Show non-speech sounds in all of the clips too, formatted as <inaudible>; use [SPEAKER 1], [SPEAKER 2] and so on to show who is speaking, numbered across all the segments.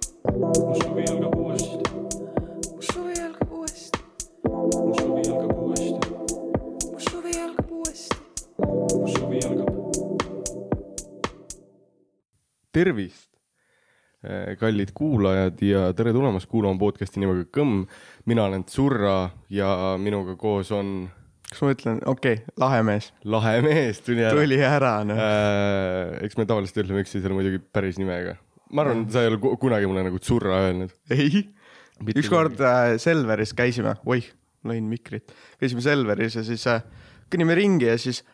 [SPEAKER 1] mu suvi algab uuesti ,
[SPEAKER 2] mu suvi algab uuesti ,
[SPEAKER 1] mu suvi algab uuesti ,
[SPEAKER 2] mu suvi algab uuesti .
[SPEAKER 1] mu suvi algab
[SPEAKER 3] tervist , kallid kuulajad ja tere tulemast kuulama podcast'i nimega Kõmm . mina olen Tsurra ja minuga koos on
[SPEAKER 4] kas ma ütlen , okei okay, , lahe mees ,
[SPEAKER 3] lahe mees , tuli ära .
[SPEAKER 4] tuli ära noh .
[SPEAKER 3] eks me tavaliselt ütleme üksteisele muidugi päris nimega . ma arvan , sa ei ole ku- kunagi mulle nagu Tsurra öelnud .
[SPEAKER 4] ei ,
[SPEAKER 3] Mitte
[SPEAKER 4] ükskord äh, Selveris käisime , oih , lõin mikrit , käisime Selveris ja siis äh, kõnnime ringi ja siis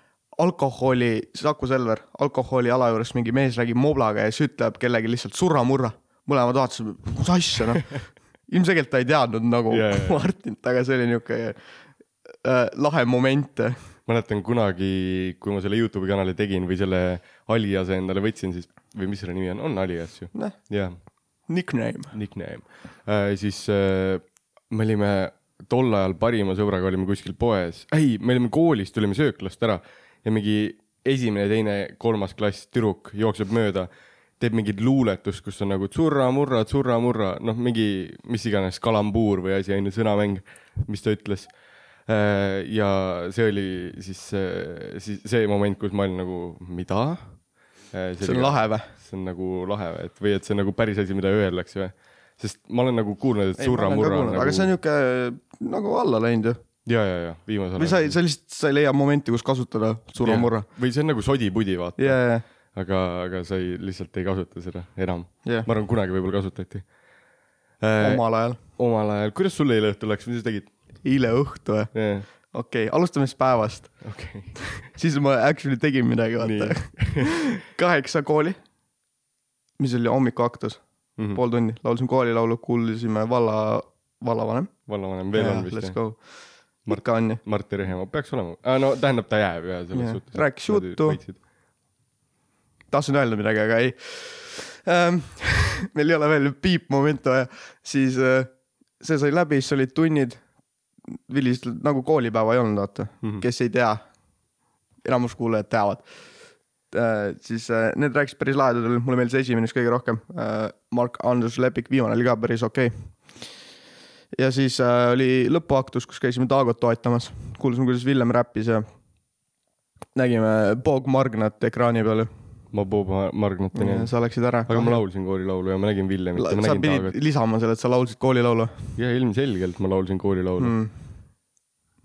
[SPEAKER 4] alkoholi , Saku Selver , alkoholi ala juures mingi mees räägib moblaga ja siis ütleb kellegi lihtsalt surra-murra . mõlemad vaatasid , mis asja
[SPEAKER 3] <laughs>
[SPEAKER 4] noh . ilmselgelt ta ei teadnud nagu
[SPEAKER 3] Jaa,
[SPEAKER 4] yeah,
[SPEAKER 3] jaa.
[SPEAKER 4] yeah. Martinit , aga see oli niuke äh, lahe moment .
[SPEAKER 3] mäletan kunagi , kui ma selle Youtube'i kanali tegin või selle aliase endale võtsin , siis või mis selle nimi on , on alias ju ?
[SPEAKER 4] noh ,
[SPEAKER 3] jah
[SPEAKER 4] nickname .
[SPEAKER 3] nickname äh, , siis äh, me olime tol ajal parima sõbraga olime kuskil poes , ei , me olime koolist , tulime sööklast ära ja mingi esimene , teine , kolmas klass tüdruk jookseb mööda , teeb mingit luuletust , kus on nagu tsurra-murra , tsurra-murra , noh , mingi mis iganes kalambuur või asi on ju , sõnamäng , mis ta ütles . ja see oli siis , siis see moment , kus ma olin nagu , mida ?
[SPEAKER 4] see on lahe või ?
[SPEAKER 3] see on nagu lahe või , et või et see on nagu päris asi , mida öeldakse või ? sest ma olen nagu kuulnud , et surra-murra on
[SPEAKER 4] Nagu...
[SPEAKER 3] nagu .
[SPEAKER 4] aga see on niuke nagu alla läinud ju .
[SPEAKER 3] ja , ja , ja viimasel
[SPEAKER 4] või sa ei , sa lihtsalt , sa ei leia momenti , kus kasutada surra-murra ..
[SPEAKER 3] või see on nagu sodipudi , vaata
[SPEAKER 4] ja , ja ,
[SPEAKER 3] aga , aga sa ei , lihtsalt ei kasuta seda enam .
[SPEAKER 4] Jah.
[SPEAKER 3] ma arvan , kunagi võib-olla kasutati . Äh,
[SPEAKER 4] omal ajal .
[SPEAKER 3] omal ajal , kuidas sul eile õhtul läks , mis sa tegid ?
[SPEAKER 4] eile õhtu või ?
[SPEAKER 3] okei
[SPEAKER 4] okei okay, , alustame siis päevast .
[SPEAKER 3] okay. ,
[SPEAKER 4] siis ma actually tegin midagi , vaata . <laughs> kaheksa kooli . mis oli hommikuaktus mm ,
[SPEAKER 3] <laughs> Mhm.
[SPEAKER 4] -hmm. pool tundi , laulsime koolilaulu , kuulasime valla , vallavanem .
[SPEAKER 3] vallavanem veel on vist
[SPEAKER 4] Let's
[SPEAKER 3] jah ?
[SPEAKER 4] go . ikka on ju .
[SPEAKER 3] Martti Rehemaa peaks olema ah, , no tähendab , ta jääb jah , selles
[SPEAKER 4] Jah.
[SPEAKER 3] suhtes .
[SPEAKER 4] Rääkis juttu. tahtsin öelda midagi , aga ei ähm, . <laughs> meil ei ole veel piipmomente vaja , siis äh, see sai läbi , siis olid tunnid . Villis nagu koolipäeva ei olnud , vaata mm ,
[SPEAKER 3] Mhm.
[SPEAKER 4] -hmm. kes ei tea , enamus kuulajad teavad äh, . siis äh, need rääkisid päris lahedad olid , mulle meeldis esimene siis kõige rohkem äh, . Mark-Andrus Lepik , viimane oli ka päris okei okay. ja siis äh, oli lõpuaktus , kus käisime Taagot toetamas , kuulasime , kuidas Villem räppis ja nägime Bob Margnat ekraani peal ju
[SPEAKER 3] ma Bob Margnatini
[SPEAKER 4] Ja
[SPEAKER 3] yeah, .
[SPEAKER 4] sa läksid ära .
[SPEAKER 3] aga ma laulsin koorilaulu ja ma nägin Villemit ja ma
[SPEAKER 4] sa
[SPEAKER 3] nägin
[SPEAKER 4] pidid
[SPEAKER 3] Taagat .
[SPEAKER 4] lisama selle , et sa laulsid koolilaulu
[SPEAKER 3] ja ilmselgelt ma laulsin koorilaulu mm. .
[SPEAKER 4] mm. .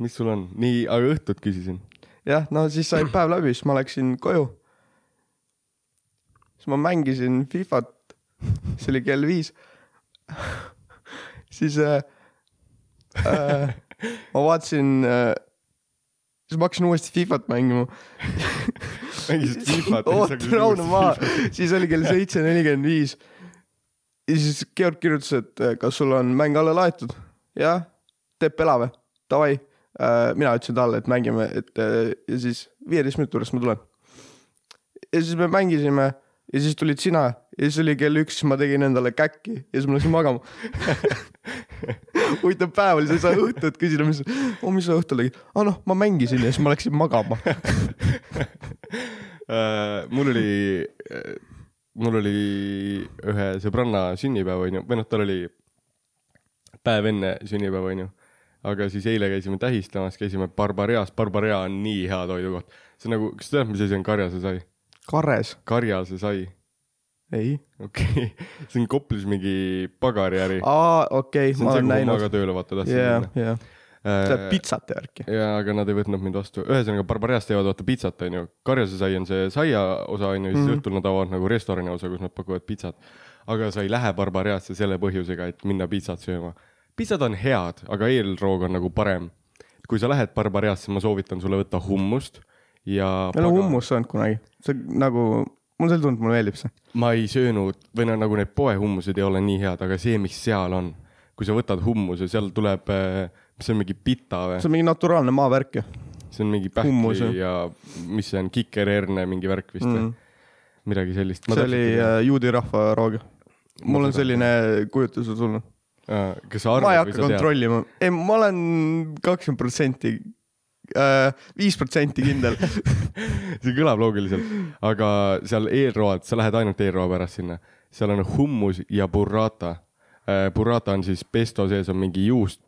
[SPEAKER 3] mis sul on ? nii , aga õhtut küsisin .
[SPEAKER 4] jah , no siis sai päev läbi , siis ma läksin koju . siis ma mängisin Fifat , see oli kell viis . <laughs> siis äh, äh, ma vaatasin äh, , siis ma hakkasin uuesti Fifat mängima .
[SPEAKER 3] mängisid
[SPEAKER 4] <laughs>
[SPEAKER 3] FIFA-t .
[SPEAKER 4] oota , rahune
[SPEAKER 3] <laughs>
[SPEAKER 4] maha , siis oli kell seitse nelikümmend viis . ja siis Georg kirjutas , et äh, kas sul on mäng alla laetud . jah , Tepp Elave , davai . mina ütlesin talle , et mängime , et äh, ja siis viieteist minuti pärast ma tulen . ja siis me mängisime ja siis tulid sina ja siis oli kell üks , siis ma tegin endale käkki ja siis ma läksin magama . huvitav päev oli , sa ei saa õhtut küsida , mis , oh mis sa õhtul tegid , aa noh , ma mängisin ja siis ma läksin magama . <laughs>
[SPEAKER 3] Äh, mul oli , mul oli ühe sõbranna sünnipäev onju , või noh , tal oli päev enne sünnipäeva onju . aga siis eile käisime tähistamas , käisime Barbareas , Barbarea on nii hea toidukoht . see on nagu , kas sa tead , mis asi on karjase sai ?
[SPEAKER 4] kares ,
[SPEAKER 3] karjase sai , <laughs>
[SPEAKER 4] ei
[SPEAKER 3] okei okay. , see on Koplis mingi pagariäri .
[SPEAKER 4] aa , okei
[SPEAKER 3] see ,
[SPEAKER 4] ma
[SPEAKER 3] on see ,
[SPEAKER 4] olen
[SPEAKER 3] kuhu ma
[SPEAKER 4] näinud
[SPEAKER 3] ka . tööle vaata tahtsin
[SPEAKER 4] jah
[SPEAKER 3] minna ,. Äh,
[SPEAKER 4] jah , seda pitsat ja värki .
[SPEAKER 3] ja aga nad ei võtnud mind vastu , ühesõnaga Barbareas teevad vaata pitsat onju , karjase sai on see saia osa onju , siis mm -hmm. õhtul nad avavad nagu restorani osa , kus nad pakuvad pitsat . aga sa ei lähe Barbareasse selle põhjusega , et minna pitsat sööma . pitsad on head , aga eelroog on nagu parem . kui sa lähed Barbareasse , ma soovitan sulle võtta hummust ja .
[SPEAKER 4] ma ei ole hummus söönud kunagi , see nagu , mul see ei tulnud , mulle meeldib see .
[SPEAKER 3] ma ei söönud või no nagu need poehummused ei ole nii head , aga see , mis seal on , kui sa võtad hummuse , seal tuleb , mis see on mingi pita või ?
[SPEAKER 4] see on mingi naturaalne maavärk ju .
[SPEAKER 3] see on mingi
[SPEAKER 4] Hummus,
[SPEAKER 3] pähkli
[SPEAKER 4] jah. Mhm.
[SPEAKER 3] ja mis see on , kikerherne mingi värk vist või mm. midagi sellist .
[SPEAKER 4] see oli äh, juudi rahva roog . mul on selline kujutlus tulnud .
[SPEAKER 3] äh, . kas sa
[SPEAKER 4] ma ei
[SPEAKER 3] arvad
[SPEAKER 4] hakka ? kontrollima , ei , ma olen kakskümmend protsenti , viis protsenti
[SPEAKER 3] <laughs>
[SPEAKER 4] kindel .
[SPEAKER 3] <laughs> see kõlab loogiliselt , aga seal eelroad , sa lähed ainult eelroa pärast sinna , seal on hummus ja burrata Äh, Burrata on siis pesto sees on mingi juust ,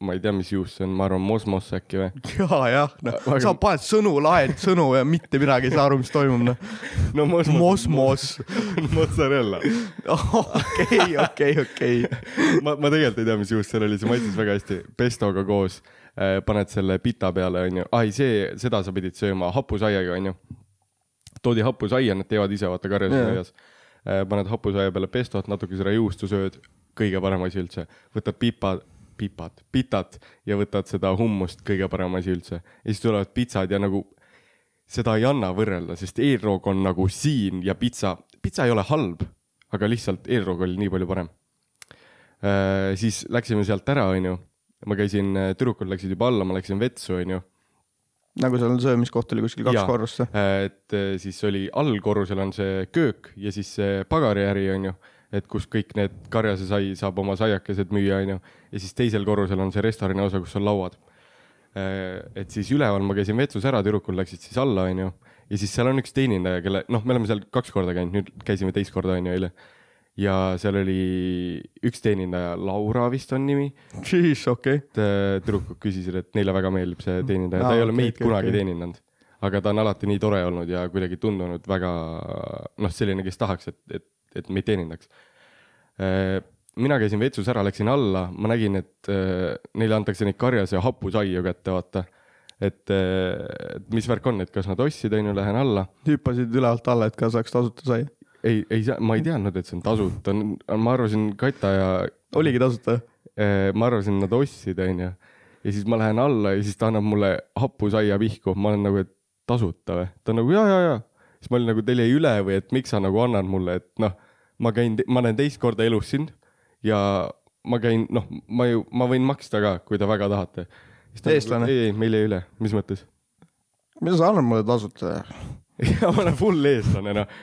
[SPEAKER 3] ma ei tea , mis juust see on , ma arvan , mosmos äkki või ? <laughs>
[SPEAKER 4] ja jah , noh ,
[SPEAKER 3] Aga-
[SPEAKER 4] sa paned sõnu , laed sõnu ja mitte midagi ei saa aru , mis toimub , noh . <laughs>
[SPEAKER 3] no mosmos ,
[SPEAKER 4] Mosmos .
[SPEAKER 3] <laughs> mozzarella .
[SPEAKER 4] okei , okei , okei .
[SPEAKER 3] ma , ma tegelikult ei tea , mis juust seal oli , see maitses väga hästi , pestoga koos äh, paned selle pita peale , onju , ai see , seda sa pidid sööma hapusaiaga , onju . toodi hapusaia , nad teevad ise , vaata
[SPEAKER 4] Jaa.
[SPEAKER 3] karjasaias . paned hapusaia peale pestot , natuke seda juustu sööd , kõige parem asi üldse . võtad pipad , pipad , pitat ja võtad seda hummust , kõige parem asi üldse . ja siis tulevad pitsad ja nagu seda ei anna võrrelda , sest eelroog on nagu siin ja pitsa , pitsa ei ole halb , aga lihtsalt eelroog oli nii palju parem . siis läksime sealt ära , onju . ma käisin , tüdrukud läksid juba alla , ma läksin vetsu , onju .
[SPEAKER 4] nagu seal on söömiskoht oli kuskil kaks korrust , jah ?
[SPEAKER 3] et äh, siis oli allkorrusel on see köök ja siis see pagariäri , onju , et kus kõik need karjase sai , saab oma saiakesed müüa , onju . ja siis teisel korrusel on see restorani osa , kus on lauad . et siis üleval ma käisin vetsus ära , tüdrukud läksid siis alla , onju . ja siis seal on üks teenindaja , kelle , noh , me oleme seal kaks korda käinud , nüüd käisime teist korda , onju , eile . ja seal oli üks teenindaja , Laura vist on nimi <laughs>
[SPEAKER 4] Jeez , okei .
[SPEAKER 3] et äh, tüdrukud küsisid , et neile väga meeldib see teenindaja ,
[SPEAKER 4] Mm. Aa,
[SPEAKER 3] ta ei ole
[SPEAKER 4] okei,
[SPEAKER 3] meid
[SPEAKER 4] okei,
[SPEAKER 3] kunagi
[SPEAKER 4] okei.
[SPEAKER 3] teenindanud . aga ta on alati nii tore olnud ja kuidagi tundunud väga noh , selline , kes tahaks , et , et , et meid teenindaks . mina käisin vetsus ära , läksin alla , ma nägin , et äh, neile antakse neid karjas ja hapusaiu kätte , vaata . et äh, et mis värk on , et kas nad ostsid , onju , lähen alla .
[SPEAKER 4] hüppasid ülevalt alla , et ka saaks tasuta sai .
[SPEAKER 3] ei , ei , ma ei teadnud , et see on tasuta , ma arvasin Kata ja
[SPEAKER 4] oligi tasuta ?
[SPEAKER 3] Eh, ma arvasin , nad ostsid , onju . ja siis ma lähen alla ja siis ta annab mulle hapusaia vihku , ma olen nagu , et tasuta või ? ta on nagu ja , ja , ja . siis ma olin nagu , teil jäi üle või et miks sa nagu annad mulle , et noh , ma käin , ma näen teist korda elus sind ja ma käin , noh , ma ju , ma võin maksta ka , kui te väga tahate .
[SPEAKER 4] Eestlane.
[SPEAKER 3] nagu, ei , ei , meil jäi üle , mis mõttes ? <laughs>
[SPEAKER 4] mida sa annad mulle tasuta ?
[SPEAKER 3] ja ma olen full eestlane , noh .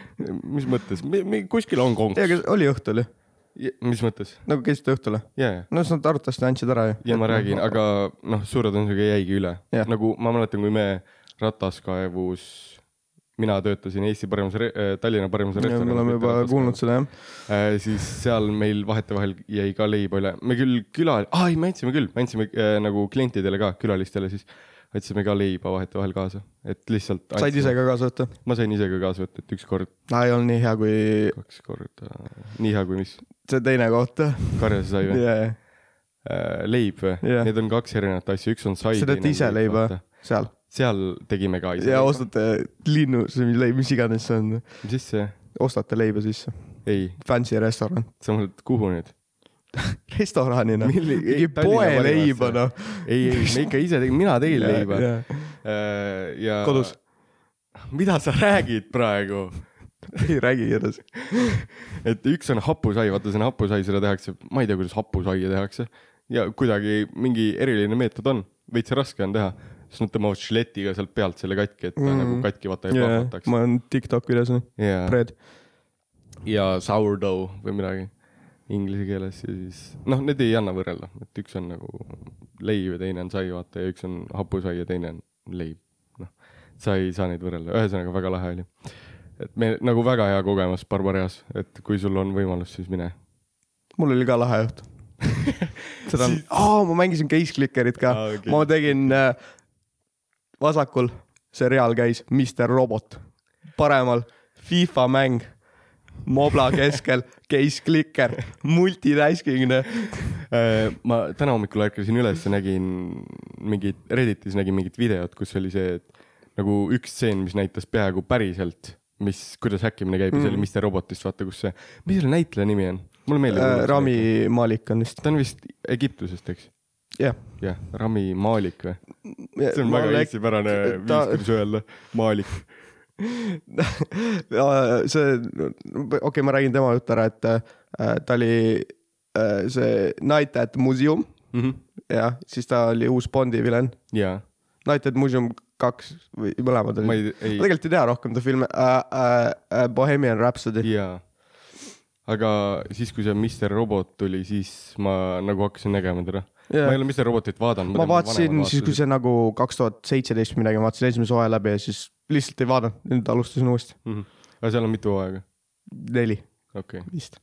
[SPEAKER 3] mis mõttes , kuskil on
[SPEAKER 4] ei ,
[SPEAKER 3] konks .
[SPEAKER 4] aga oli õhtul ju ,
[SPEAKER 3] mis mõttes ?
[SPEAKER 4] nagu käisite õhtule ?
[SPEAKER 3] ja , ja .
[SPEAKER 4] no siis nad arvatavasti andsid ära ju .
[SPEAKER 3] ja ma räägin , aga noh , suure tõenäosusega jäigi üle
[SPEAKER 4] Jah. .
[SPEAKER 3] nagu ma mäletan , kui me Rataskaevus , mina töötasin Eesti parimas , Tallinna parimas
[SPEAKER 4] me
[SPEAKER 3] restoranis .
[SPEAKER 4] oleme juba kuulnud . seda jah .
[SPEAKER 3] siis seal meil vahetevahel jäi ka leiba üle , me küll küla , aa ei , me andsime küll , me andsime äh, nagu klientidele ka , külalistele siis , andsime ka leiba vahetevahel kaasa , et lihtsalt .
[SPEAKER 4] said ise ? ka kaasa võtta ?
[SPEAKER 3] ma sain ise ka kaasa võtta , et üks kord ,
[SPEAKER 4] ei olnud nii hea kui
[SPEAKER 3] kaks korda , nii hea kui mis ,
[SPEAKER 4] see teine koht .
[SPEAKER 3] karjas sai või ?
[SPEAKER 4] jajah ,
[SPEAKER 3] leib või
[SPEAKER 4] Jah.
[SPEAKER 3] Need on kaks erinevat asja , üks on sai .
[SPEAKER 4] sa teete ise leiba seal
[SPEAKER 3] seal tegime ka ise .
[SPEAKER 4] ja ostate linnu , mis iganes see on ,
[SPEAKER 3] mis asja ?
[SPEAKER 4] ostate leiba sisse ,
[SPEAKER 3] ei ,
[SPEAKER 4] fancy restoran , <laughs>
[SPEAKER 3] sa mõtled , kuhu nüüd ?
[SPEAKER 4] restoranina ,
[SPEAKER 3] Milli-
[SPEAKER 4] mingi
[SPEAKER 3] ei, Tallinna
[SPEAKER 4] poe
[SPEAKER 3] parimasse.
[SPEAKER 4] leiba noh . <laughs>
[SPEAKER 3] ei , ei , me ikka ise tegime , mina tegin leiba . ja .
[SPEAKER 4] Kodus. .
[SPEAKER 3] mida sa räägid praegu ?
[SPEAKER 4] ei räägi edasi .
[SPEAKER 3] et üks on hapusai , vaata see on hapusai , seda tehakse , ma ei tea , kuidas hapusaia tehakse ja kuidagi mingi eriline meetod on , veits raske on teha , siis nad tõmbavad žiletiga sealt pealt selle katki , et ta
[SPEAKER 4] Mm.
[SPEAKER 3] mm. nagu katki vaata ei
[SPEAKER 4] jaa ,
[SPEAKER 3] plahvataks
[SPEAKER 4] ma olen Tiktoki üles , noh.
[SPEAKER 3] ja ,
[SPEAKER 4] Fred .
[SPEAKER 3] ja sourdough või midagi inglise keeles ja siis noh , need ei anna võrrelda , et üks on nagu leib ja teine on sai , vaata ja üks on hapusai ja teine on leib , noh sa ei saa neid võrrelda , ühesõnaga väga lahe oli . et me nagu väga hea kogemus Barbareas , et kui sul on võimalus , siis mine .
[SPEAKER 4] mul oli ka lahe <laughs> õhtu . seda on
[SPEAKER 3] Siis- ,
[SPEAKER 4] aa , ma mängisin Case Clickerit ka
[SPEAKER 3] Aa, , okei.
[SPEAKER 4] ma tegin äh, vasakul , seriaal käis Mr Robot , paremal FIFA mäng , mobla <laughs> keskel Case Clicker , multitasking ,
[SPEAKER 3] Äh, ma täna hommikul ärkasin üles ja nägin mingit , Redditis nägin mingit videot , kus oli see , et nagu üks stseen , mis näitas peaaegu päriselt , mis , kuidas häkkimine käib mm. ja see oli Mr Robotist , vaata kus see , mis selle näitleja nimi on ? mulle meeldib
[SPEAKER 4] äh, . Rami Malik on vist ,
[SPEAKER 3] ta on vist Egiptusest , eks ?
[SPEAKER 4] jah .
[SPEAKER 3] jah , Rami Malik või ? see on väga .
[SPEAKER 4] <laughs>
[SPEAKER 3] eestipärane viis ,
[SPEAKER 4] ta-
[SPEAKER 3] kuidas öelda , Malik .
[SPEAKER 4] Äh, see , okei okay, , ma räägin tema juttu ära , et äh, ta oli äh, see Night at Museum ja siis ta oli uus Bondi vilen
[SPEAKER 3] jaa ,
[SPEAKER 4] Night at Museum kaks või mõlemad
[SPEAKER 3] ma
[SPEAKER 4] olid .
[SPEAKER 3] ei ,
[SPEAKER 4] ma
[SPEAKER 3] ei ,
[SPEAKER 4] tegelikult ei tea rohkem ta filme äh, , äh, äh, Bohemian Rhapsody .
[SPEAKER 3] jaa . aga siis , kui see Mr Robot tuli , siis ma nagu hakkasin nägema teda
[SPEAKER 4] Jaa.
[SPEAKER 3] yeah. . ma ei ole Mr Robotit vaadanud .
[SPEAKER 4] ma vaatasin siis , kui see nagu kaks tuhat seitseteist midagi , ma vaatasin esimese hooaja läbi ja siis lihtsalt ei vaadanud , nüüd alustasin uuesti .
[SPEAKER 3] Mhm. mm . -hmm. aga seal on mitu hooaega ,
[SPEAKER 4] neli
[SPEAKER 3] okei okay. .
[SPEAKER 4] vist .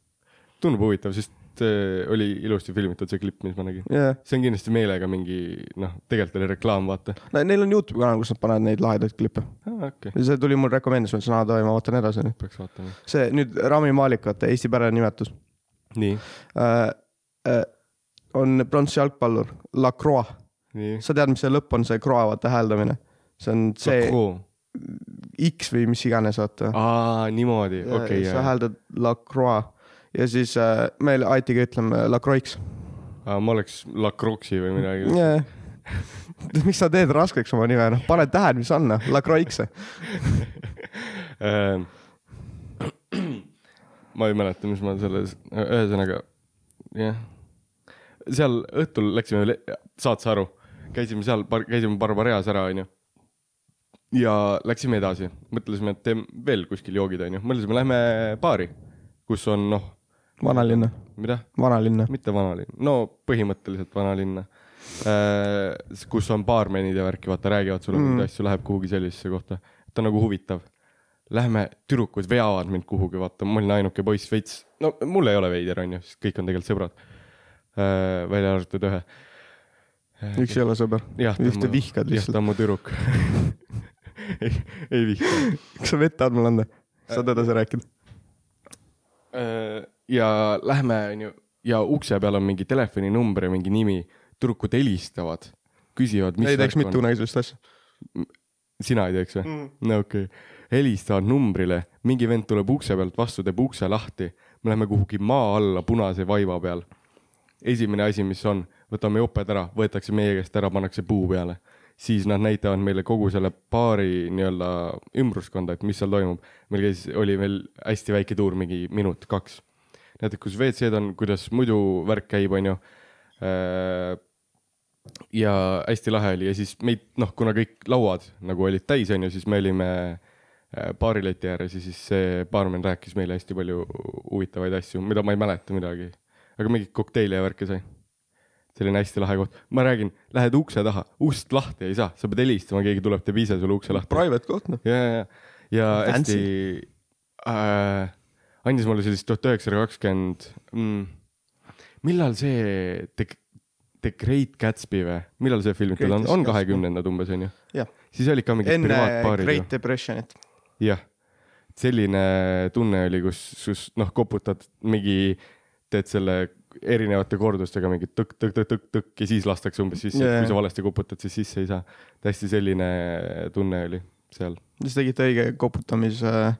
[SPEAKER 3] tundub huvitav , sest see oli ilusti filmitud , see klipp , mis ma nägin .
[SPEAKER 4] jah .
[SPEAKER 3] see on kindlasti meelega mingi noh , tegelikult oli reklaam , vaata .
[SPEAKER 4] Neil on Youtube'i kanal , kus nad panevad neid lahedaid klippe .
[SPEAKER 3] okei ,
[SPEAKER 4] see tuli mul rekomendis , ma ütlesin , aa davai , ma vaatan edasi nüüd .
[SPEAKER 3] peaks vaatama .
[SPEAKER 4] see nüüd Rami Maalik , vaata Eesti pärane nimetus
[SPEAKER 3] nii ,
[SPEAKER 4] äh, . Äh, on prontsjalgpallur , La Croix .
[SPEAKER 3] nii .
[SPEAKER 4] sa tead , mis see lõpp on , see Croix , vaata hääldamine . see on see X või mis iganes , vaata .
[SPEAKER 3] aa , niimoodi , Ah, okei ,
[SPEAKER 4] Äh, sa
[SPEAKER 3] jaa .
[SPEAKER 4] hääldad La Croix ja siis äh, meil IT-ga ütleme äh, La Croix .
[SPEAKER 3] ma oleks Lacroixi või midagi .
[SPEAKER 4] Yeah. <laughs> miks sa teed raskeks oma nime , noh , pane tähele , mis on , noh , La Croix .
[SPEAKER 3] Ehm, <clears throat> ma ei mäleta , mis ma selles , ühesõnaga , jah . seal õhtul läksime le- , saad sa aru , käisime seal , käisime Barbareas ära , onju . ja läksime edasi , mõtlesime , et teeme veel kuskil joogid , onju , mõtlesime , lähme baari , kus on noh ,
[SPEAKER 4] vanalinna ,
[SPEAKER 3] mida
[SPEAKER 4] vanalinna .
[SPEAKER 3] mitte vanalinn , no põhimõtteliselt vanalinna . kus on baarmenid ja värki , vaata räägivad sulle mingeid mm. asju , läheb kuhugi sellisesse kohta , ta on nagu huvitav . Lähme , tüdrukud veavad mind kuhugi , vaata , ma olin ainuke poiss veits , no mul ei ole veider , onju , sest kõik on tegelikult sõbrad . välja arvatud ühe .
[SPEAKER 4] üks ei ole sõber .
[SPEAKER 3] jah ,
[SPEAKER 4] ühte vihkad
[SPEAKER 3] jah ,
[SPEAKER 4] lihtsalt .
[SPEAKER 3] ta on mu tüdruk . <laughs> ei , ei vihka .
[SPEAKER 4] kas sa vett tahad mulle anda ? saad edasi rääkida ?
[SPEAKER 3] Äh, ja lähme , onju , ja ukse peal on mingi telefoninumber ja mingi nimi . tüdrukud helistavad , küsivad , mis
[SPEAKER 4] ei teeks
[SPEAKER 3] värk
[SPEAKER 4] mitte
[SPEAKER 3] on .
[SPEAKER 4] kunagi sellist asja .
[SPEAKER 3] sina ei teeks või mm. ? no okei okay. . helistavad numbrile , mingi vend tuleb ukse pealt vastu , teeb ukse lahti . me läheme kuhugi maa alla punase vaiva peal . esimene asi , mis on , võtame joped ära , võetakse meie käest ära , pannakse puu peale . siis nad näitavad meile kogu selle baari nii-öelda ümbruskonda , et mis seal toimub . meil käis , oli veel hästi väike tuur , mingi minut-kaks . näiteks , kus WC-d on , kuidas muidu värk käib , onju Äh, ja hästi lahe oli ja siis meid , noh , kuna kõik lauad nagu olid täis , onju , siis me olime äh, baarileti ääres ja siis see baarmen rääkis meile hästi palju huvitavaid asju , mida ma ei mäleta midagi . aga mingit kokteile ja värki sai . selline hästi lahe koht , ma räägin , lähed ukse taha , ust lahti ei saa , sa pead helistama , keegi tuleb , teeb ise sulle ukse lahti .
[SPEAKER 4] Private koht , noh .
[SPEAKER 3] ja , ja , ja
[SPEAKER 4] Fancy.
[SPEAKER 3] hästi äh, andis mulle sellist tuhat üheksasada kakskümmend . millal see The, The Great Gatsby või , millal see filmitud on ,
[SPEAKER 4] Greatest
[SPEAKER 3] on
[SPEAKER 4] Gatsby.
[SPEAKER 3] kahekümnendad umbes onju ,
[SPEAKER 4] jah ,
[SPEAKER 3] siis olid ka mingid
[SPEAKER 4] enne
[SPEAKER 3] privaatvaarid
[SPEAKER 4] Great
[SPEAKER 3] ju ,
[SPEAKER 4] Depressionit .
[SPEAKER 3] jah . selline tunne oli , kus , kus noh , koputad mingi , teed selle erinevate kordustega mingi tõkk-tõkk-tõkk-tõkk ja siis lastakse umbes sisse yeah. ,
[SPEAKER 4] Jajah.
[SPEAKER 3] kui sa valesti koputad , siis sisse ei saa . täiesti selline tunne oli seal ,
[SPEAKER 4] siis tegite õige koputamise äh,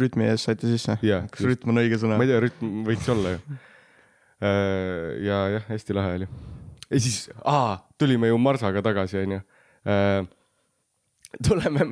[SPEAKER 4] rütmi ees , saite sisse .
[SPEAKER 3] jah .
[SPEAKER 4] kas rütm on õige sõna
[SPEAKER 3] ma ? ei tea , rütm võiks olla ju . ja jah , hästi lahe oli . ja siis , aa , tulime ju Marsaga tagasi , onju . tuleme ,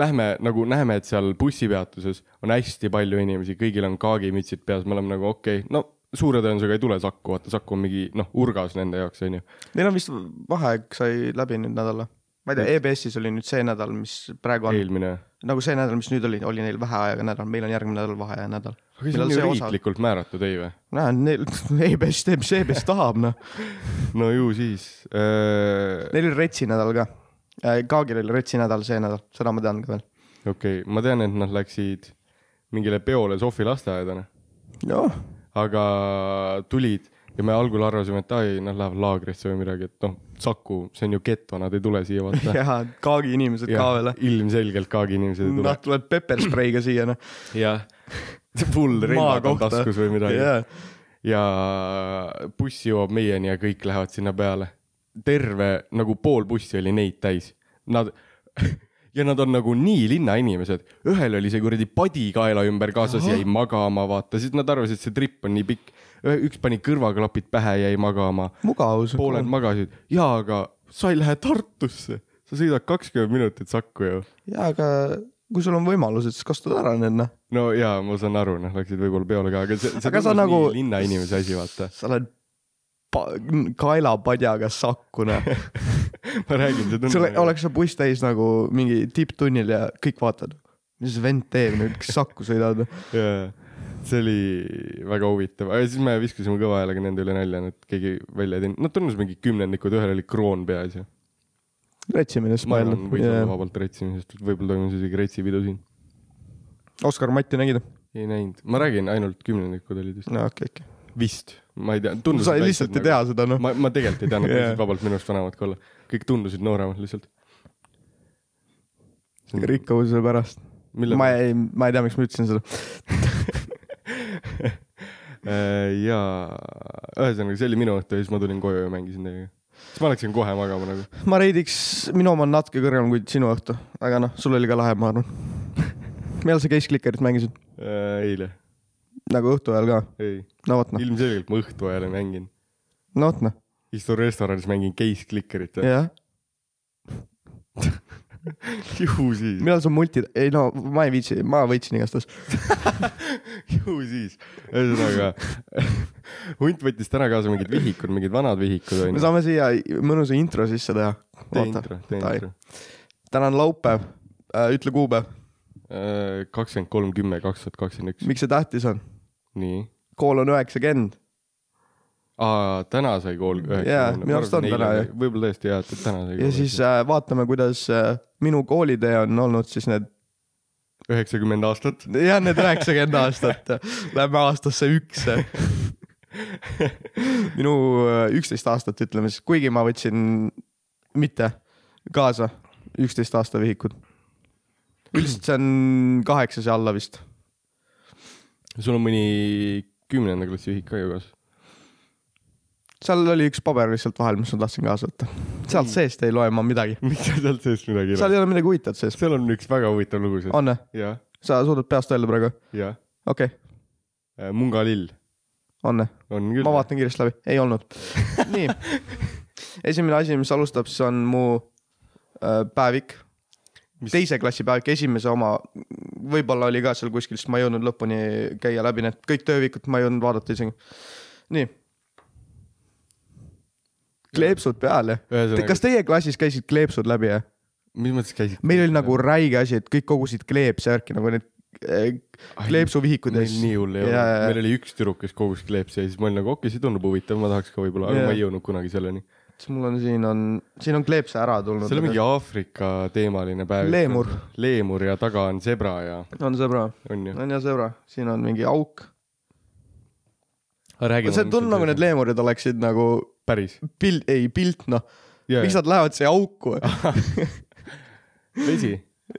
[SPEAKER 3] lähme nagu näeme , et seal bussipeatuses on hästi palju inimesi , kõigil on kaagimütsid peas , me oleme nagu okei okay, , no suure tõenäosusega ei tule Saku , vaata Saku on mingi noh , urgas nende jaoks , onju .
[SPEAKER 4] Neil on vist vaheaeg sai läbi nüüd nädala . ma ei tea , EBS-is oli nüüd see nädal , mis praegu on ,
[SPEAKER 3] eelmine .
[SPEAKER 4] nagu see nädal , mis nüüd oli , oli neil väheajaga nädal , meil on järgmine nädal vaheaja nädal .
[SPEAKER 3] aga see on ju riiklikult määratud , ei või ?
[SPEAKER 4] näe , neil <laughs> EBS teeb , mis EBS tahab , noh .
[SPEAKER 3] <laughs> no ju siis . äh, okei
[SPEAKER 4] Neil oli retsi nädal ka . Kaagil oli retsi nädal see nädal , seda ma tean ka veel .
[SPEAKER 3] okay, , ma tean , et nad läksid mingile peole Sofi lasteaeda , noh .
[SPEAKER 4] <laughs> noh ,
[SPEAKER 3] aga tulid ja me algul arvasime , et ai , nad lähevad laagrisse või midagi , et noh , Saku , see on ju geto , nad ei tule siia <laughs> vaata .
[SPEAKER 4] ja Kaagi inimesed ka veel .
[SPEAKER 3] ilmselgelt kaagi inimesed ei tule
[SPEAKER 4] Nad . tulevad pepperspreiga siia , noh .
[SPEAKER 3] <laughs> jah . full relvad on
[SPEAKER 4] kohta.
[SPEAKER 3] taskus või midagi
[SPEAKER 4] jaa ,
[SPEAKER 3] ja buss jõuab meieni ja kõik lähevad sinna peale . terve nagu pool bussi oli neid täis . Nad <laughs> ja nad on nagu nii linnainimesed , ühel oli see kuradi padi kaela ümber kaasas , jäi magama , vaata , siis nad arvasid , et see tripp on nii pikk . üks pani kõrvaklapid pähe , jäi magama ,
[SPEAKER 4] mugavus .
[SPEAKER 3] pooled magasid ja , aga sa ei lähe Tartusse , sa sõidad kakskümmend minutit Sakku ju .
[SPEAKER 4] jaa , aga kui sul on võimalused , siis kasuta ära need , noh .
[SPEAKER 3] no ja ma saan aru , noh , läksid võib-olla peole ka , aga see , see
[SPEAKER 4] Aga sa
[SPEAKER 3] tundus
[SPEAKER 4] nagu-
[SPEAKER 3] nii linnainimese asi , vapadata .
[SPEAKER 4] sa oled pa- kaelapadjaga sakkune .
[SPEAKER 3] <laughs> <laughs> ma räägin , see
[SPEAKER 4] sul
[SPEAKER 3] tundub .
[SPEAKER 4] oleks see buss täis nagu mingi tipptunnil ja kõik vaatavad , mis see vend teeb nüüd , kas sakku noh. sõidad või ?
[SPEAKER 3] jaa , see oli väga huvitav , aga siis me viskasime kõva häälega nende üle nalja , nad keegi välja ei teinud , nad tundus mingi kümnendikud , ühel oli kroon peas ja
[SPEAKER 4] retsimine
[SPEAKER 3] ma arvan , võis olla
[SPEAKER 4] smile .
[SPEAKER 3] vabalt retsimisest , võib-olla toimus isegi retsipidu siin .
[SPEAKER 4] Oskar Matti nägid ?
[SPEAKER 3] ei näinud , ma räägin , ainult kümnendikud olid vist .
[SPEAKER 4] no okei , okei .
[SPEAKER 3] vist , ma ei tea .
[SPEAKER 4] sa lihtsalt ei tea seda , noh .
[SPEAKER 3] nagu- ma , ma tegelikult ei teadnud , et
[SPEAKER 4] Jaa.
[SPEAKER 3] teised vabalt minust vanemad ka olla , kõik tundusid nooremad lihtsalt .
[SPEAKER 4] rikkuse pärast .
[SPEAKER 3] Mille
[SPEAKER 4] ma ei , ma ei tea , miks ma ütlesin seda .
[SPEAKER 3] <laughs> ja Äh, ühesõnaga , see oli minu õhtu ja siis ma tulin koju ja mängisin teiega . siis ma läksin kohe magama nagu .
[SPEAKER 4] ma reidiks , minu oma on natuke kõrgem kui sinu õhtu , aga noh , sul oli ka lahe , ma arvan . millal sa Case Clickerit mängisid ?
[SPEAKER 3] Äh, eile ,
[SPEAKER 4] nagu õhtu ajal ka ?
[SPEAKER 3] ei ,
[SPEAKER 4] no vot noh ,
[SPEAKER 3] ilmselgelt ma õhtu ajal ei mänginud .
[SPEAKER 4] no vot noh ,
[SPEAKER 3] istun restoranis , mängin case clicker'it <laughs> ja
[SPEAKER 4] jah .
[SPEAKER 3] ju siis ,
[SPEAKER 4] millal sa multi , ei no ma ei viitsi , ma võitsin igastahes .
[SPEAKER 3] ju siis . ühesõnaga <laughs> hunt võttis täna kaasa mingid vihikud , mingid vanad vihikud
[SPEAKER 4] me
[SPEAKER 3] onju .
[SPEAKER 4] saame siia mõnusa intro sisse teha .
[SPEAKER 3] tee intro , tee
[SPEAKER 4] Davai.
[SPEAKER 3] intro .
[SPEAKER 4] täna on laupäev , ütle kuupäev ,
[SPEAKER 3] Äh, kakskümmend kolm , kümme , kaks tuhat kakskümmend üks .
[SPEAKER 4] miks see tähtis on ?
[SPEAKER 3] nii .
[SPEAKER 4] kool on üheksakümmend ,
[SPEAKER 3] Aa, täna sai kool üheksa .
[SPEAKER 4] Jaa, minu arust on täna, jah.
[SPEAKER 3] võib-olla tõesti jah , et et täna sai
[SPEAKER 4] ja siis äh, vaatame , kuidas äh, minu koolitee on olnud siis need ,
[SPEAKER 3] üheksakümmend aastat .
[SPEAKER 4] jah , need üheksakümmend aastat . Lähme aastasse üks . minu äh, üksteist aastat , ütleme siis , kuigi ma võtsin mitte kaasa üksteist aasta vihikud . üldiselt see on kaheksas ja alla vist .
[SPEAKER 3] sul on mõni kümnenda klassi ühik ka ju kaasas ?
[SPEAKER 4] seal oli üks paber lihtsalt vahel , mis ma tahtsin kaasa võtta . sealt seest ei loe ma midagi .
[SPEAKER 3] <laughs> miks sa sealt seest midagi ei
[SPEAKER 4] seal
[SPEAKER 3] ole ?
[SPEAKER 4] ei ole midagi huvitavat sees .
[SPEAKER 3] seal on üks väga huvitav lugu sees .
[SPEAKER 4] on või ?
[SPEAKER 3] jah ,
[SPEAKER 4] sa suudad peast öelda praegu ?
[SPEAKER 3] jah .
[SPEAKER 4] okei okay, ,
[SPEAKER 3] Munga lill
[SPEAKER 4] on või ?
[SPEAKER 3] on küll .
[SPEAKER 4] ma . vaatan kiiresti läbi , ei olnud .
[SPEAKER 3] <laughs>
[SPEAKER 4] nii , esimene asi , mis alustab , siis on mu äh, päevik
[SPEAKER 3] Mis-
[SPEAKER 4] mis... , teise klassi päevik , esimese oma , võib-olla oli ka seal kuskil , sest ma ei jõudnud lõpuni käia läbi need kõik töövikud , ma ei jõudnud vaadata isegi . nii . kleepsud peal jah ?
[SPEAKER 3] Ühesõnaga-
[SPEAKER 4] kas teie klassis käisid kleepsud läbi jah ?
[SPEAKER 3] mis mõttes käisid ?
[SPEAKER 4] meil oli nagu räige asi , et kõik kogusid kleepsärki nagu need äh, kleepsuvihikud
[SPEAKER 3] meil nii hull ei olnud ,
[SPEAKER 4] Jaa, jaa, jaa.
[SPEAKER 3] meil oli üks tüdruk , kes kogus kleepsi ja siis ma olin nagu okei , see tundub huvitav , ma tahaks ka võib-olla , aga
[SPEAKER 4] Jaa.
[SPEAKER 3] ma ei jõudnud kunagi selleni .
[SPEAKER 4] siis mul on siin on , siin on kleepse ära tulnud .
[SPEAKER 3] seal on mingi Aafrika teemaline päev .
[SPEAKER 4] Leemur. .
[SPEAKER 3] leemur ja taga on zebra ja
[SPEAKER 4] on sõbra ,
[SPEAKER 3] on ju .
[SPEAKER 4] on ja sõbra , siin on mingi auk .
[SPEAKER 3] räägi .
[SPEAKER 4] see tundub nagu need . leemurid oleksid nagu
[SPEAKER 3] päris .
[SPEAKER 4] pilt , ei pilt noh , miks nad lähevad siia auku
[SPEAKER 3] Ah.
[SPEAKER 4] <laughs>
[SPEAKER 3] <laughs> vesi .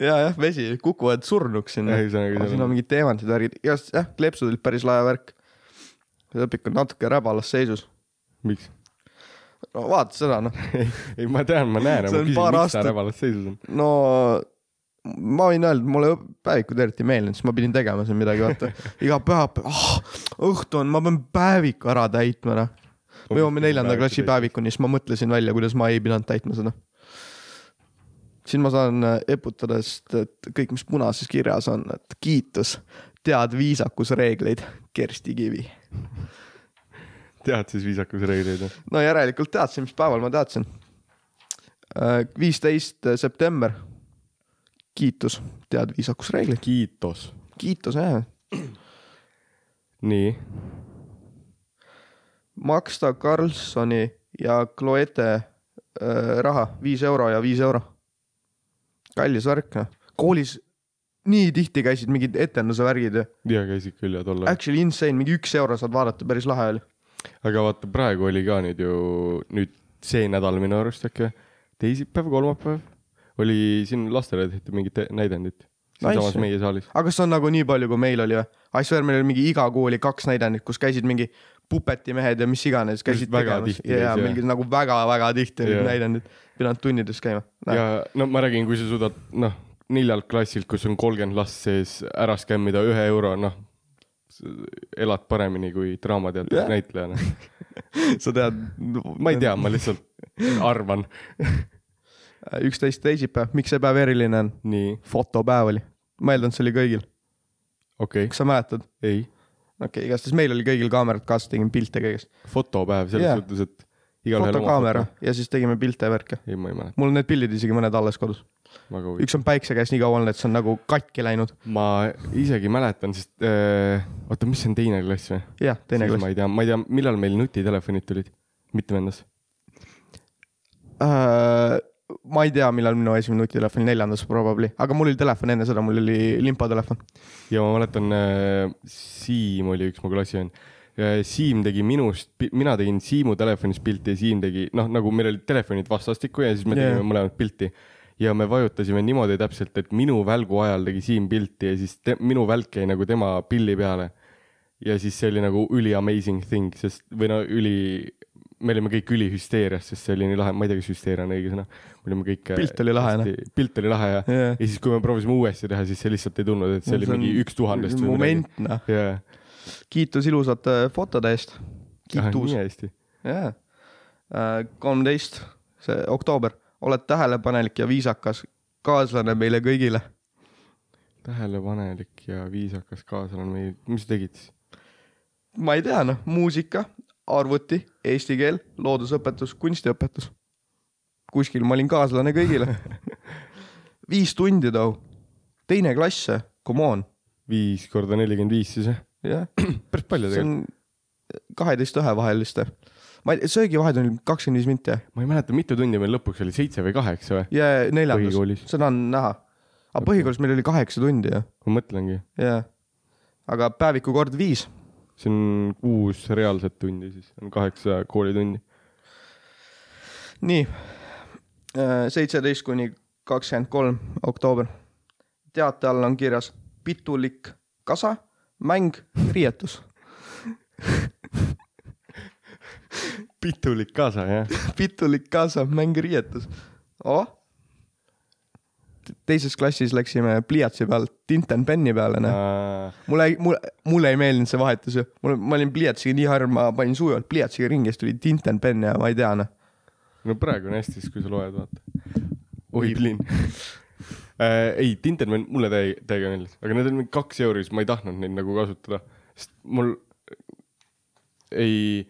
[SPEAKER 4] ja jah , vesi , kukuvad surnuks sinna .
[SPEAKER 3] Ei, see on-
[SPEAKER 4] siin on mingid teemantid , värgid , igast jah , kleepsud olid päris lae värk . see õpik on natuke räbalas seisus .
[SPEAKER 3] miks ?
[SPEAKER 4] no vaata seda noh ,
[SPEAKER 3] ei , ma tean , ma näen , aga ma
[SPEAKER 4] See on
[SPEAKER 3] küsin ,
[SPEAKER 4] paar
[SPEAKER 3] miks ta
[SPEAKER 4] aastat-
[SPEAKER 3] räbalas seisus on .
[SPEAKER 4] no ma võin öelda , mulle õp- päevikud eriti ei meeldinud , siis ma pidin tegema siin midagi , vaata iga pühapäev oh, , õhtu on , ma pean päeviku ära täitma noh . me jõuame neljanda klassi . päevikuni , siis ma mõtlesin välja , kuidas ma ei pidanud täitma seda . siin ma saan äh, eputada , sest et kõik , mis punases kirjas on , et kiitus , tead viisakusreegleid , Kersti Kivi .
[SPEAKER 3] tead siis viisakusreegleid või ?
[SPEAKER 4] no järelikult teadsin , mis päeval ma teadsin . viisteist september . kiitus , tead viisakusreegleid ,
[SPEAKER 3] kiitos .
[SPEAKER 4] kiitus jah .
[SPEAKER 3] nii .
[SPEAKER 4] maksta Karlssoni ja Cloete äh, raha , viis euro ja viis euro . kallis värk , noh . koolis nii tihti käisid mingid etenduse värgid ja
[SPEAKER 3] ja käisid küll ja tol ajal .
[SPEAKER 4] actually insane , mingi üks euro saad vaadata , päris lahe oli .
[SPEAKER 3] aga vaata , praegu oli ka nüüd ju , nüüd see nädal minu arust äkki või ? teisipäev , kolmapäev oli siin lastele tehti mingit te- näidendit . siinsamas
[SPEAKER 4] Nice.
[SPEAKER 3] meie saalis .
[SPEAKER 4] aga kas on nagu nii palju , kui meil oli või ? I swear , meil oli mingi iga kuu oli kaks näidendit , kus käisid mingi pupetimehed ja mis iganes käisid
[SPEAKER 3] väga
[SPEAKER 4] tegemas
[SPEAKER 3] tihti
[SPEAKER 4] ja, ja
[SPEAKER 3] käis, jah.
[SPEAKER 4] mingi nagu väga-väga tihti olid
[SPEAKER 3] Jah.
[SPEAKER 4] näidendid , pidanud tundides käima .
[SPEAKER 3] ja no ma räägin , kui sa suudad , noh , neljalt klassilt , kus on kolmkümmend last sees , ära skämmida ühe euro , noh , elad paremini kui draamateatris
[SPEAKER 4] Jah.
[SPEAKER 3] näitlejana .
[SPEAKER 4] sa tead ,
[SPEAKER 3] ma ei tea , ma lihtsalt
[SPEAKER 4] <laughs>
[SPEAKER 3] arvan .
[SPEAKER 4] üksteist teisipäev , miks see päev eriline on ?
[SPEAKER 3] nii ,
[SPEAKER 4] fotopäev oli , ma eeldan , et see oli kõigil ,
[SPEAKER 3] okei okay. ,
[SPEAKER 4] kas sa mäletad ?
[SPEAKER 3] ei ,
[SPEAKER 4] okei okay, , igastahes meil oli kõigil kaamerad kaasa , tegime pilte kõigest .
[SPEAKER 3] fotopäev selles
[SPEAKER 4] Jaa.
[SPEAKER 3] yeah. suhtes , et igaühel
[SPEAKER 4] fotokaamera . ja siis tegime pilte ja värke .
[SPEAKER 3] ei , ma ei mäleta ,
[SPEAKER 4] mul on need pildid isegi mõned alles kodus .
[SPEAKER 3] väga huvitav .
[SPEAKER 4] üks on päikse käes nii kaua olnud , et see on nagu katki läinud .
[SPEAKER 3] ma isegi mäletan , sest äh, oota , mis see on , teine klass või ?
[SPEAKER 4] jah , teine
[SPEAKER 3] ma
[SPEAKER 4] klass .
[SPEAKER 3] ei tea , ma ei tea , millal meil nutitelefonid tulid , mitmendas ?
[SPEAKER 4] Äh, ma ei tea , millal minu esimene nutitelefon , neljandas probably , aga mul oli telefon enne seda , mul oli limpatelefon .
[SPEAKER 3] ja ma mäletan , Siim oli äh, üks mu klassivend , Siim tegi minust , mina tegin Siimu telefonis pilti ja Siim tegi , noh , nagu meil olid telefonid vastastikku ja siis me
[SPEAKER 4] Jaa.
[SPEAKER 3] tegime mõlemad pilti . ja me vajutasime niimoodi täpselt , et minu välgu ajal tegi Siim pilti ja siis te, minu välk jäi nagu tema pilli peale . ja siis see oli nagu üli amazing thing , sest või no üli , me olime kõik ülihüsteerias , sest see oli nii lahe , ma ei tea , kas hüsteeria on õige sõna , me olime kõik .
[SPEAKER 4] Pilt oli lahe, noh.
[SPEAKER 3] pilt oli lahe ja
[SPEAKER 4] Jaa.
[SPEAKER 3] ja siis , kui me proovisime uuesti teha , siis see lihtsalt ei tulnud , et see oli mingi üks tuhandest .
[SPEAKER 4] moment , noh .
[SPEAKER 3] jaa ,
[SPEAKER 4] kiitus ilusate fotode eest . kiitus
[SPEAKER 3] ah, nii . hästi .
[SPEAKER 4] jaa . kolmteist , see oktoober , oled tähelepanelik ja viisakas kaaslane meile kõigile .
[SPEAKER 3] tähelepanelik ja viisakas kaaslane meil , mis sa tegid siis ?
[SPEAKER 4] ma ei tea , noh , muusika , arvuti , eesti keel , loodusõpetus , kunstiõpetus . kuskil ma olin kaaslane kõigile . viis tundi too , teine klass , come on ,
[SPEAKER 3] viis korda nelikümmend viis siis jah ?
[SPEAKER 4] jah .
[SPEAKER 3] päris palju
[SPEAKER 4] see
[SPEAKER 3] tegelikult on... .
[SPEAKER 4] on kaheteist ühevaheliste . ma ei , söögivahed on kakskümmend viis minti jah?
[SPEAKER 3] ma ei mäleta , mitu tundi meil lõpuks oli , seitse või kaheksa või ?
[SPEAKER 4] ja neljandas
[SPEAKER 3] Põhikoolis. ,
[SPEAKER 4] seda on näha . aga põhikoolis meil oli kaheksa tundi jah ,
[SPEAKER 3] ma mõtlengi ,
[SPEAKER 4] jaa . aga päeviku kord viis ,
[SPEAKER 3] see on kuus reaalset tundi , siis on kaheksa koolitundi .
[SPEAKER 4] nii . seitseteist kuni kakskümmend kolm oktoober . teate all on kirjas pitulik kasa , mäng , riietus . <laughs>
[SPEAKER 3] pitulik kaasa <laughs> jah ?
[SPEAKER 4] pitulik kasa , mäng , riietus . oh . teises klassis läksime pliiatsi pealt tintenpenni peale , näe . mulle , mulle , mulle ei meeldinud see vahetus ju . mul , ma olin pliiatsiga nii harv , ma panin sujuvalt pliiatsiga ringi , siis tuli tintenpenn ja ma ei tea noh .
[SPEAKER 3] no praegu on hästi , siis kui sa loed , vaata . oi , plinn . ei , Tinderman mulle täiega , täiega meeldis , aga need on mingi kaks euri , siis ma ei tahtnud neid nagu kasutada , sest mul ei ,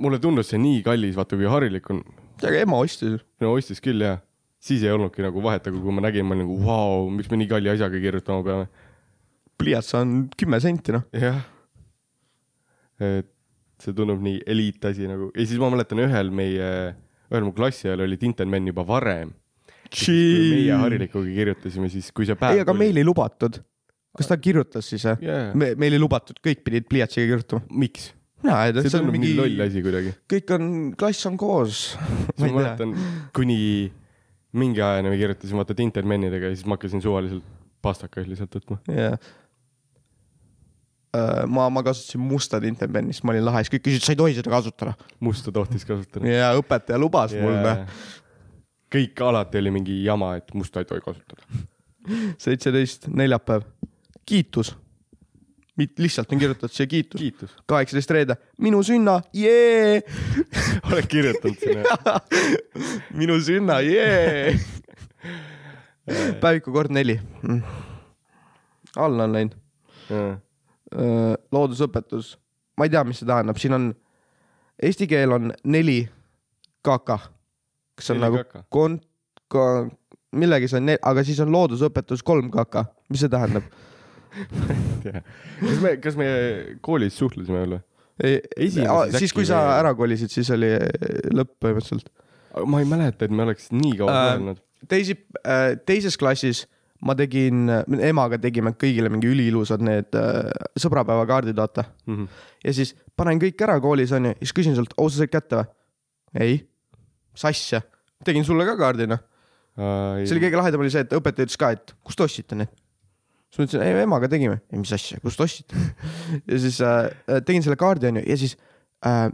[SPEAKER 3] mulle tundus see nii kallis , vaata kui harilik on .
[SPEAKER 4] aga ema ostis .
[SPEAKER 3] no ostis küll ja , siis ei olnudki nagu vahet , aga kui ma nägin , ma olin nagu vau , miks me nii kalli asjaga kirjutama peame .
[SPEAKER 4] pliiats on kümme senti noh .
[SPEAKER 3] jah . et see tundub nii eliitasi nagu ja siis ma mäletan ühel meie , ühel mu klassi ajal oli Tintenmann juba varem . kui meie
[SPEAKER 4] ei ,
[SPEAKER 3] Harilikuga kirjutasime , siis kui see päev .
[SPEAKER 4] aga meil ei lubatud . kas ta kirjutas siis jah ?
[SPEAKER 3] Jaa.
[SPEAKER 4] me , meil ei lubatud , kõik pidid pliiatsiga kirjutama .
[SPEAKER 3] miks ?
[SPEAKER 4] mina ei tea ,
[SPEAKER 3] see
[SPEAKER 4] see on
[SPEAKER 3] tundub mingi
[SPEAKER 4] mingi
[SPEAKER 3] loll asi kuidagi .
[SPEAKER 4] kõik on , klass on
[SPEAKER 3] <laughs>
[SPEAKER 4] koos .
[SPEAKER 3] ma mäletan , kuni mingi ajani me kirjutasime vaata Tintermennidega ja siis ma hakkasin suvaliselt pastakaid lihtsalt võtma .
[SPEAKER 4] jah . ma , ma kasutasin musta tintenpenni , siis ma olin lahe , siis kõik küsisid , sa ei tohi seda kasutada .
[SPEAKER 3] musta tohtis kasutada .
[SPEAKER 4] ja õpetaja lubas yeah. mul noh .
[SPEAKER 3] kõik alati oli mingi jama , et musta ei tohi kasutada .
[SPEAKER 4] seitseteist , neljapäev , kiitus . lihtsalt on kirjutatud siia kiitus .
[SPEAKER 3] kiitus . <laughs>
[SPEAKER 4] kaheksateist reede , minu sünna , jee .
[SPEAKER 3] oled kirjutanud sinna ?
[SPEAKER 4] <laughs> minu sünna , jee . päeviku kord neli . alla on läinud . loodusõpetus , ma ei tea , mis see tähendab , siin on , eesti keel on neli kaka , kas see on
[SPEAKER 3] Neli
[SPEAKER 4] nagu
[SPEAKER 3] kaka.
[SPEAKER 4] kont- , ka- , millegi see on , aga siis on loodusõpetus kolm kaka , mis see
[SPEAKER 3] <laughs>
[SPEAKER 4] tähendab ?
[SPEAKER 3] kas me , kas me koolis suhtlesime veel või ? Esimeses
[SPEAKER 4] Esimeses siis ,
[SPEAKER 3] äkki
[SPEAKER 4] kui sa
[SPEAKER 3] või-
[SPEAKER 4] ära kolisid , siis oli lõpp põhimõtteliselt .
[SPEAKER 3] ma ei mäleta , et me oleks nii kaua
[SPEAKER 4] Äh,
[SPEAKER 3] suhelnud .
[SPEAKER 4] teisi , teises klassis ma tegin , emaga tegime kõigile mingi üliilusad need äh, sõbrapäevakaardid , vaata . ja siis panen kõik ära koolis onju , siis küsin sult , oo sa said kätte või ? ei , sassi , tegin sulle ka kaardi noh .
[SPEAKER 3] äh,
[SPEAKER 4] see oli kõige lahedam oli see , et õpetaja ütles ka , et kust te ostsite need . siis ma ütlesin , ei emaga tegime . ei , mis asja , kust ostsite ? <laughs> ja siis äh, tegin selle kaardi onju ja siis äh,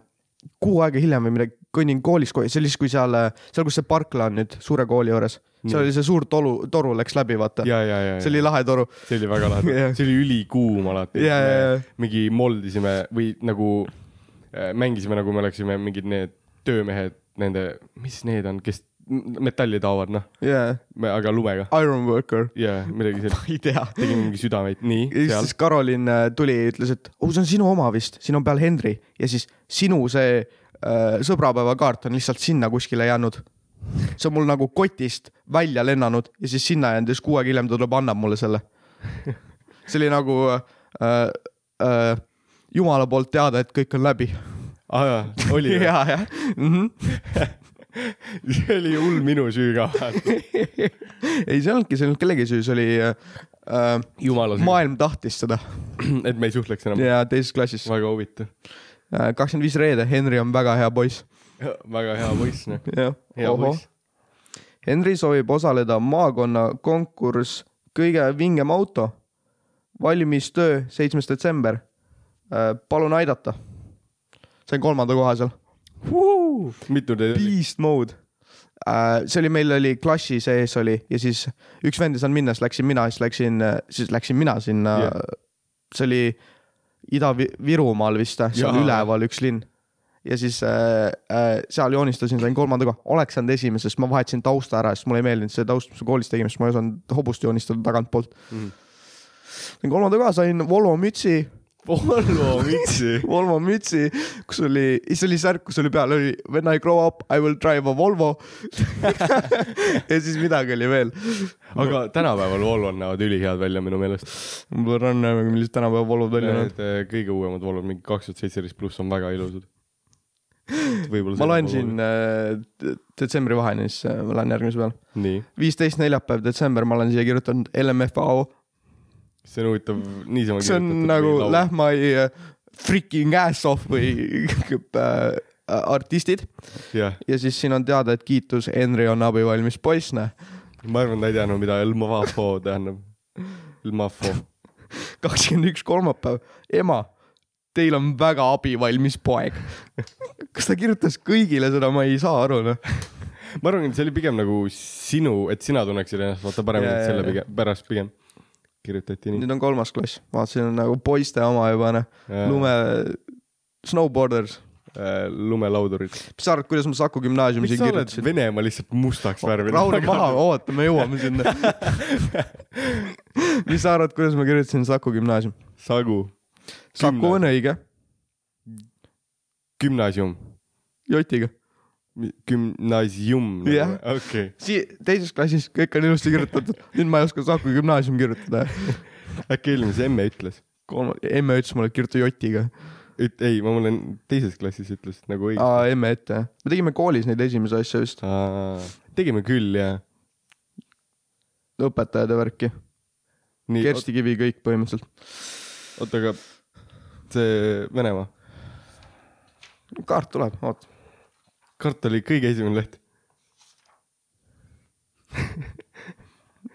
[SPEAKER 4] kuu aega hiljem või midagi , kõnnin koolis , see oli siis , kui seal , seal , kus see parkla on nüüd suure kooli juures , seal oli see suur toru , toru läks läbi , vaata .
[SPEAKER 3] ja , ja , ja ,
[SPEAKER 4] see oli lahe toru .
[SPEAKER 3] see oli väga lahe
[SPEAKER 4] Jah.
[SPEAKER 3] see oli ülikuum alati .
[SPEAKER 4] Jaa, jaa, jaa.
[SPEAKER 3] mingi moldisime või nagu äh, mängisime , nagu me oleksime mingid need töömehed , nende , mis need on , kes m- metalli taovad , noh ,
[SPEAKER 4] jaa ,
[SPEAKER 3] aga lumega
[SPEAKER 4] Iron <laughs> Worker .
[SPEAKER 3] ja midagi sellist .
[SPEAKER 4] ei tea .
[SPEAKER 3] tegime mingi südameid , nii ,
[SPEAKER 4] ja
[SPEAKER 3] seal
[SPEAKER 4] siis . Karolin äh, tuli ja ütles , et oh , see on sinu oma vist , siin on peal Henri ja siis sinu see äh, sõbrapäevakaart on lihtsalt sinna kuskile jäänud . see on mul nagu kotist välja lennanud ja siis sinna jäänud ja siis kuu aega hiljem ta tuleb , annab mulle selle . see oli nagu äh, äh, jumala poolt teada , et kõik on läbi .
[SPEAKER 3] aa jaa , oli või ?
[SPEAKER 4] ja , jah . Mhm.
[SPEAKER 3] see oli hull minu süü ka .
[SPEAKER 4] ei , see ei olnudki , see ei olnud kellegi süü , see oli äh,
[SPEAKER 3] jumala sügav ,
[SPEAKER 4] maailm tahtis seda
[SPEAKER 3] et me ei suhtleks enam .
[SPEAKER 4] ja teises klassis .
[SPEAKER 3] väga huvitav .
[SPEAKER 4] Äh, kakskümmend viis reede , Henri on väga hea poiss .
[SPEAKER 3] väga hea poiss , noh .
[SPEAKER 4] jah ,
[SPEAKER 3] hea poiss .
[SPEAKER 4] Henri soovib osaleda maakonna konkurss Kõige vingem auto , valmistöö seitsmes detsember . palun aidata . sain kolmanda koha seal .
[SPEAKER 3] mitu teid oli ?
[SPEAKER 4] Beast mode . Äh, see oli , meil oli klassi sees oli ja siis üks vend ei saanud minna , siis läksin mina , siis läksin , siis läksin mina sinna
[SPEAKER 3] Jah.
[SPEAKER 4] yeah. . see oli Ida-Virumaal vist , seal
[SPEAKER 3] Jaa.
[SPEAKER 4] üleval üks linn . ja siis äh, äh, seal joonistasin , sain kolmanda koha , oleks saanud esimesest , ma vahetasin tausta ära , sest mulle ei meeldinud see taust , mis me koolis tegime , sest ma ei osanud hobust joonistada tagantpoolt
[SPEAKER 3] Mhm.
[SPEAKER 4] mm. . kolmanda koha sain Volvo mütsi
[SPEAKER 3] Volvo mütsi .
[SPEAKER 4] Volvo mütsi , kus oli , siis oli särk , kus oli peal oli when I grow up I will drive a <laughs> Volvo . ja siis midagi oli veel .
[SPEAKER 3] aga tänapäeval Volvod näevad ülihead välja minu meelest .
[SPEAKER 4] ma pean ranna nägema , millised tänapäeva Volvod välja näevad .
[SPEAKER 3] Need eh, kõige uuemad Volvod , mingi kaks tuhat seitseteist pluss on väga
[SPEAKER 4] <laughs>
[SPEAKER 3] ilusad .
[SPEAKER 4] ma loen siin . äh, d- detsembri vaheni , siis äh, ma lähen järgmise peale .
[SPEAKER 3] nii ,
[SPEAKER 4] viisteist neljapäev , detsember , ma olen siia kirjutanud LMFAO .
[SPEAKER 3] see on huvitav , niisama .
[SPEAKER 4] see on nagu . Läh my äh, freaking ass off või <laughs> äh, artistid
[SPEAKER 3] jah ,
[SPEAKER 4] ja siis siin on teada , et kiitus , Henri on abivalmis poiss , näe .
[SPEAKER 3] ma arvan , ta ei teadnud , mida El
[SPEAKER 4] <laughs>
[SPEAKER 3] Mafo tähendab . El Mafo .
[SPEAKER 4] kakskümmend üks kolmapäev , ema , teil on väga abivalmis poeg . kas ta kirjutas kõigile seda , ma ei saa aru , noh .
[SPEAKER 3] ma arvan , et see oli pigem nagu sinu , et sina tunneksid ennast vaata
[SPEAKER 4] Jaa,
[SPEAKER 3] paremini , et
[SPEAKER 4] jaa,
[SPEAKER 3] selle
[SPEAKER 4] jaa.
[SPEAKER 3] pigem , pärast pigem kirjutati nii .
[SPEAKER 4] nüüd on kolmas klass , vaatasin , on nagu poiste oma juba , noh ,
[SPEAKER 3] Äh,
[SPEAKER 4] lume , snowboarders .
[SPEAKER 3] lumelaudurid .
[SPEAKER 4] mis sa arvad , kuidas ma Saku
[SPEAKER 3] miks
[SPEAKER 4] Gümnaasiumis
[SPEAKER 3] sa oled
[SPEAKER 4] kirjutasin ?
[SPEAKER 3] Venemaa lihtsalt
[SPEAKER 4] Oh,
[SPEAKER 3] mustaks värvinud ?
[SPEAKER 4] rahune maha , oota , me jõuame sinna . mis sa arvad , kuidas ma kirjutasin Saku Gümnaasium ?
[SPEAKER 3] <laughs> Sagu .
[SPEAKER 4] Saku on õige ,
[SPEAKER 3] gümnaasium .
[SPEAKER 4] jotiga .
[SPEAKER 3] gümnaasium .
[SPEAKER 4] Jah.
[SPEAKER 3] okei .
[SPEAKER 4] sii- , teises klassis kõik on ilusti kirjutatud , nüüd ma ei oska Saku Gümnaasium kirjutada .
[SPEAKER 3] äkki eelmine , see emme ütles ?
[SPEAKER 4] kolm- , emme ütles mulle , et kirjuta jotiga
[SPEAKER 3] üt- , ei , ma olen teises klassis ütles nagu õigesti .
[SPEAKER 4] aa , emme ette , jah . me tegime koolis neid esimesi asju just ,
[SPEAKER 3] tegime küll ja .
[SPEAKER 4] õpetajad ja värki ,
[SPEAKER 3] nii ,
[SPEAKER 4] Kersti Kivi kõik põhimõtteliselt .
[SPEAKER 3] oota , aga see Venemaa ,
[SPEAKER 4] kaart tuleb , oot .
[SPEAKER 3] kart oli kõige esimene leht .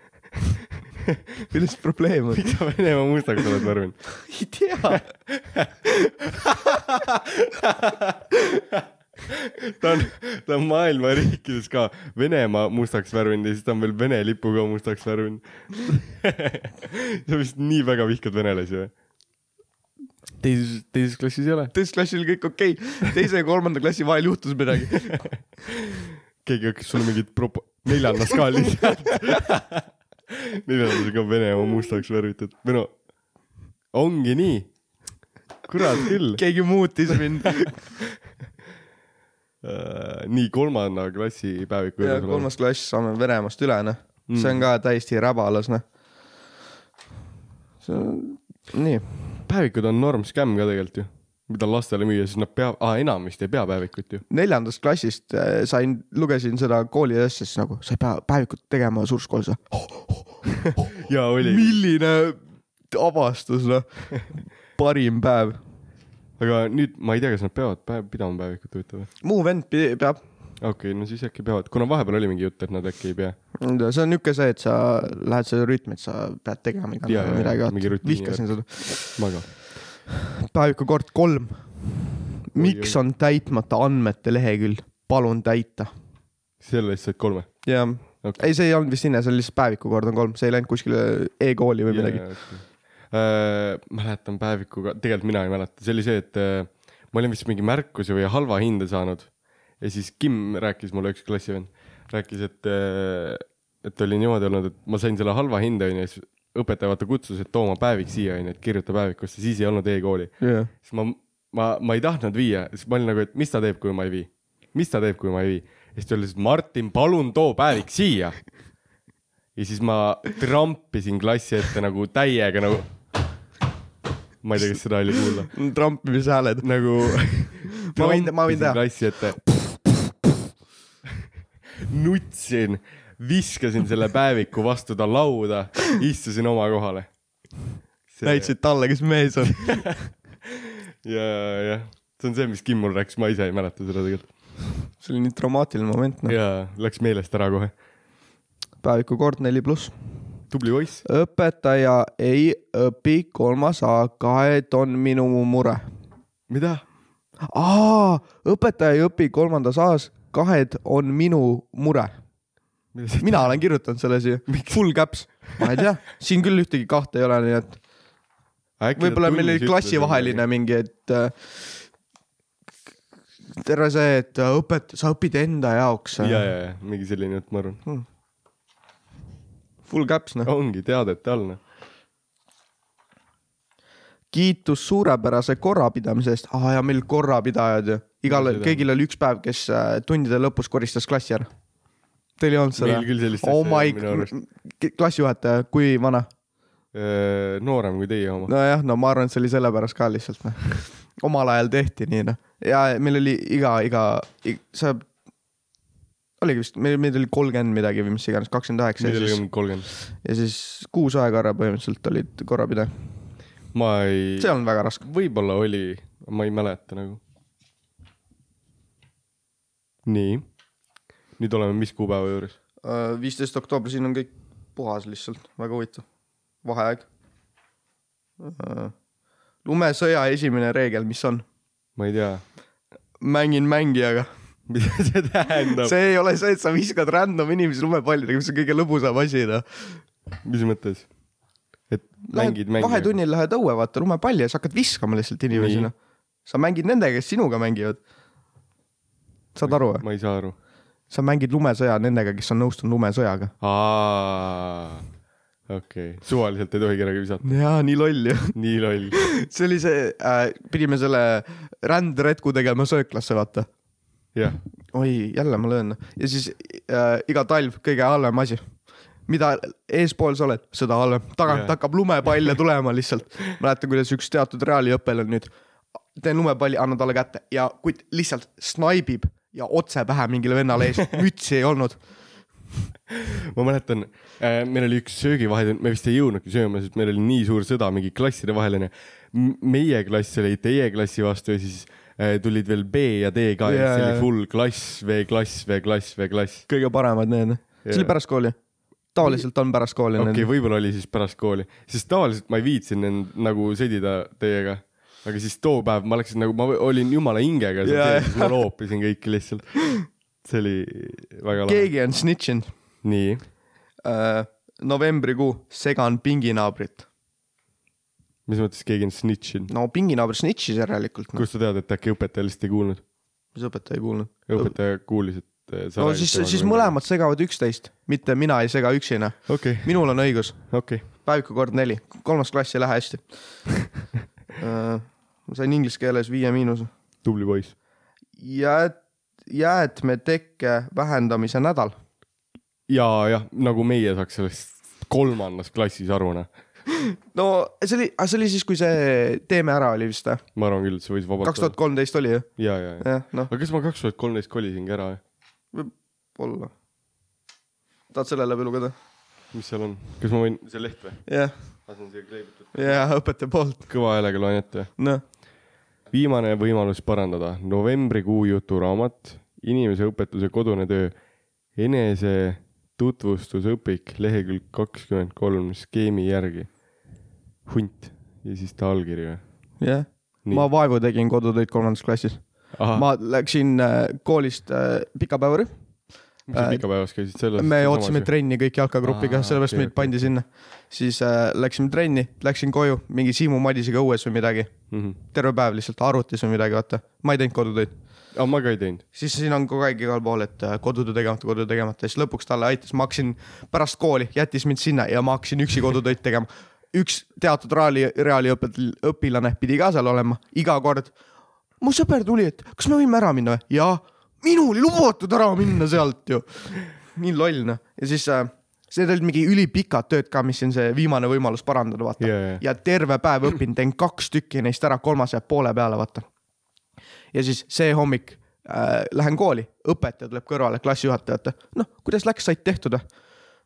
[SPEAKER 3] <laughs>
[SPEAKER 4] milles probleem on ?
[SPEAKER 3] miks sa Venemaa mustaks oled värvinud ?
[SPEAKER 4] <laughs> ei tea .
[SPEAKER 3] ta on , ta on maailma riikides ka Venemaa mustaks värvinud ja siis ta on veel Vene lipu ka mustaks värvinud . sa vist nii väga vihkad venelasi või ? teises , teises klassis ei ole .
[SPEAKER 4] teises klassis oli kõik okei okay. , teise ja kolmanda klassi vahel juhtus <laughs> midagi .
[SPEAKER 3] keegi hakkas sulle mingit propo- , neljandas ka <laughs> lihtsalt . neljandas on ka Venemaa mustaks värvitud või no ongi nii . kurat küll Ke .
[SPEAKER 4] keegi muutis mind .
[SPEAKER 3] Äh, nii kolmanda klassi päeviku
[SPEAKER 4] ja . kolmas klass saame Venemaast üle , noh . see on ka täiesti räbalas , noh . see on , nii .
[SPEAKER 3] päevikud on norm skäm ka tegelikult ju , mida lastele müüa , siis nad pea- , aa enam vist ei pea päevikut ju .
[SPEAKER 4] neljandast klassist äh, sain , lugesin seda kooli asja , siis nagu sa ei pea päevikut tegema suures koolis ,
[SPEAKER 3] ja oli ,
[SPEAKER 4] milline avastus , noh . parim päev .
[SPEAKER 3] aga nüüd ma ei tea , kas nad peavad päev pidama päevikut huvitav või ?
[SPEAKER 4] muu vend pi- peab ,
[SPEAKER 3] okei okay, , no siis äkki peavad , kuna vahepeal oli mingi jutt , et nad äkki ei pea .
[SPEAKER 4] see on niuke see , et sa lähed selle rütmi , et sa pead tegema iga
[SPEAKER 3] Jaa,
[SPEAKER 4] päev
[SPEAKER 3] jaa,
[SPEAKER 4] midagi ,
[SPEAKER 3] mingi
[SPEAKER 4] vaata
[SPEAKER 3] rutiini
[SPEAKER 4] vihkasin seda .
[SPEAKER 3] ma ka .
[SPEAKER 4] päeviku kord kolm . miks
[SPEAKER 3] Oi,
[SPEAKER 4] on täitmata andmete lehekülg , palun täita .
[SPEAKER 3] selle eest said kolme .
[SPEAKER 4] jah
[SPEAKER 3] Okei.
[SPEAKER 4] okay. , ei , see ei olnud vist sinna , see oli lihtsalt päeviku kord on kolm , see ei läinud kuskile e-kooli või midagi .
[SPEAKER 3] Äh, mäletan päevikuga , tegelikult mina ei mäleta , see oli see , et äh, ma olin vist mingi märkuse või halva hinde saanud ja siis Kim rääkis mulle , üks klassivend , rääkis , et äh, , et oli niimoodi olnud , et ma sain selle halva hinde onju , siis õpetaja vaata kutsus , et too oma päevik siia onju , et kirjuta päevikusse , siis ei olnud e-kooli .
[SPEAKER 4] jah ,
[SPEAKER 3] siis ma , ma , ma ei tahtnud viia , siis ma olin nagu , et mis ta teeb , kui ma ei vii , mis ta teeb , kui ma ei vii . ja siis ta ütles , et Martin , palun too päevik siia . ja siis ma trampisin klassi ette nagu täiega nagu . ma ei tea , kas seda oli kuulda .
[SPEAKER 4] trampimise
[SPEAKER 3] <laughs>
[SPEAKER 4] hääled .
[SPEAKER 3] nagu .
[SPEAKER 4] Ma võin- ma võin teha.
[SPEAKER 3] klassi ette . nutsin , viskasin selle päeviku vastu ta lauda , istusin oma kohale .
[SPEAKER 4] näitasid talle , kes mees
[SPEAKER 3] <laughs>
[SPEAKER 4] on .
[SPEAKER 3] ja , jah , see on see , mis Kim mul rääkis , ma ise ei mäleta seda tegelikult .
[SPEAKER 4] see oli nii traumaatiline moment , noh .
[SPEAKER 3] ja läks meelest ära kohe .
[SPEAKER 4] päeviku kord neli pluss .
[SPEAKER 3] tubli poiss .
[SPEAKER 4] õpetaja ei õpi , kolmas A-kaed on minu mure .
[SPEAKER 3] mida ?
[SPEAKER 4] aa , õpetaja ei õpi , kolmandas A-s kahed on minu mure . mina olen kirjutanud selle siia . Full caps . ma ei tea , siin küll ühtegi kahte ei ole , nii et võib-olla meil oli klassivaheline . mingi , et äh, terve see , et äh, õpet- , sa õpid enda jaoks . äh.
[SPEAKER 3] ja , ja , ja mingi selline , et ma arvan ,
[SPEAKER 4] Full caps noh .
[SPEAKER 3] ongi teadete all , noh .
[SPEAKER 4] kiitus suurepärase korrapidamise eest . aa ja meil korrapidajad ju . igal
[SPEAKER 3] Seda- ,
[SPEAKER 4] kõigil oli üks päev , kes äh, tundide lõpus koristas klassi ära . Teil ei olnud seda
[SPEAKER 3] Meil küll sellist asja
[SPEAKER 4] oh
[SPEAKER 3] ei olnud minu arust.
[SPEAKER 4] my , klassijuhataja , kui vana ?
[SPEAKER 3] Äh, noorem kui teie oma .
[SPEAKER 4] nojah , no ma arvan , et see oli sellepärast ka lihtsalt noh . omal ajal tehti nii noh . ja meil oli iga , iga , sa , oligi vist , meil , meil oli kolmkümmend midagi või mis iganes , kakskümmend üheksa ja
[SPEAKER 3] meil
[SPEAKER 4] siis ,
[SPEAKER 3] oli kolmkümmend .
[SPEAKER 4] ja siis kuus aega ära põhimõtteliselt olid korrapidaja .
[SPEAKER 3] ma ei ,
[SPEAKER 4] see on väga raske .
[SPEAKER 3] võib-olla oli , ma ei mäleta nagu . nii , nüüd oleme mis kuupäeva juures ?
[SPEAKER 4] Äh, viisteist oktoober , siin on kõik puhas lihtsalt , väga huvitav . vaheaeg . lumesõja esimene reegel , mis on ?
[SPEAKER 3] ma ei tea , <laughs>
[SPEAKER 4] mängin mängijaga .
[SPEAKER 3] mida see tähendab see... ,
[SPEAKER 4] see ei ole see , et sa viskad random inimesi lumepallidega , mis on kõige lõbusam asi noh .
[SPEAKER 3] mis mõttes ? et mängid mänge ?
[SPEAKER 4] vahetunnil lähed õue , vaata lumepalli ja sa hakkad viskama lihtsalt inimesi
[SPEAKER 3] Nii.
[SPEAKER 4] noh . sa mängid nendega , kes sinuga mängivad . saad aru või ?
[SPEAKER 3] ma ei saa aru .
[SPEAKER 4] sa mängid lumesõja nendega , kes on nõustunud lumesõjaga .
[SPEAKER 3] aa , okei okay. , suvaliselt ei tohi kedagi visata .
[SPEAKER 4] jaa , nii loll ju .
[SPEAKER 3] nii loll .
[SPEAKER 4] see oli see äh, , pidime selle rändretku tegema sööklasse , vaata .
[SPEAKER 3] jah ,
[SPEAKER 4] oi , jälle ma löön . ja siis äh, iga talv kõige halvem asi . mida eespool sa oled , seda halvem .
[SPEAKER 3] Jah.
[SPEAKER 4] tagant yeah. hakkab lumepalle tulema lihtsalt . mäletan , kuidas üks teatud reaaliõpel on nüüd , teen lumepalli , annan talle kätte ja kutt lihtsalt snaibib ja otse pähe mingile vennale ees , mütsi ei olnud .
[SPEAKER 3] ma mäletan , meil oli üks söögivahetund , me vist ei jõudnudki sööma , sest meil oli nii suur sõda , mingi klasside vaheline . meie klass oli teie klassi vastu ja siis äh, tulid veel B ja D ka ja
[SPEAKER 4] Jaa,
[SPEAKER 3] siis
[SPEAKER 4] jaa.
[SPEAKER 3] oli full klass , V-klass , V-klass , V-klass .
[SPEAKER 4] kõige paremad need . see
[SPEAKER 3] Jah.
[SPEAKER 4] oli pärast kooli . tavaliselt on pärast kooli
[SPEAKER 3] okei
[SPEAKER 4] okay.
[SPEAKER 3] okay, ,
[SPEAKER 4] need .
[SPEAKER 3] võib-olla oli siis pärast kooli , sest tavaliselt ma ei viitsinud end nagu sõdida teiega aga siis too päev ma läksin nagu , ma olin jumala hingega
[SPEAKER 4] Jaa,
[SPEAKER 3] seal
[SPEAKER 4] jaa.
[SPEAKER 3] sees , ma loopisin kõiki lihtsalt . see oli väga lahe .
[SPEAKER 4] keegi on snitšinud
[SPEAKER 3] nii ,
[SPEAKER 4] äh, . novembrikuu segan pinginaabrit .
[SPEAKER 3] mis mõttes keegi on snitšinud ?
[SPEAKER 4] no pinginaaber snitšis järelikult no. .
[SPEAKER 3] kust sa tead , et äkki õpetaja lihtsalt ei kuulnud ?
[SPEAKER 4] mis õpetaja ei kuulnud ?
[SPEAKER 3] õpetaja kuulis , et eh, sa
[SPEAKER 4] no siis , siis . mõlemad segavad üksteist , mitte mina ei sega üksina .
[SPEAKER 3] okei ,
[SPEAKER 4] minul on õigus ,
[SPEAKER 3] okei .
[SPEAKER 4] päeviku kord neli , kolmas klass ei lähe hästi Äh, ma sain inglise keeles viie miinuse .
[SPEAKER 3] tubli poiss .
[SPEAKER 4] jäät- , jäätmetekke vähendamise nädal .
[SPEAKER 3] ja , jah , nagu meie saaks sellest kolmandas klassis aru , noh .
[SPEAKER 4] no see oli , see oli siis , kui see Teeme ära oli vist või ?
[SPEAKER 3] ma arvan küll , et see võis vabalt
[SPEAKER 4] kaks tuhat . kolmteist oli ju ?
[SPEAKER 3] ja , ja , ja .
[SPEAKER 4] jah , noh ,
[SPEAKER 3] aga kas ma kaks tuhat kolmteist kolisingi ära ,
[SPEAKER 4] võib-olla . tahad selle läbi lugeda ?
[SPEAKER 3] mis seal on ? kas ma võin , see leht või ?
[SPEAKER 4] jah ,
[SPEAKER 3] lasen siia kleebitud .
[SPEAKER 4] jah , õpetaja poolt ,
[SPEAKER 3] kõva häälega loen ette .
[SPEAKER 4] noh .
[SPEAKER 3] viimane võimalus parandada . novembrikuu juturaamat , inimeseõpetuse kodune töö , enesetutvustusõpik , lehekülg kakskümmend kolm , skeemi järgi . hunt ja siis ta allkiri või ?
[SPEAKER 4] jah ,
[SPEAKER 3] Nii. Ah.
[SPEAKER 4] ma vaevu tegin kodutöid kolmandas klassis .
[SPEAKER 3] Ahah.
[SPEAKER 4] ma läksin äh, koolist äh, pikapäevarühm ,
[SPEAKER 3] mis sa pikapäevas käisid selles ?
[SPEAKER 4] Äh, me ootasime . trenni kõik jalkagrupiga ,
[SPEAKER 3] Aa,
[SPEAKER 4] sellepärast
[SPEAKER 3] Ah, okei,
[SPEAKER 4] meid
[SPEAKER 3] okei.
[SPEAKER 4] pandi sinna . siis äh, läksime trenni , läksin koju mingi Siimu Madisega õues või midagi ,
[SPEAKER 3] Mhm.
[SPEAKER 4] terve päev lihtsalt arvutis või midagi , vaata , ma ei teinud kodutöid .
[SPEAKER 3] aga ma ka ei teinud .
[SPEAKER 4] siis siin on kogu aeg igal pool , et äh, kodutöö tegemata , kodutöö tegemata , siis lõpuks talle aitas , ma hakkasin pärast kooli , jättis mind sinna ja ma hakkasin üksi kodutöid tegema . üks teatud raali , reaaliõpet- , õpilane pidi ka seal olema , iga kord . mu sõber tuli , et kas me võime ära minna või ? jaa , minul ei lubatud ära minna sealt ju . nii loll noh , ja siis äh, need olid mingi ülipikad tööd ka , mis on see viimane võimalus parandada , vaata
[SPEAKER 3] Jaa, jaa.
[SPEAKER 4] ja terve päev õppinud , teen kaks tükki neist ära , kolmas jääb poole peale , vaata . ja siis see hommik äh, lähen kooli , õpetaja tuleb kõrvale klassijuhatajate , noh , kuidas läks , said tehtud või ?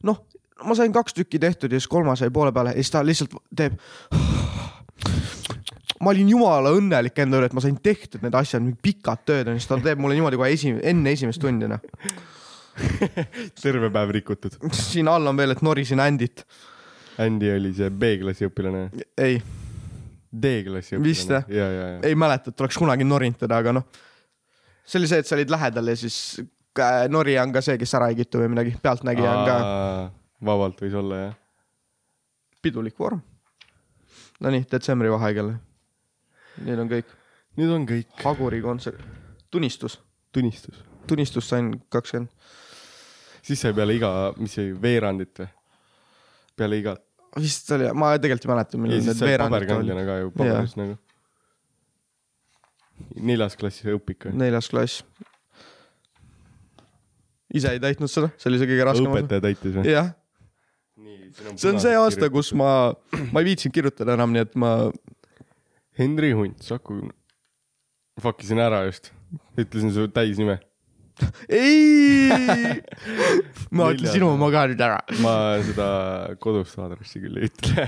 [SPEAKER 4] noh , ma sain kaks tükki tehtud ja siis kolmas jäi poole peale ja siis ta lihtsalt teeb . <sighs> ma olin jumala õnnelik enda üle , et ma sain tehtud need asjad , mingid pikad tööd on , siis ta teeb mulle niimoodi kohe esi- , enne esimest tundi noh . <laughs>
[SPEAKER 3] terve päev rikutud .
[SPEAKER 4] siin all on veel , et norisin Andit .
[SPEAKER 3] Andy oli see B-klassi õpilane ,
[SPEAKER 4] ei ,
[SPEAKER 3] D-klassi õpilane .
[SPEAKER 4] Vist, jah?
[SPEAKER 3] ja , ja , ja .
[SPEAKER 4] ei mäleta , et oleks kunagi norinud teda , aga noh . see oli see , et sa olid lähedal ja siis äh, nori on ka see , kes ära ei kitu või midagi , pealtnägija on ka
[SPEAKER 3] vabalt võis olla , jah .
[SPEAKER 4] pidulik vorm . Nonii , detsembri vaheaeg jälle . Need on kõik .
[SPEAKER 3] nüüd on kõik .
[SPEAKER 4] Haguri kontsert , tunnistus ,
[SPEAKER 3] tunnistus .
[SPEAKER 4] tunnistus sain kakskümmend ,
[SPEAKER 3] siis sai peale iga , mis see oli , veerandit või ? peale iga .
[SPEAKER 4] vist oli , ma tegelikult ei mäleta ,
[SPEAKER 3] ja
[SPEAKER 4] millal
[SPEAKER 3] siis
[SPEAKER 4] need
[SPEAKER 3] sai
[SPEAKER 4] veerandid
[SPEAKER 3] paberkandjana
[SPEAKER 4] olid .
[SPEAKER 3] ka ju , paberis nagu . neljas klassis õpik või ?
[SPEAKER 4] neljas klass . ise ei täitnud seda , see oli see kõige raskem osa .
[SPEAKER 3] õpetaja täitis või ?
[SPEAKER 4] jah , see on see aasta ,. kus ma , ma ei viitsinud kirjutada enam , nii et ma ,
[SPEAKER 3] Henri Hunt , Saku . Fuck isin ära just , ütlesin su täisnime . <laughs>
[SPEAKER 4] ei , ma
[SPEAKER 3] Neljas.
[SPEAKER 4] ütlen sinu oma ka nüüd ära .
[SPEAKER 3] ma seda kodust aadressi küll ei ütle .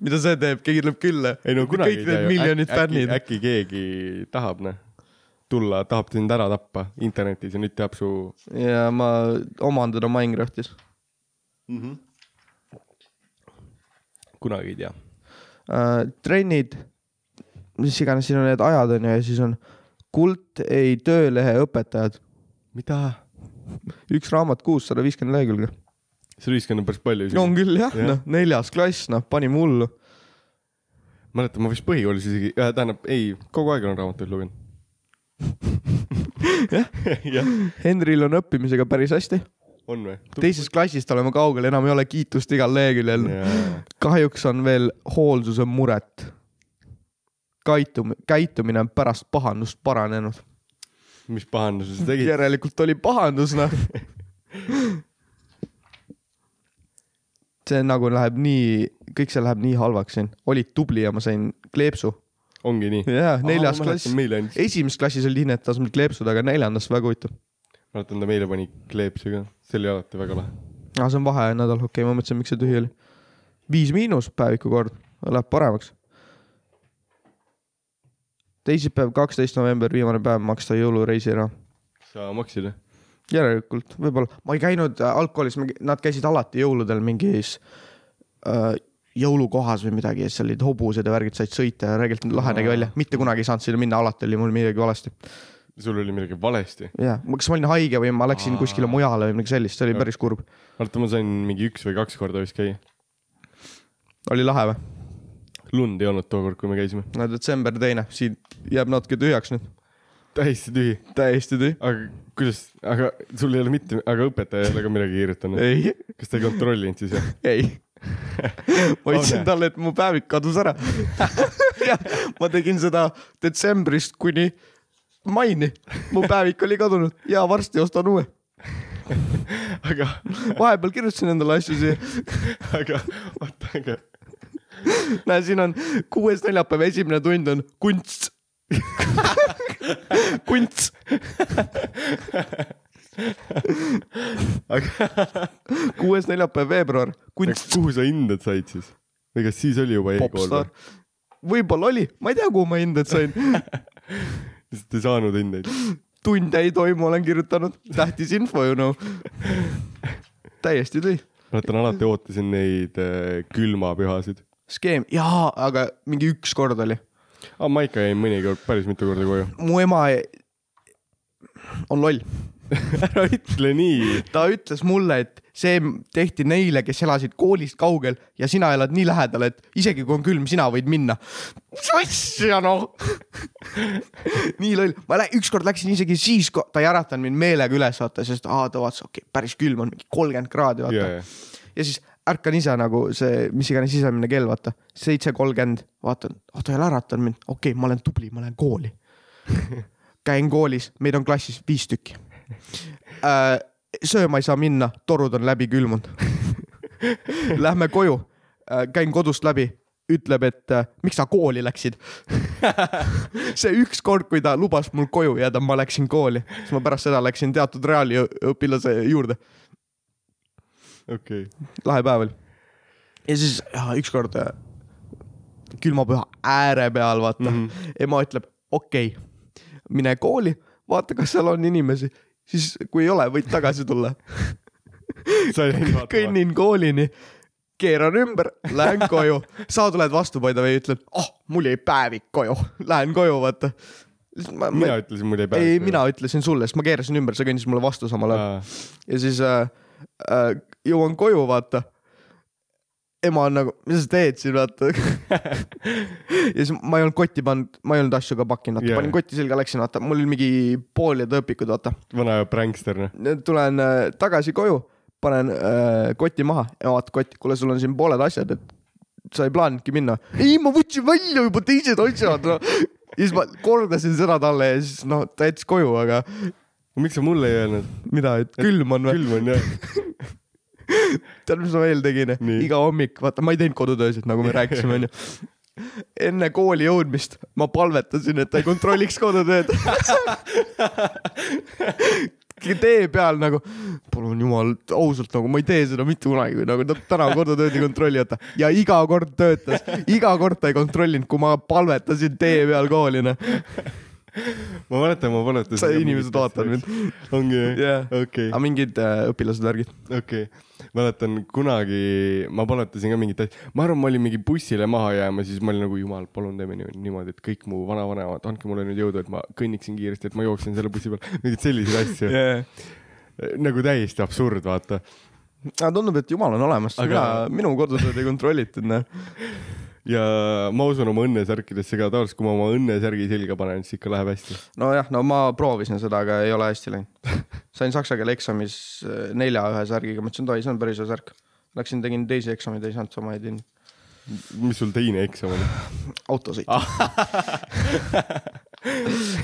[SPEAKER 4] mida see teeb , keegi tuleb külla .
[SPEAKER 3] ei no kunagi
[SPEAKER 4] kõik need miljonid fännid .
[SPEAKER 3] äkki keegi tahab , noh , tulla , tahab sind ära tappa internetis ja nüüd teab su
[SPEAKER 4] ja ma omandan oma Minecraftis .
[SPEAKER 3] kunagi ei tea .
[SPEAKER 4] äh, trennid , mis iganes siin on need ajad on ju ja siis on Kult ei töölehe õpetajad ,
[SPEAKER 3] mida ?
[SPEAKER 4] <laughs> üks raamat kuus , sada viiskümmend lehekülge .
[SPEAKER 3] see ühiskond on päris palju .
[SPEAKER 4] on küll jah
[SPEAKER 3] Jah.
[SPEAKER 4] ja. , noh neljas klass , noh panime hullu .
[SPEAKER 3] mäletan , ma vist põhikoolis isegi , tähendab ei , kogu aeg olen raamatuid
[SPEAKER 4] <laughs>
[SPEAKER 3] lugenud . <laughs> jah ,
[SPEAKER 4] Henril on õppimisega päris hästi ,
[SPEAKER 3] on või ?
[SPEAKER 4] teisest klassist oleme kaugel , enam ei ole kiitust igal leheküljel . kahjuks on veel hoolsuse muret . käitum- , käitumine on pärast pahandust paranenud .
[SPEAKER 3] mis pahanduse sa tegid ?
[SPEAKER 4] järelikult oli pahandus , noh . see nagu läheb nii , kõik see läheb nii halvaks siin , olid tubli ja ma sain kleepsu .
[SPEAKER 3] ongi nii ?
[SPEAKER 4] jaa , neljas klass .
[SPEAKER 3] meile andis ,
[SPEAKER 4] esimeses klassis oli hinnet tasemel kleepsud , aga neljandas väga huvitav .
[SPEAKER 3] mäletan ta meile pani kleepsi ka , see oli alati väga lahe .
[SPEAKER 4] aa , see on vaheajanädal , okei okay, , ma mõtlesin , miks see tühi oli . viis miinus päeviku kord , läheb paremaks . teisipäev , kaksteist november , viimane päev maksta jõulureisi ära .
[SPEAKER 3] sa maksid või ?
[SPEAKER 4] järelikult , võib-olla , ma ei käinud äh, algkoolis , nad käisid alati jõuludel mingis äh, jõulukohas või midagi ja siis olid hobused ja värgid , said sõita ja tegelikult lahe nägi välja , mitte kunagi ei saanud sinna minna , alati oli mul midagi valesti .
[SPEAKER 3] sul oli midagi valesti .
[SPEAKER 4] jaa , kas ma olin haige või ma läksin kuskile mujale või midagi sellist , see oli päris kurb .
[SPEAKER 3] vaata , ma sain mingi üks või kaks korda vist käia .
[SPEAKER 4] oli lahe või ?
[SPEAKER 3] lund ei olnud tookord , kui me käisime .
[SPEAKER 4] no detsember teine , siin jääb natuke tühjaks nüüd .
[SPEAKER 3] täiesti tühi .
[SPEAKER 4] täiesti tühi .
[SPEAKER 3] aga kuidas , aga sul ei ole mitte , aga õpetaja ei ole ka midagi kirjutanud .
[SPEAKER 4] ei ,
[SPEAKER 3] kas ta ei kontrollinud siis või ?
[SPEAKER 4] ei . ma ütlesin
[SPEAKER 3] Ole.
[SPEAKER 4] talle , et mu päevik kadus ära . ma tegin seda detsembrist kuni maini . mu päevik oli kadunud ja varsti ostan uue .
[SPEAKER 3] <laughs> aga ,
[SPEAKER 4] vahepeal kirjutasin endale asju siia .
[SPEAKER 3] aga , oota , aga
[SPEAKER 4] näe , siin on kuues neljapäev , esimene tund on <laughs> kunst . kunst ,
[SPEAKER 3] aga
[SPEAKER 4] kuues neljapäev , veebruar , kunst .
[SPEAKER 3] kuhu sa hinded said siis ? või kas siis oli juba e-kool või
[SPEAKER 4] popstaar ?. võib-olla oli , ma ei tea , kuhu ma hinded sain .
[SPEAKER 3] lihtsalt ei saanud hindeid .
[SPEAKER 4] tunde ei toimu , olen kirjutanud , tähtis info you know . täiesti tõi .
[SPEAKER 3] mäletan , alati ootasin neid äh, külmapühasid .
[SPEAKER 4] skeem , jaa , aga mingi üks kord oli .
[SPEAKER 3] aga ma ikka jäin mõnikord päris mitu korda koju .
[SPEAKER 4] mu ema ei... on loll ,
[SPEAKER 3] <laughs> ära ütle nii .
[SPEAKER 4] ta ütles mulle , et see tehti neile , kes elasid koolist kaugel ja sina elad nii lähedal , et isegi kui on külm , sina võid minna . mis asja noh ? nii loll , ma lä- , ükskord läksin isegi siis , ta ei äratanud mind meelega üles , vaata , sest aa , ta vaatas , okei okay, , päris külm on , mingi kolmkümmend kraadi , vaata
[SPEAKER 3] ja , ja ,
[SPEAKER 4] ja siis ärkan ise nagu see , mis iganes sisemine kell , vaata , seitse kolmkümmend , vaatan , oh ta ei ole äratanud mind , okei okay, , ma olen tubli , ma lähen kooli . käin koolis , meid on klassis viis tükki äh, . sööma ei saa minna , <laughs> torud on läbi külmunud . Lähme koju äh, , käin kodust läbi , ütleb , et äh, miks sa kooli läksid . <laughs> see ükskord , kui ta lubas mul koju jääda , ma läksin kooli , siis ma pärast seda läksin teatud reaali õpilase juurde .
[SPEAKER 3] okei .
[SPEAKER 4] lahe päev oli . ja siis jah, ükskord äh, külmapüha ääre peal , vaata mm , -hmm. ema ütleb , okei okay, , mine kooli , vaata , kas seal on inimesi , siis kui ei ole , võid tagasi <laughs> tulla .
[SPEAKER 3] sa ei läinud vaatama ?
[SPEAKER 4] kõnnin koolini , keeran ümber , lähen koju , sa tuled vastu , by the way , ütled , oh , mul jäi päevik koju , lähen koju , vaata .
[SPEAKER 3] mina ütlesin mulle ei pea .
[SPEAKER 4] ei , mina ütlesin sulle , sest ma keerasin ümber , sa kõndisid mulle vastu samal ajal .
[SPEAKER 3] ütlen .
[SPEAKER 4] ja siis äh, äh, jõuan koju , vaata . ema on nagu , mis sa teed siin , vaata . <laughs> ja siis ma ei olnud kotti pannud , ma ei olnud asju ka pakkinud , vaata
[SPEAKER 3] Jaa.
[SPEAKER 4] yeah. , panin kotti selga , läksin , vaata , mul oli mingi pool ja tõõpikud , vaata .
[SPEAKER 3] vana pränkster , noh .
[SPEAKER 4] tulen äh, tagasi koju , panen äh, koti maha , ema vaatab kotti , kuule , sul on siin pooled asjad , et sa ei plaaninudki minna . ei , ma võtsin välja juba teised asjad no. . ja siis ma kordasin seda talle ja siis noh , ta jättis koju , aga
[SPEAKER 3] miks sa mulle ei öelnud ?
[SPEAKER 4] mida , et külm on või ?
[SPEAKER 3] külm on jah .
[SPEAKER 4] tead , mis ma veel tegin ?
[SPEAKER 3] Nii.
[SPEAKER 4] iga hommik , vaata , ma ei teinud kodutöösid , nagu me rääkisime , onju . enne kooli jõudmist ma palvetasin , et ta ei kontrolliks kodutööd . tee peal nagu , palun jumal , ausalt nagu ma ei tee seda mitte kunagi , nagu ta täna kodutööd ei kontrolli , vaata . ja iga kord töötas , iga kord ta ei kontrollinud , kui ma palvetasin tee peal kooli , noh .
[SPEAKER 3] ma mäletan , ma paletasin .
[SPEAKER 4] Sa- inimesed vaatavad mind. .
[SPEAKER 3] ongi jah ? okei
[SPEAKER 4] aga , mingid äh, õpilased , värgid .
[SPEAKER 3] okei . mäletan kunagi , ma paletasin ka mingit asja , ma arvan , ma olin mingi bussile maha jääma , siis ma olin nagu jumal , palun teeme nii- niimoodi , et kõik mu vanavanemad , andke mulle nüüd jõudu , et ma kõnniksin kiiresti , et ma jooksen selle bussi peal , mingeid selliseid asju yeah. . nagu täiesti absurd , vaata .
[SPEAKER 4] aga tundub , et jumal on olemas aga... , mina
[SPEAKER 3] Aga- ,
[SPEAKER 4] minu kodutööd ei kontrollitud , noh .
[SPEAKER 3] ja ma usun oma õnnesärkidesse ka , tavaliselt kui ma oma õnnesärgi selga panen , siis ikka läheb hästi .
[SPEAKER 4] nojah , no ma proovisin seda , aga ei ole hästi
[SPEAKER 3] <laughs>
[SPEAKER 4] läinud . sain saksa keele eksamis äh, nelja ühe särgiga , mõtlesin , et oi , see on päris hea särk . Läksin , tegin teisi eksameid , ei saanud sama , ei teinud .
[SPEAKER 3] mis sul teine eksam oli ?
[SPEAKER 4] autosõit
[SPEAKER 3] Ah.
[SPEAKER 4] <laughs>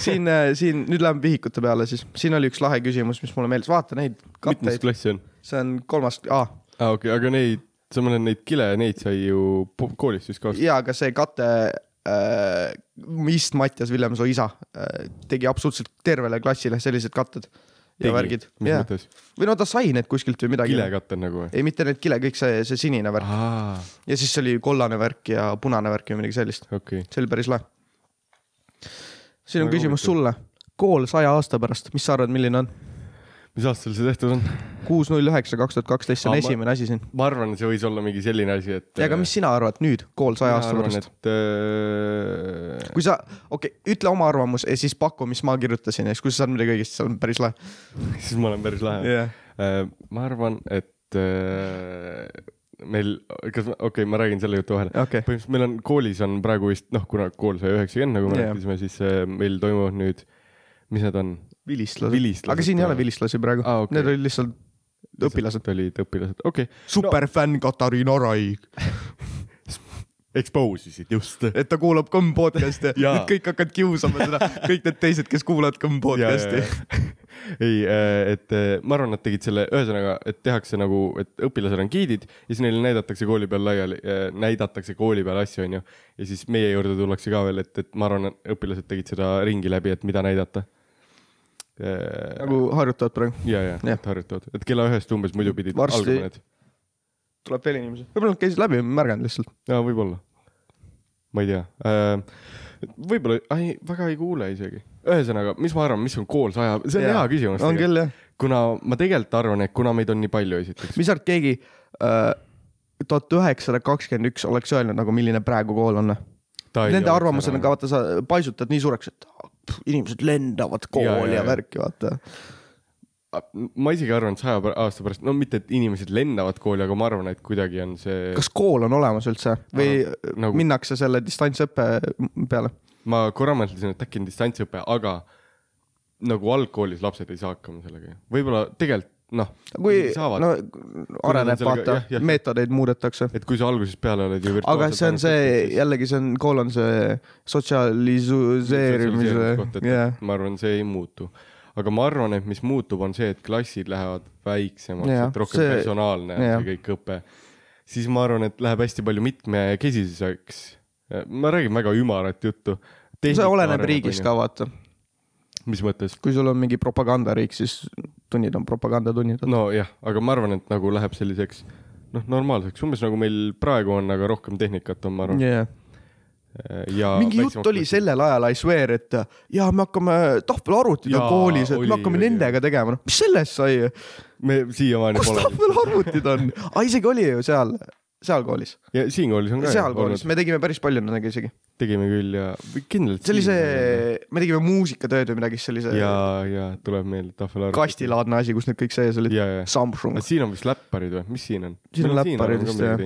[SPEAKER 4] siin , siin nüüd läheme vihikute peale , siis siin oli üks lahe küsimus , mis mulle meeldis , vaata neid
[SPEAKER 3] mitmes
[SPEAKER 4] katteid ,
[SPEAKER 3] klass see on ?
[SPEAKER 4] see on kolmas ah, ,
[SPEAKER 3] aa , okei , aga neid , sa mõtled neid kile , neid sai ju po- koolist vist ka osta .
[SPEAKER 4] ja aga see kate äh, , vist Mattias Villemsoo isa äh, tegi absoluutselt tervele klassile sellised katted ja värgid .
[SPEAKER 3] mis yeah. mõttes ?
[SPEAKER 4] või no ta sai need kuskilt või midagi .
[SPEAKER 3] kilekatted nagu või ?
[SPEAKER 4] ei , mitte need kile , kõik see , see sinine värk
[SPEAKER 3] aa ,
[SPEAKER 4] ja siis oli kollane värk ja punane värk või midagi sellist ,
[SPEAKER 3] okei .
[SPEAKER 4] see oli päris lahe . siin on
[SPEAKER 3] Väga
[SPEAKER 4] küsimus sulle , kool saja aasta pärast , mis sa arvad , milline on ?
[SPEAKER 3] mis aastal see tehtud on ?
[SPEAKER 4] kuus , null üheksa , kaks tuhat kaksteist , see on
[SPEAKER 3] Aa, ma-
[SPEAKER 4] esimene asi siin .
[SPEAKER 3] ma arvan , see võis olla mingi selline asi , et .
[SPEAKER 4] ja aga mis sina arvad nüüd , kool saja aasta pärast ??
[SPEAKER 3] et äh,
[SPEAKER 4] kui sa , okei okay, , ütle oma arvamus ja siis paku , mis ma kirjutasin ja siis , kui sa saad midagi õigesti , see on päris lahe .
[SPEAKER 3] <laughs> siis ma olen päris lahe
[SPEAKER 4] Jah.
[SPEAKER 3] Äh, ma arvan , et äh, meil , kas , okei okay, , ma räägin selle jutu vahele
[SPEAKER 4] Okei.
[SPEAKER 3] põhimõtteliselt meil on koolis on praegu vist noh , kuna kool sai üheksakümmend , nagu me
[SPEAKER 4] Jah.
[SPEAKER 3] rääkisime , siis äh, meil toimuvad nüüd , mis need on ?
[SPEAKER 4] vilistlased
[SPEAKER 3] Vilistlased
[SPEAKER 4] aga siin ei ole
[SPEAKER 3] tulevad.
[SPEAKER 4] vilistlasi praegu
[SPEAKER 3] Aa, Ah, okei.
[SPEAKER 4] need olid lihtsalt õpilased .
[SPEAKER 3] olid õpilased , okei okay. .
[SPEAKER 4] superfänn Katariina Raig ,
[SPEAKER 3] Expose isid just . <laughs>
[SPEAKER 4] et ta kuulab kõmm podcast'e
[SPEAKER 3] Jaa.
[SPEAKER 4] nüüd kõik hakkavad kiusama seda , kõik need teised , kes kuulavad kõmm podcast'i .
[SPEAKER 3] ei , et äh, ma arvan , nad tegid selle , ühesõnaga , et tehakse nagu , et õpilasel on giidid ja siis neile näidatakse kooli peal laiali , näidatakse kooli peal asju , onju . ja siis meie juurde tullakse ka veel , et , et ma arvan , õpilased tegid seda ringi läbi , et mida näidata . ja ,
[SPEAKER 4] nagu harjutavad praegu .
[SPEAKER 3] ja ,
[SPEAKER 4] Jah.
[SPEAKER 3] et harjutavad , et kella ühest umbes muidu pidid
[SPEAKER 4] Varsti-
[SPEAKER 3] algama need .
[SPEAKER 4] tuleb veel inimesi . võib-olla nad käisid läbi , ma ei märganud lihtsalt .
[SPEAKER 3] jaa , võib-olla . ma ei tea . võib-olla , ei , väga ei kuule isegi . ühesõnaga , mis ma arvan , mis on kool saja , see on
[SPEAKER 4] Jaa.
[SPEAKER 3] hea küsimus .
[SPEAKER 4] on küll jah .
[SPEAKER 3] kuna ma tegelikult arvan , et kuna meid on nii palju esiteks ,
[SPEAKER 4] mis arvad , keegi äh, tuhat üheksasada kakskümmend üks oleks öelnud nagu , milline praegu kool on või ? Nende arvamus on ka , vaata , sa paisutad nii suureks , et ah, pff, inimesed lendavad kooli ja,
[SPEAKER 3] Jaa, jaa,
[SPEAKER 4] ja
[SPEAKER 3] jaa.
[SPEAKER 4] värki , vaata .
[SPEAKER 3] ma isegi arvan , et saja pä- aasta pärast , no mitte , et inimesed lendavad kooli , aga ma arvan , et kuidagi on see ,
[SPEAKER 4] kas kool on olemas üldse või
[SPEAKER 3] arvan,
[SPEAKER 4] nagu...
[SPEAKER 3] nagu-
[SPEAKER 4] minnakse selle distantsõppe peale ?
[SPEAKER 3] ma korra mõtlesin , et äkki on distantsõpe , aga nagu algkoolis lapsed ei saa hakkama sellega ju , võib-olla tegelikult noh ,
[SPEAKER 4] kui
[SPEAKER 3] saavad
[SPEAKER 4] no
[SPEAKER 3] no... ,
[SPEAKER 4] areneb ,
[SPEAKER 3] sellega-
[SPEAKER 4] vaata
[SPEAKER 3] jah, , jah.
[SPEAKER 4] meetodeid muudetakse .
[SPEAKER 3] et kui sa algusest peale oled ju
[SPEAKER 4] aga see on see , jällegi see on , kool on see sotsialiseerimise , jah
[SPEAKER 3] yeah. ma arvan , see ei muutu . aga ma arvan , et mis muutub , on see , et klassid lähevad väiksemaks
[SPEAKER 4] Jah,
[SPEAKER 3] yeah, , et rohkem
[SPEAKER 4] see-
[SPEAKER 3] see... personaalne on
[SPEAKER 4] jah.
[SPEAKER 3] see kõik õpe . siis ma arvan , et läheb hästi palju mitmekesiseks . ma räägin väga ümarat juttu .
[SPEAKER 4] see oleneb riigist ka , vaata .
[SPEAKER 3] mis mõttes ?
[SPEAKER 4] kui sul on mingi propagandariik , siis tunnid on propagandatunnid .
[SPEAKER 3] nojah , aga ma arvan , et nagu läheb selliseks noh , normaalseks , umbes nagu meil praegu on , aga rohkem tehnikat on , ma arvan
[SPEAKER 4] Yeah.
[SPEAKER 3] ja
[SPEAKER 4] mingi jutt oli . sellel ajal , I swear , et ja me hakkame tahvelarvutid on
[SPEAKER 3] Jaa,
[SPEAKER 4] koolis , et
[SPEAKER 3] oli,
[SPEAKER 4] me hakkame
[SPEAKER 3] oli,
[SPEAKER 4] nendega tegema , noh , mis sellest sai ,
[SPEAKER 3] me siiamaani
[SPEAKER 4] kus
[SPEAKER 3] pole .
[SPEAKER 4] tahvelarvutid on ? aa , isegi oli ju seal , seal koolis ,
[SPEAKER 3] ja siin koolis on ka .
[SPEAKER 4] seal koolis , me tegime päris palju nendega isegi .
[SPEAKER 3] tegime küll ja kindlalt .
[SPEAKER 4] see oli see , me tegime muusikatööd või midagi sellise
[SPEAKER 3] ja ,
[SPEAKER 4] <laughs>
[SPEAKER 3] ja tuleb meelde tahvelarv .
[SPEAKER 4] kastilaadne asi , kus need kõik sees olid .
[SPEAKER 3] ja , ja .
[SPEAKER 4] Samsung
[SPEAKER 3] aga , siin on vist läpparid või , mis siin on ?
[SPEAKER 4] Siin on läpparid vist, jah. .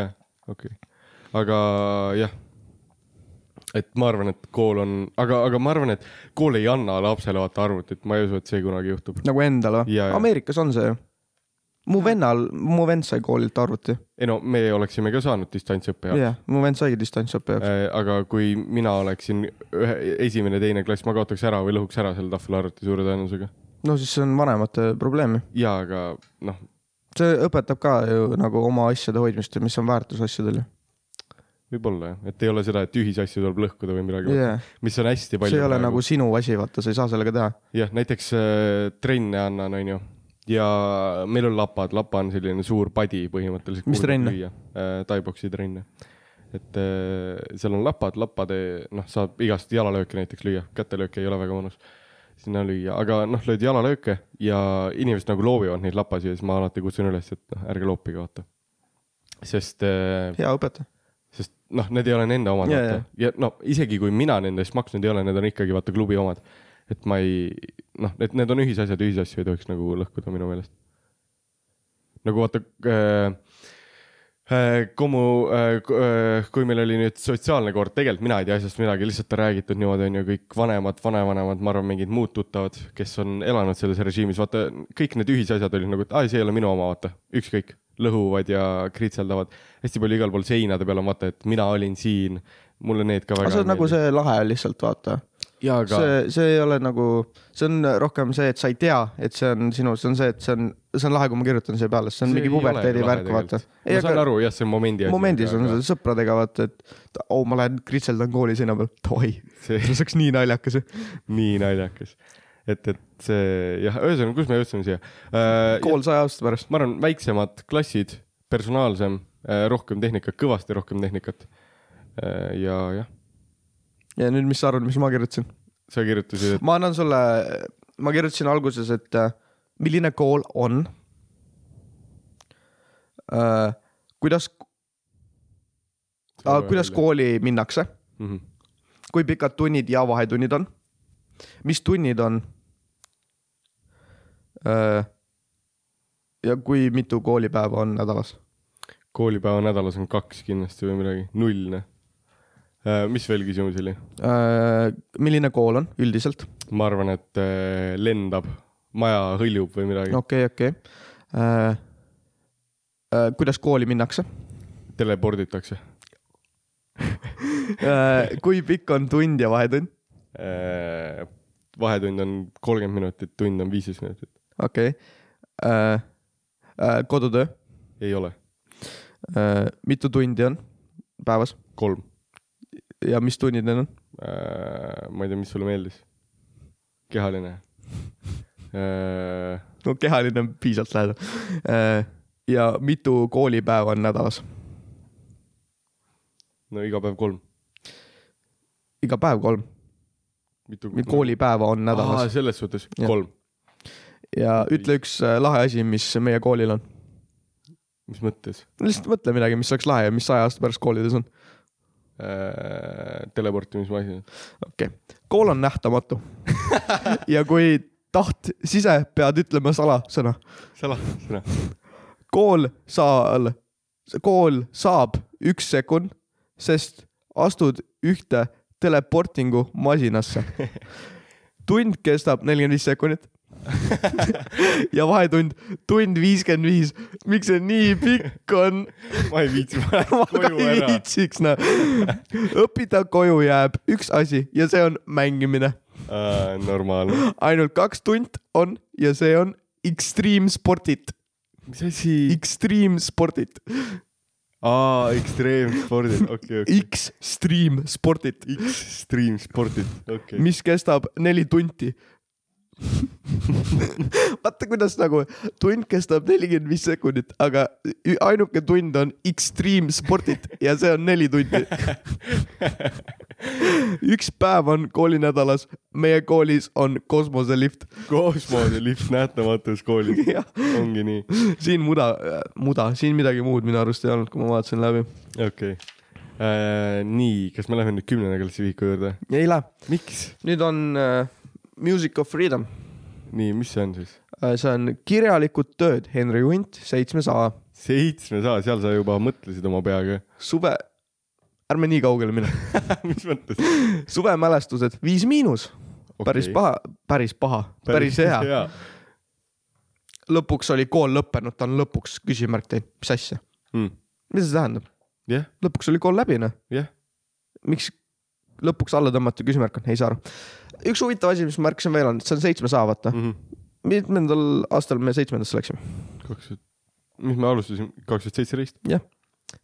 [SPEAKER 3] jah , okei , aga jah . et ma arvan , et kool on , aga , aga ma arvan , et kool ei anna lapsele vaata arvutit , ma ei usu , et see kunagi juhtub .
[SPEAKER 4] nagu endal või
[SPEAKER 3] Jaa, jaa. ?
[SPEAKER 4] Ameerikas on see ju . mu vennal , mu vend sai koolilt arvuti .
[SPEAKER 3] ei no me oleksime ka saanud distantsõppe jaoks yeah.
[SPEAKER 4] jah , mu vend saigi distantsõppe jaoks .
[SPEAKER 3] aga kui mina oleksin ühe , esimene , teine klass , ma kaotaks ära või lõhuks ära selle tahvelarvuti suure tõenäosusega .
[SPEAKER 4] no siis see on vanemate probleem ju .
[SPEAKER 3] ja , aga noh ,
[SPEAKER 4] see õpetab ka ju nagu oma asjade hoidmist ja mis on väärtus asjadel ju .
[SPEAKER 3] võib-olla jah , et ei ole seda , et ühisasju tuleb lõhkuda või midagi yeah. ,
[SPEAKER 4] jah ,
[SPEAKER 3] mis on hästi
[SPEAKER 4] see
[SPEAKER 3] palju .
[SPEAKER 4] ei ole nagu sinu asi , vaata , sa ei saa sellega teha .
[SPEAKER 3] jah , näiteks äh, trenne annan , onju . ja meil on lapad , lapa on selline suur padi põhimõtteliselt .
[SPEAKER 4] Mis trenne? ?
[SPEAKER 3] Taiboksi Äh, trenne . et äh, seal on lapad , lappade , noh , saab igast jalalööke näiteks lüüa , kätelööke ei ole väga mõnus sinna lüüa , aga noh , lööd jalalööke ja inimesed nagu loobivad neid lappasid ja siis ma alati kutsun üles , et noh , ärge loopige , vaata . sest äh,
[SPEAKER 4] hea õpetaja .
[SPEAKER 3] sest noh , need ei ole nende omad
[SPEAKER 4] Jaa,
[SPEAKER 3] yeah, , ja no isegi kui mina nende eest maksnud ei ole , need on ikkagi vaata klubi omad . et ma ei , noh , et need on ühisasjad , ühisasju ei tohiks nagu lõhkuda minu meelest . nagu vaata äh, , äh, Kumu äh, , äh, kui meil oli nüüd sotsiaalne kord , tegelikult mina ei tea asjast midagi , lihtsalt on räägitud niimoodi , on ju , kõik vanemad , vanavanemad , ma arvan , mingid muud tuttavad , kes on elanud selles režiimis , vaata kõik need ühisasjad olid nagu , et aa , see ei ole minu oma , vaata , ükskõik , lõhuvad ja kritseldavad . hästi palju igal pool seinade peal on vaata , et mina olin siin , mulle need ka
[SPEAKER 4] aga
[SPEAKER 3] väga
[SPEAKER 4] see
[SPEAKER 3] ei
[SPEAKER 4] on nagu
[SPEAKER 3] meeldi.
[SPEAKER 4] see lahe lihtsalt , vaata .
[SPEAKER 3] jaa , aga
[SPEAKER 4] see , see ei ole nagu , see on rohkem see , et sa ei tea , et see on sinu , see on see , et see on , see on lahe , kui ma kirjutan siia peale , see on see mingi puberteedi värk , vaata .
[SPEAKER 3] ma saan aru , jah , see on momendi asi .
[SPEAKER 4] momendis on see sõpradega vaata , et oo , ma lähen kritseldan kooli seina <laughs> peal , oi ,
[SPEAKER 3] see .
[SPEAKER 4] see oleks nii naljakas .
[SPEAKER 3] nii naljakas . et , et see jah , ühesõnaga , kus me jõudsime siia äh, ?
[SPEAKER 4] kool saja aasta pärast .
[SPEAKER 3] ma arvan , väiksemad klassid , personaalsem äh, , rohkem tehnikat , kõvasti rohkem tehnikat äh, . ja jah ,
[SPEAKER 4] ja nüüd , mis sa arvad , mis ma kirjutasin ?
[SPEAKER 3] sa kirjutasid , et
[SPEAKER 4] ma annan sulle , ma kirjutasin alguses , et äh, milline kool on . kuidas ,
[SPEAKER 3] Loe
[SPEAKER 4] kuidas
[SPEAKER 3] välja.
[SPEAKER 4] kooli minnakse ,
[SPEAKER 3] mm -hmm.
[SPEAKER 4] kui pikad tunnid ja vahetunnid on , mis tunnid on . ja kui mitu koolipäeva on nädalas ?
[SPEAKER 3] koolipäeva nädalas on kaks kindlasti või midagi , nullne äh, . mis veel küsimusi oli ?
[SPEAKER 4] Äh, milline kool on üldiselt ?
[SPEAKER 3] ma arvan , et äh, lendab , maja hõljub või midagi no. ,
[SPEAKER 4] okei , okei . kuidas kooli minnakse ?
[SPEAKER 3] teleporditakse
[SPEAKER 4] Äh, kui pikk on tund ja vahetund ?
[SPEAKER 3] äh, . vahetund on kolmkümmend minutit , tund on viisteist minutit ,
[SPEAKER 4] okei okay. . kodutöö ,
[SPEAKER 3] ei ole ,
[SPEAKER 4] mitu tundi on päevas
[SPEAKER 3] kolm
[SPEAKER 4] ja mis tunnid need on ?
[SPEAKER 3] äh, . ma ei tea , mis sulle meeldis ? kehaline äh, .
[SPEAKER 4] no kehaline on piisavalt lähedal . ja mitu koolipäeva on nädalas ?
[SPEAKER 3] no iga päev kolm .
[SPEAKER 4] iga päev kolm ,
[SPEAKER 3] mitu
[SPEAKER 4] koolipäeva on
[SPEAKER 3] Aa,
[SPEAKER 4] nädalas
[SPEAKER 3] selles suhtes
[SPEAKER 4] Jah.
[SPEAKER 3] ja. kolm ,
[SPEAKER 4] ja ütle üks äh, lahe asi , mis meie koolil on .
[SPEAKER 3] mis mõttes
[SPEAKER 4] lihtsalt mõtle midagi , mis oleks lahe ja mis saja aasta pärast koolides on .
[SPEAKER 3] äh, ? teleportimismasinad ,
[SPEAKER 4] okei okay. , kool on
[SPEAKER 3] <laughs>
[SPEAKER 4] nähtamatu . ja kui taht sise , pead ütlema salasõna .
[SPEAKER 3] salasõna ,
[SPEAKER 4] kool saal , kool saab üks sekund , sest astud ühte teleportingu
[SPEAKER 3] <laughs>
[SPEAKER 4] masinasse . tund kestab nelikümmend viis sekundit . ja vahetund , tund viiskümmend viis . miks see nii pikk on ?
[SPEAKER 3] ma ei viitsi , ma
[SPEAKER 4] <laughs> ma
[SPEAKER 3] lähen
[SPEAKER 4] ka
[SPEAKER 3] <laughs> koju
[SPEAKER 4] ei
[SPEAKER 3] ära .
[SPEAKER 4] viitsiks , noh . õpida koju jääb üks asi ja see on mängimine
[SPEAKER 3] Äh, normaalne ,
[SPEAKER 4] ainult kaks tunt on ja see on Extreme Sportit .
[SPEAKER 3] mis asi ?
[SPEAKER 4] Extreme spordid ,
[SPEAKER 3] aa , ekstreemspordid , okei , okei .
[SPEAKER 4] Extreme spordid ,
[SPEAKER 3] Extreemspordid , okei okay. .
[SPEAKER 4] mis kestab neli tunti . vaata , kuidas nagu tund kestab nelikümmend viis sekundit , aga ü- ainuke tund on Extreme spordid ja see on neli tundi . üks päev on koolinädalas , meie koolis on kosmoselift .
[SPEAKER 3] kosmose lift nähtamatus koolis ,
[SPEAKER 4] <laughs> jah ,
[SPEAKER 3] ongi nii ,
[SPEAKER 4] siin muda , muda , siin midagi muud minu arust ei olnud , kui ma vaatasin läbi .
[SPEAKER 3] okei okay. äh, . nii , kas me läheme nüüd kümnenda klassi vihiku juurde ?
[SPEAKER 4] ei lähe ,
[SPEAKER 3] miks ?
[SPEAKER 4] nüüd on äh, Music of Freedom .
[SPEAKER 3] nii , mis see on siis ?
[SPEAKER 4] see on kirjalikud tööd , Henry Hunt , seitsmes A .
[SPEAKER 3] seitsmes A , seal sa juba mõtlesid oma peaga . <laughs>
[SPEAKER 4] suve , ärme nii kaugele mine .
[SPEAKER 3] mis mõttes ?
[SPEAKER 4] <laughs> suvemälestused , viis miinus okay. , päris paha , päris paha , päris hea .
[SPEAKER 3] hea .
[SPEAKER 4] lõpuks oli kool lõppenud , ta on lõpuks küsimärk teinud , mis asja , mis see tähendab ?
[SPEAKER 3] Mm. jah ,
[SPEAKER 4] lõpuks oli kool läbi , noh ,
[SPEAKER 3] jah ,
[SPEAKER 4] miks lõpuks alla tõmmata küsimärk on , ei saa aru . üks huvitav asi , mis ma märkasin veel on , see on seitsmes A , vaata .
[SPEAKER 3] Mhm.
[SPEAKER 4] mitmendal aastal me seitsmendasse läksime ?
[SPEAKER 3] kaks tuhat , mis me alustasime , kaks tuhat
[SPEAKER 4] <laughs>
[SPEAKER 3] seitseteist .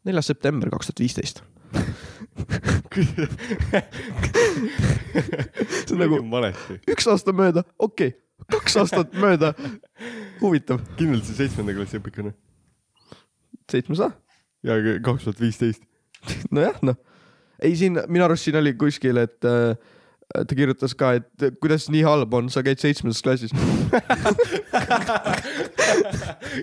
[SPEAKER 4] neljas september kaks tuhat viisteist . see on nagu
[SPEAKER 3] valesti .
[SPEAKER 4] üks aasta mööda , okei okay. , kaks aastat mööda . huvitav ,
[SPEAKER 3] kindlalt see seitsmenda klassi õpikune
[SPEAKER 4] seitsmes A ,
[SPEAKER 3] ja kaks tuhat viisteist .
[SPEAKER 4] nojah , noh . ei , siin minu arust siin oli kuskil , et äh, ta kirjutas ka , et kuidas nii halb on , sa käid seitsmendas klassis .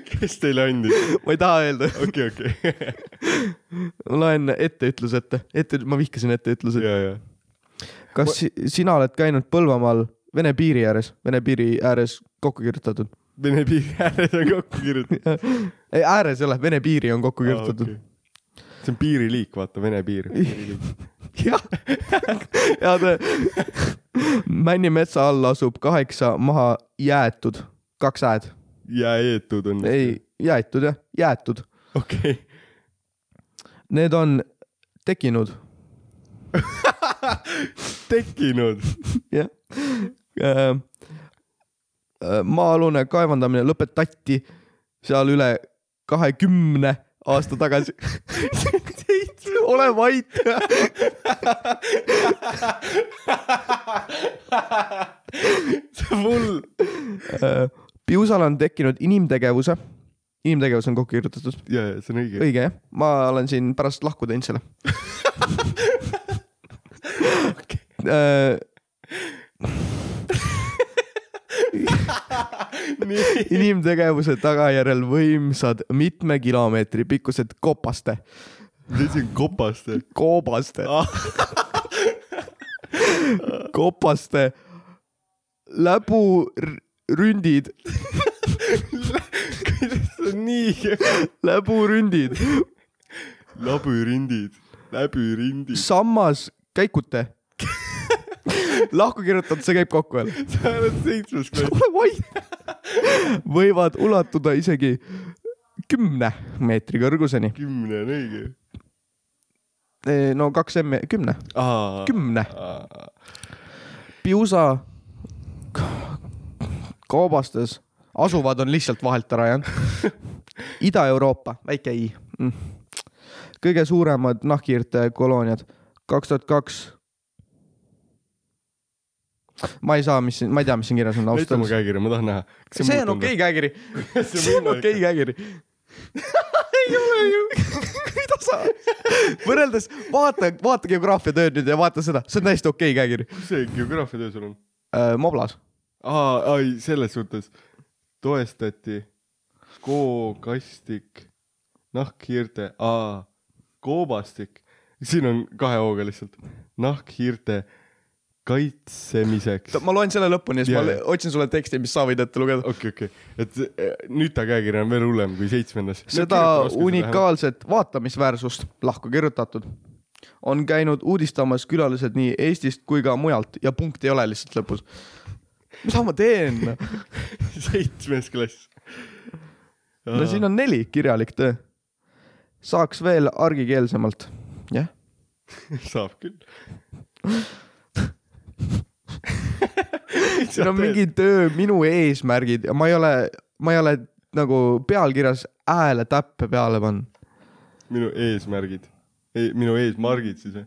[SPEAKER 3] kes teile andis ?
[SPEAKER 4] ma ei taha öelda ,
[SPEAKER 3] okei , okei .
[SPEAKER 4] ma loen etteütluse ette , ette , ma vihkasin etteütluseid .
[SPEAKER 3] ja , ja .
[SPEAKER 4] kas si sina oled käinud Põlvamaal Vene piiri ääres , Vene piiri ääres kokku kirjutatud ?
[SPEAKER 3] Vene <laughs> piiri ääres on kokku kirjutatud .
[SPEAKER 4] ei , ääres ei ole , Vene piiri on kokku kirjutatud .
[SPEAKER 3] see on piiriliik , vaata , Vene piir .
[SPEAKER 4] <laughs> jah , ja ta , <laughs> Männi metsa all asub kaheksa maha jäetud , kaks hääd ,
[SPEAKER 3] jääeetud on .
[SPEAKER 4] ei , jäetud jah , jäetud .
[SPEAKER 3] okei .
[SPEAKER 4] Need on tekkinud
[SPEAKER 3] <laughs> tekkinud .
[SPEAKER 4] äh, . maa-alune kaevandamine lõpetati seal üle kahekümne aasta tagasi . <laughs> ole vait .
[SPEAKER 3] mul .
[SPEAKER 4] Piusal Äh, on tekkinud inimtegevuse , inimtegevus on kokku kirjutatud ,
[SPEAKER 3] ja , ja see on õige .
[SPEAKER 4] õige jah , ma olen siin pärast lahku teinud selle Äh,
[SPEAKER 3] nii .
[SPEAKER 4] inimtegevuse tagajärjel võimsad mitme kilomeetri pikkused kopaste ,
[SPEAKER 3] mis asi on kopaste ?
[SPEAKER 4] koobaste , kopaste läburündid ,
[SPEAKER 3] see on nii .
[SPEAKER 4] läburündid ,
[SPEAKER 3] labürindid , läbürindid .
[SPEAKER 4] sammas käikute . lahku kirjutatud , see käib kokku veel .
[SPEAKER 3] <laughs> sa oled seitsmes klass .
[SPEAKER 4] ole vait . võivad ulatuda isegi kümne meetri kõrguseni .
[SPEAKER 3] kümne on õige .
[SPEAKER 4] no kaks M-i , kümne , kümne .
[SPEAKER 3] okei ,
[SPEAKER 4] Piusa kaubastes asuvad on lihtsalt vahelt ära jäänud . Ida-Euroopa , väike i mm. . kõige suuremad nahkhiirte kolooniad , kaks tuhat kaks . ma ei saa , mis siin , ma ei tea , mis siin kirjas on ausalt
[SPEAKER 3] näita oma
[SPEAKER 4] öeldes .
[SPEAKER 3] käekirja , ma tahan näha .
[SPEAKER 4] see on okei . käekiri , <laughs> see on okei käekiri . <laughs> ei ole ju , <laughs> mida sa , võrreldes vaata , vaata geograafiatööd nüüd ja vaata seda , see on täiesti okei käekiri .
[SPEAKER 3] kus see geograafia töö sul on ?
[SPEAKER 4] Äh, Moblas
[SPEAKER 3] aa , ai , selles suhtes toestati kookastik , nahkhiirte , aa , koobastik , siin on kahe hooga lihtsalt , nahkhiirte kaitsemiseks
[SPEAKER 4] Ta- . ma loen selle lõpuni , siis
[SPEAKER 3] Jaa,
[SPEAKER 4] ma le-
[SPEAKER 3] jaa.
[SPEAKER 4] otsin sulle teksti , mis sa võid ette lugeda .
[SPEAKER 3] okei , okei , et eh, nüüd ta käekiri on veel hullem kui seitsmendas .
[SPEAKER 4] seda . unikaalset vaatamisväärsust , lahku kirjutatud , on käinud uudistamas külalised nii Eestist kui ka mujalt ja punkt ei ole lihtsalt lõpus . mida ma teen ?
[SPEAKER 3] <laughs> seitsmes klass .
[SPEAKER 4] no siin on neli kirjalik töö . saaks veel argikeelsemalt . jah ,
[SPEAKER 3] saab küll .
[SPEAKER 4] siin on mingi töö minu eesmärgid ja ma ei ole , ma ei ole nagu pealkirjas hääle täppe peale panna .
[SPEAKER 3] minu eesmärgid e , minu eesmargid siis või ?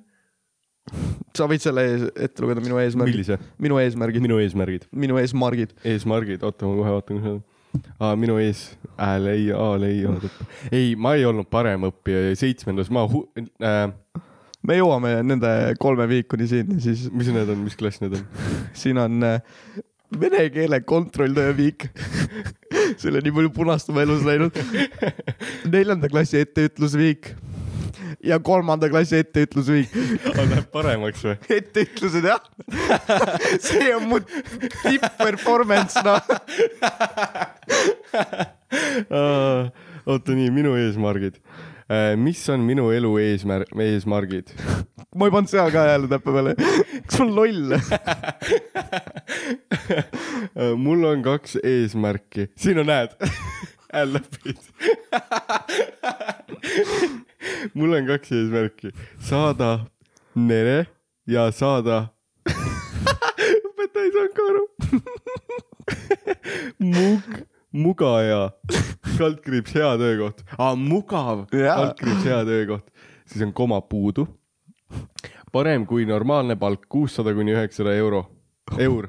[SPEAKER 4] sa võid selle ees, ette lugeda minu eesmärgid ,
[SPEAKER 3] millise ?
[SPEAKER 4] minu eesmärgid ,
[SPEAKER 3] minu eesmärgid ,
[SPEAKER 4] minu eesmargid .
[SPEAKER 3] eesmargid , oota , ma kohe vaatan , kus nad on ah, . minu ees , hääl ei , A-l ei , A-l ei , ma ei olnud parem õppija ja seitsmendas ma hu- , äh,
[SPEAKER 4] me jõuame nende kolme viikuni siin ja siis
[SPEAKER 3] mis need on , mis klass need on ? <laughs>
[SPEAKER 4] siin on äh, vene keele kontrolltöö viik . <laughs> selle nii palju punast on mu elus <laughs> läinud . neljanda klassi etteütlusviik ja kolmanda klassi etteütlusviik .
[SPEAKER 3] Läheb paremaks või ?
[SPEAKER 4] etteütlused jah . <laughs> see on mu tipp-performance noh .
[SPEAKER 3] oota nii , minu eesmargid . mis on minu elu eesmär- , eesmargid ?
[SPEAKER 4] ma ei pannud seal ka hääle täppe peale . kas <laughs> ma olen loll ?
[SPEAKER 3] Äh, mul on kaks eesmärki , siin on <laughs> hääd , hääl läbi . <laughs> mul on kaks eesmärki , saada nere ja saada . õpetaja ei saanud ka aru . Mug , mugaja , kaldkriips hea töökoht ah, , mugav ,
[SPEAKER 4] Jaa.
[SPEAKER 3] kaldkriips hea töökoht , siis on koma puudu . parem kui normaalne palk , kuussada kuni üheksasada euro , eur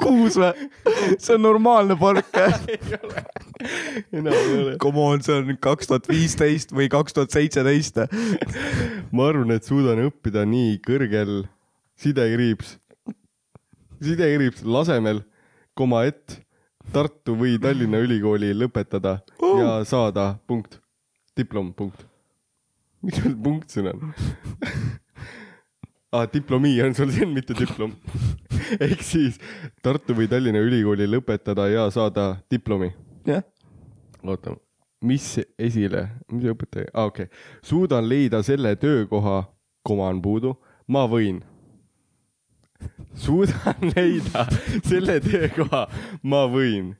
[SPEAKER 4] kuus või ? see on normaalne palk jah ?
[SPEAKER 3] enam ei ole .
[SPEAKER 4] <laughs> Come on , see on kaks tuhat viisteist või kaks tuhat seitseteist .
[SPEAKER 3] ma arvan , et suudan õppida nii kõrgel sidekriips , sidekriips lasemel , koma et Tartu või Tallinna Ülikooli lõpetada oh. ja saada punkt , diplom , punkt . miks sul punkt siin on ? aa , diplomi on sul siin , mitte diplom . ehk siis Tartu või Tallinna Ülikooli lõpetada ja saada diplomi
[SPEAKER 4] <laughs> jah ,
[SPEAKER 3] oota , mis esile , mis õpetaja , aa okei okay. , suudan leida selle töökoha , koma on puudu , ma võin . <laughs> suudan leida selle töökoha , ma võin .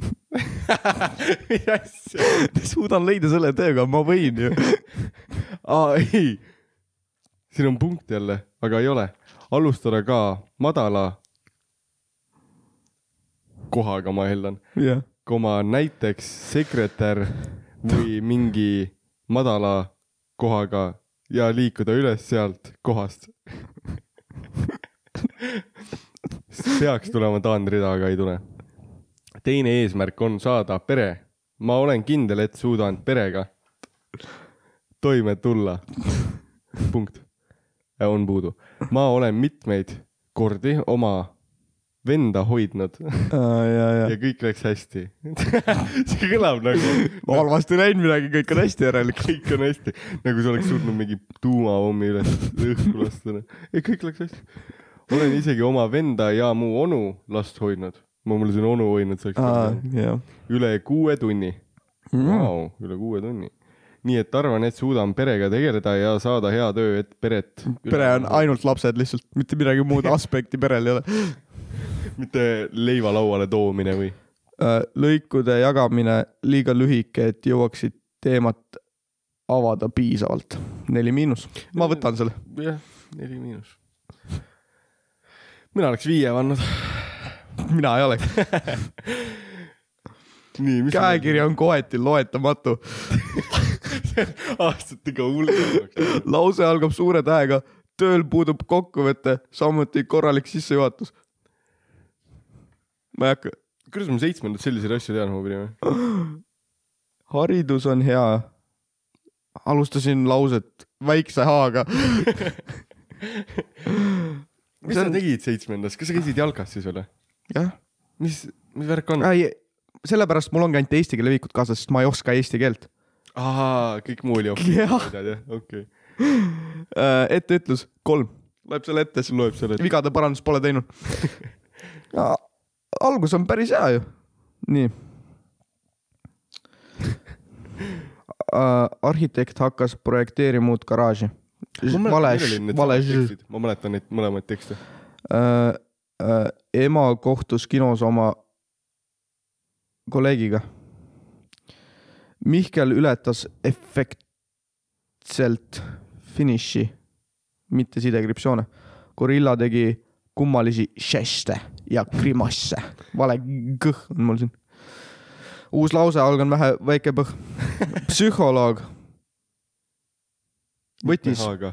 [SPEAKER 3] <laughs> mis asja ?
[SPEAKER 4] suudan leida selle tööga , ma võin ju .
[SPEAKER 3] <laughs> aa ei , siin on punkt jälle , aga ei ole , alustada ka madala kohaga , ma eeldan
[SPEAKER 4] jah
[SPEAKER 3] koma näiteks sekretär või mingi madala kohaga ja liikuda üles sealt kohast . <laughs> peaks tulema taandrida , aga ei tule . teine eesmärk on saada pere . ma olen kindel , et suudan perega toime tulla . <laughs> punkt . on puudu . ma olen mitmeid kordi oma venda hoidnud <laughs>
[SPEAKER 4] Aa, ja , ja
[SPEAKER 3] ja . kõik läks hästi . <laughs> see kõlab nagu ,
[SPEAKER 4] halvasti ei läinud midagi , kõik on hästi järelikult .
[SPEAKER 3] kõik on hästi , nagu sa oleks suutnud mingi tuumapommi üles õhku lasta . ei , kõik läks hästi . olen isegi oma venda ja mu onu last hoidnud . ma mõtlesin onu hoidnud , see oleks
[SPEAKER 4] jah .
[SPEAKER 3] üle kuue tunni .
[SPEAKER 4] Mm.
[SPEAKER 3] Vau , üle kuue tunni . nii et arvan , et suudan perega tegeleda ja saada hea töö , et peret .
[SPEAKER 4] pere on . ainult lapsed lihtsalt , mitte midagi muud aspekti perel ei ole .
[SPEAKER 3] mitte leiva lauale toomine või ?
[SPEAKER 4] Äh, lõikude jagamine liiga lühike , et jõuaksid teemat avada piisavalt . neli miinus . ma võtan selle .
[SPEAKER 3] jah , neli miinus . mina oleks viie pannud .
[SPEAKER 4] mina ei ole .
[SPEAKER 3] nii , mis
[SPEAKER 4] käekiri on kohati loetamatu .
[SPEAKER 3] aastatega hullemaks .
[SPEAKER 4] lause algab suure tähega . tööl puudub kokkuvõte , samuti korralik sissejuhatus . ma ei hakka
[SPEAKER 3] kuidas ma seitsmendat selliseid asju tean , ma pidin või ?
[SPEAKER 4] haridus on hea . alustasin lauset väikse h-ga .
[SPEAKER 3] mis sa tegid seitsmendas , kas sa käisid jalkas siis või ?
[SPEAKER 4] jah ,
[SPEAKER 3] mis , mis värk on ?
[SPEAKER 4] ei , sellepärast mul ongi ainult eesti keele viikud kaasas , sest ma ei oska eesti keelt .
[SPEAKER 3] aa , kõik muu oli okei .
[SPEAKER 4] jah ,
[SPEAKER 3] okei .
[SPEAKER 4] Äh, etteütlus kolm , loeb selle ette , siis
[SPEAKER 3] loeb selle ,
[SPEAKER 4] vigade parandust pole teinud . algus on päris hea ju . nii . Äh, arhitekt hakkas projekteerima uut garaaži . vale , vale .
[SPEAKER 3] ma mäletan neid mõlemaid tekste .
[SPEAKER 4] äh, äh, ema kohtus kinos oma kolleegiga . Mihkel ületas efektselt finiši , mitte sidekriiptsioone . gorilla tegi kummalisi žeste ja grimasse , vale g on mul siin . uus lause , algan vähe , väike põh . psühholoog . võttis ,
[SPEAKER 3] aga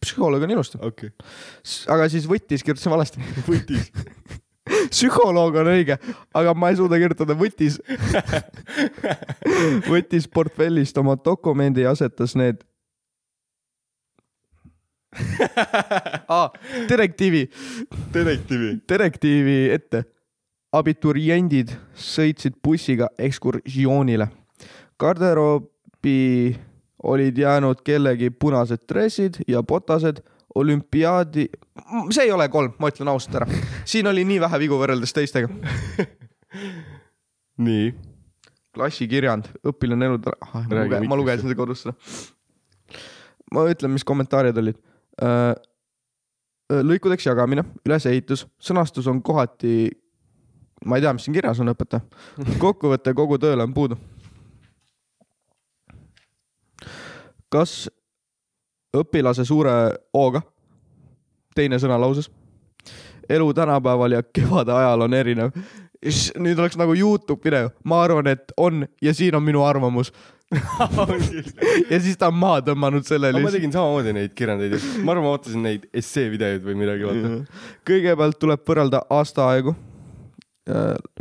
[SPEAKER 4] psühholoog on ilus ,
[SPEAKER 3] okei okay. ,
[SPEAKER 4] aga siis võttis , kirjutasin valesti .
[SPEAKER 3] võttis .
[SPEAKER 4] psühholoog on õige , aga ma ei suuda kirjutada võttis . võttis portfellist oma dokumendi ja asetas need ah, direktiivi ,
[SPEAKER 3] detektiivi .
[SPEAKER 4] direktiivi ette . abituriendid sõitsid bussiga ekskursioonile . garderoobi olid jäänud kellegi punased dressid ja botased olümpiaadi , see ei ole kolm , ma ütlen ausalt ära . siin oli nii vähe vigu võrreldes teistega . <laughs>
[SPEAKER 3] nii ,
[SPEAKER 4] klassikirjand , õpilane elu ah, , ma,
[SPEAKER 3] Räägi,
[SPEAKER 4] luge,
[SPEAKER 3] miks
[SPEAKER 4] ma lugesin seda kodus seda . ma ütlen , mis kommentaarid olid . lõikudeks jagamine , ülesehitus , sõnastus on kohati , ma ei tea , mis siin kirjas on , õpetaja . kokkuvõte kogu tööle on puudu . kas õpilase suure O-ga , teine sõna lauses , elu tänapäeval ja kevade ajal on erinev . nüüd oleks nagu Youtube video , ma arvan , et on ja siin on minu arvamus ja siis ta on maha tõmmanud selle
[SPEAKER 3] aga ma
[SPEAKER 4] lihtsalt .
[SPEAKER 3] tegin samamoodi neid kirjandeid , ma arvan , ma ootasin neid essee videoid või midagi , vaata .
[SPEAKER 4] kõigepealt tuleb võrrelda aastaaegu .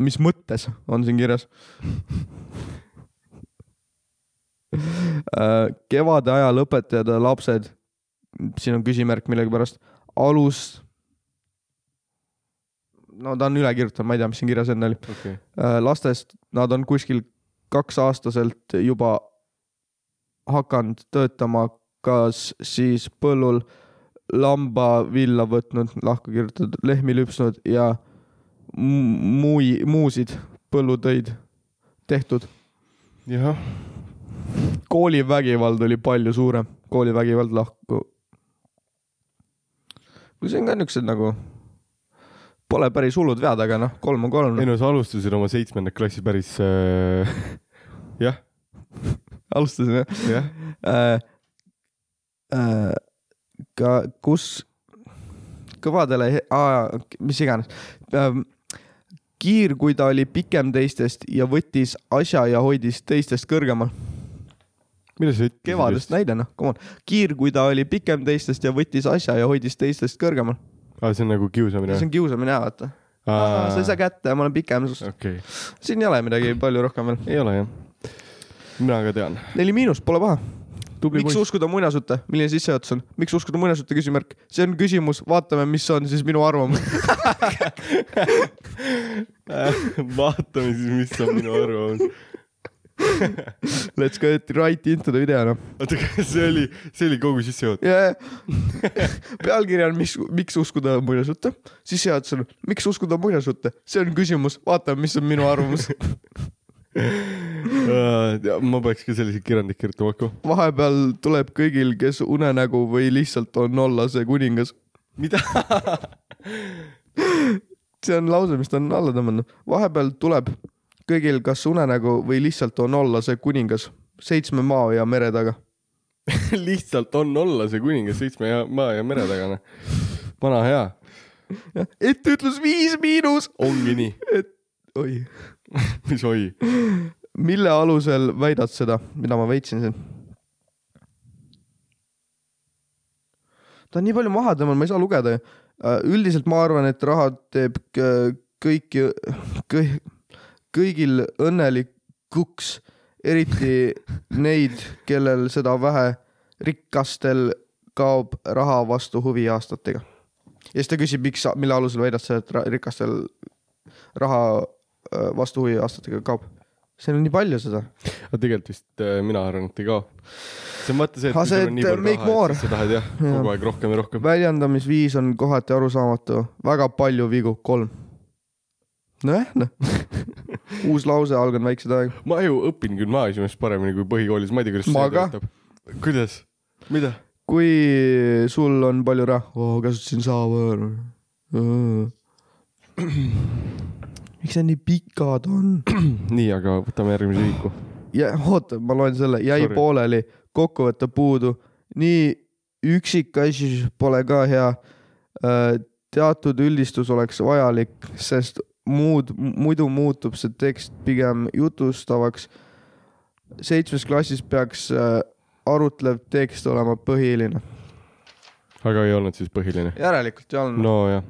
[SPEAKER 4] mis mõttes on siin kirjas ? Äh, kevade ajal õpetajad ja lapsed , siin on küsimärk millegipärast , alus . no ta on üle kirjutanud , ma ei tea , mis siin kirjas enne oli .
[SPEAKER 3] okei okay. ,
[SPEAKER 4] Äh, lastest nad on kuskil kaksa-aastaselt juba hakanud töötama , kas siis põllul lamba villa võtnud , lahku kirjutatud , lehmi lüpsnud ja mu- muui , muusid põllutöid tehtud .
[SPEAKER 3] jah ,
[SPEAKER 4] koolivägivald oli palju suurem , koolivägivald lahku . kui see on ka niisugused nagu , pole päris hullud vead , aga noh , kolm on kolm ,
[SPEAKER 3] ei no sa alustasid oma seitsmenda klassi päris äh... , <laughs> jah ,
[SPEAKER 4] alustasime .
[SPEAKER 3] jah ,
[SPEAKER 4] Äh, äh, ka , kus kõvadele , mis iganes ähm, . kiir , kui ta oli pikem teistest ja võttis asja ja hoidis teistest kõrgemal .
[SPEAKER 3] mida sa ütlesid ?
[SPEAKER 4] kevadest . näide noh , come on . kiir , kui ta oli pikem teistest ja võttis asja ja hoidis teistest kõrgemal .
[SPEAKER 3] aa , see on nagu kiusamine
[SPEAKER 4] see on kiusamine ja vaata . sa ei saa
[SPEAKER 3] või ?
[SPEAKER 4] kätte , ma olen pikem ,
[SPEAKER 3] okei ,
[SPEAKER 4] siin ei ole midagi palju rohkem veel .
[SPEAKER 3] ei ole jah . mina ka tean .
[SPEAKER 4] neli miinus , pole paha .
[SPEAKER 3] Tubli
[SPEAKER 4] miks
[SPEAKER 3] poiss.
[SPEAKER 4] uskuda muinasjutte , milline sissejuhatus on , miks uskuda muinasjutte , küsimärk , see on küsimus , vaatame , mis on siis minu arvamus . Äh.
[SPEAKER 3] <laughs> vaatame siis , mis on minu arvamus .
[SPEAKER 4] <laughs> Let's get right into the video noh
[SPEAKER 3] oota , kas see oli , see oli kogu sissejuhatus ?
[SPEAKER 4] yeah. . <laughs> pealkiri on , mis , miks uskuda muinasjutte , sissejuhatus on , miks uskuda muinasjutte , see on küsimus , vaatame , mis on minu <laughs> arvamus .
[SPEAKER 3] Äh, ma peaks ka selliseid kirjandeid kirjutama hakkama .
[SPEAKER 4] vahepeal tuleb kõigil , kes unenägu või lihtsalt on olla see kuningas .
[SPEAKER 3] mida ?
[SPEAKER 4] <laughs> see on lause , mis ta on alla tõmmanud . vahepeal tuleb kõigil , kas unenägu või lihtsalt on olla see kuningas seitsme maa ja mere taga .
[SPEAKER 3] <laughs>
[SPEAKER 4] <laughs>
[SPEAKER 3] lihtsalt on olla see kuningas seitsme ja maa ja mere tagane . vana hea .
[SPEAKER 4] etteütlus viis miinus .
[SPEAKER 3] ongi nii .
[SPEAKER 4] oi ,
[SPEAKER 3] mis oi ?
[SPEAKER 4] mille alusel väidad seda , mida ma veitsin siin ? ta on nii palju maha tõmmanud , ma ei saa lugeda ju . üldiselt ma arvan , et raha teeb kõ- <laughs> kõiki , kõik , kõigil õnnelikuks , eriti neid , kellel seda vähe , rikastel kaob raha vastu huvi aastatega . ja siis ta küsib , miks , mille alusel väidad sa , et ra- rikastel raha äh, vastu huvi aastatega kaob . seal on nii palju seda .
[SPEAKER 3] aga tegelikult vist äh, mina arvan , et ei kao . see on vaata see , et kui
[SPEAKER 4] Aga see,
[SPEAKER 3] sul on nii
[SPEAKER 4] et äh,
[SPEAKER 3] palju raha ,
[SPEAKER 4] make more.
[SPEAKER 3] et siis sa tahad jah , kogu aeg rohkem ja rohkem .
[SPEAKER 4] väljendamisviis on kohati arusaamatu , väga palju vigu , kolm . nojah , noh . uus lause , algan väikse tähega .
[SPEAKER 3] ma ju õpin gümnaasiumis paremini kui põhikoolis , ma ei tea , kuidas
[SPEAKER 4] Ma
[SPEAKER 3] see
[SPEAKER 4] ka.
[SPEAKER 3] töötab . kuidas ? mida ?
[SPEAKER 4] kui sul on palju raha oh, , kasutasin saava . miks see nii pikad on ?
[SPEAKER 3] nii , aga võtame järgmise ühiku .
[SPEAKER 4] ja oota , ma loen selle , jäi
[SPEAKER 3] Sorry.
[SPEAKER 4] Sorry. pooleli , kokkuvõte puudu , nii Äh, üksikasjus pole ka hea . teatud üldistus oleks vajalik , sest muud , muidu muutub see tekst pigem jutustavaks . seitsmes klassis peaks äh, arutlev tekst olema põhiline .
[SPEAKER 3] aga ei olnud siis põhiline .
[SPEAKER 4] järelikult ei olnud no, .
[SPEAKER 3] nojah .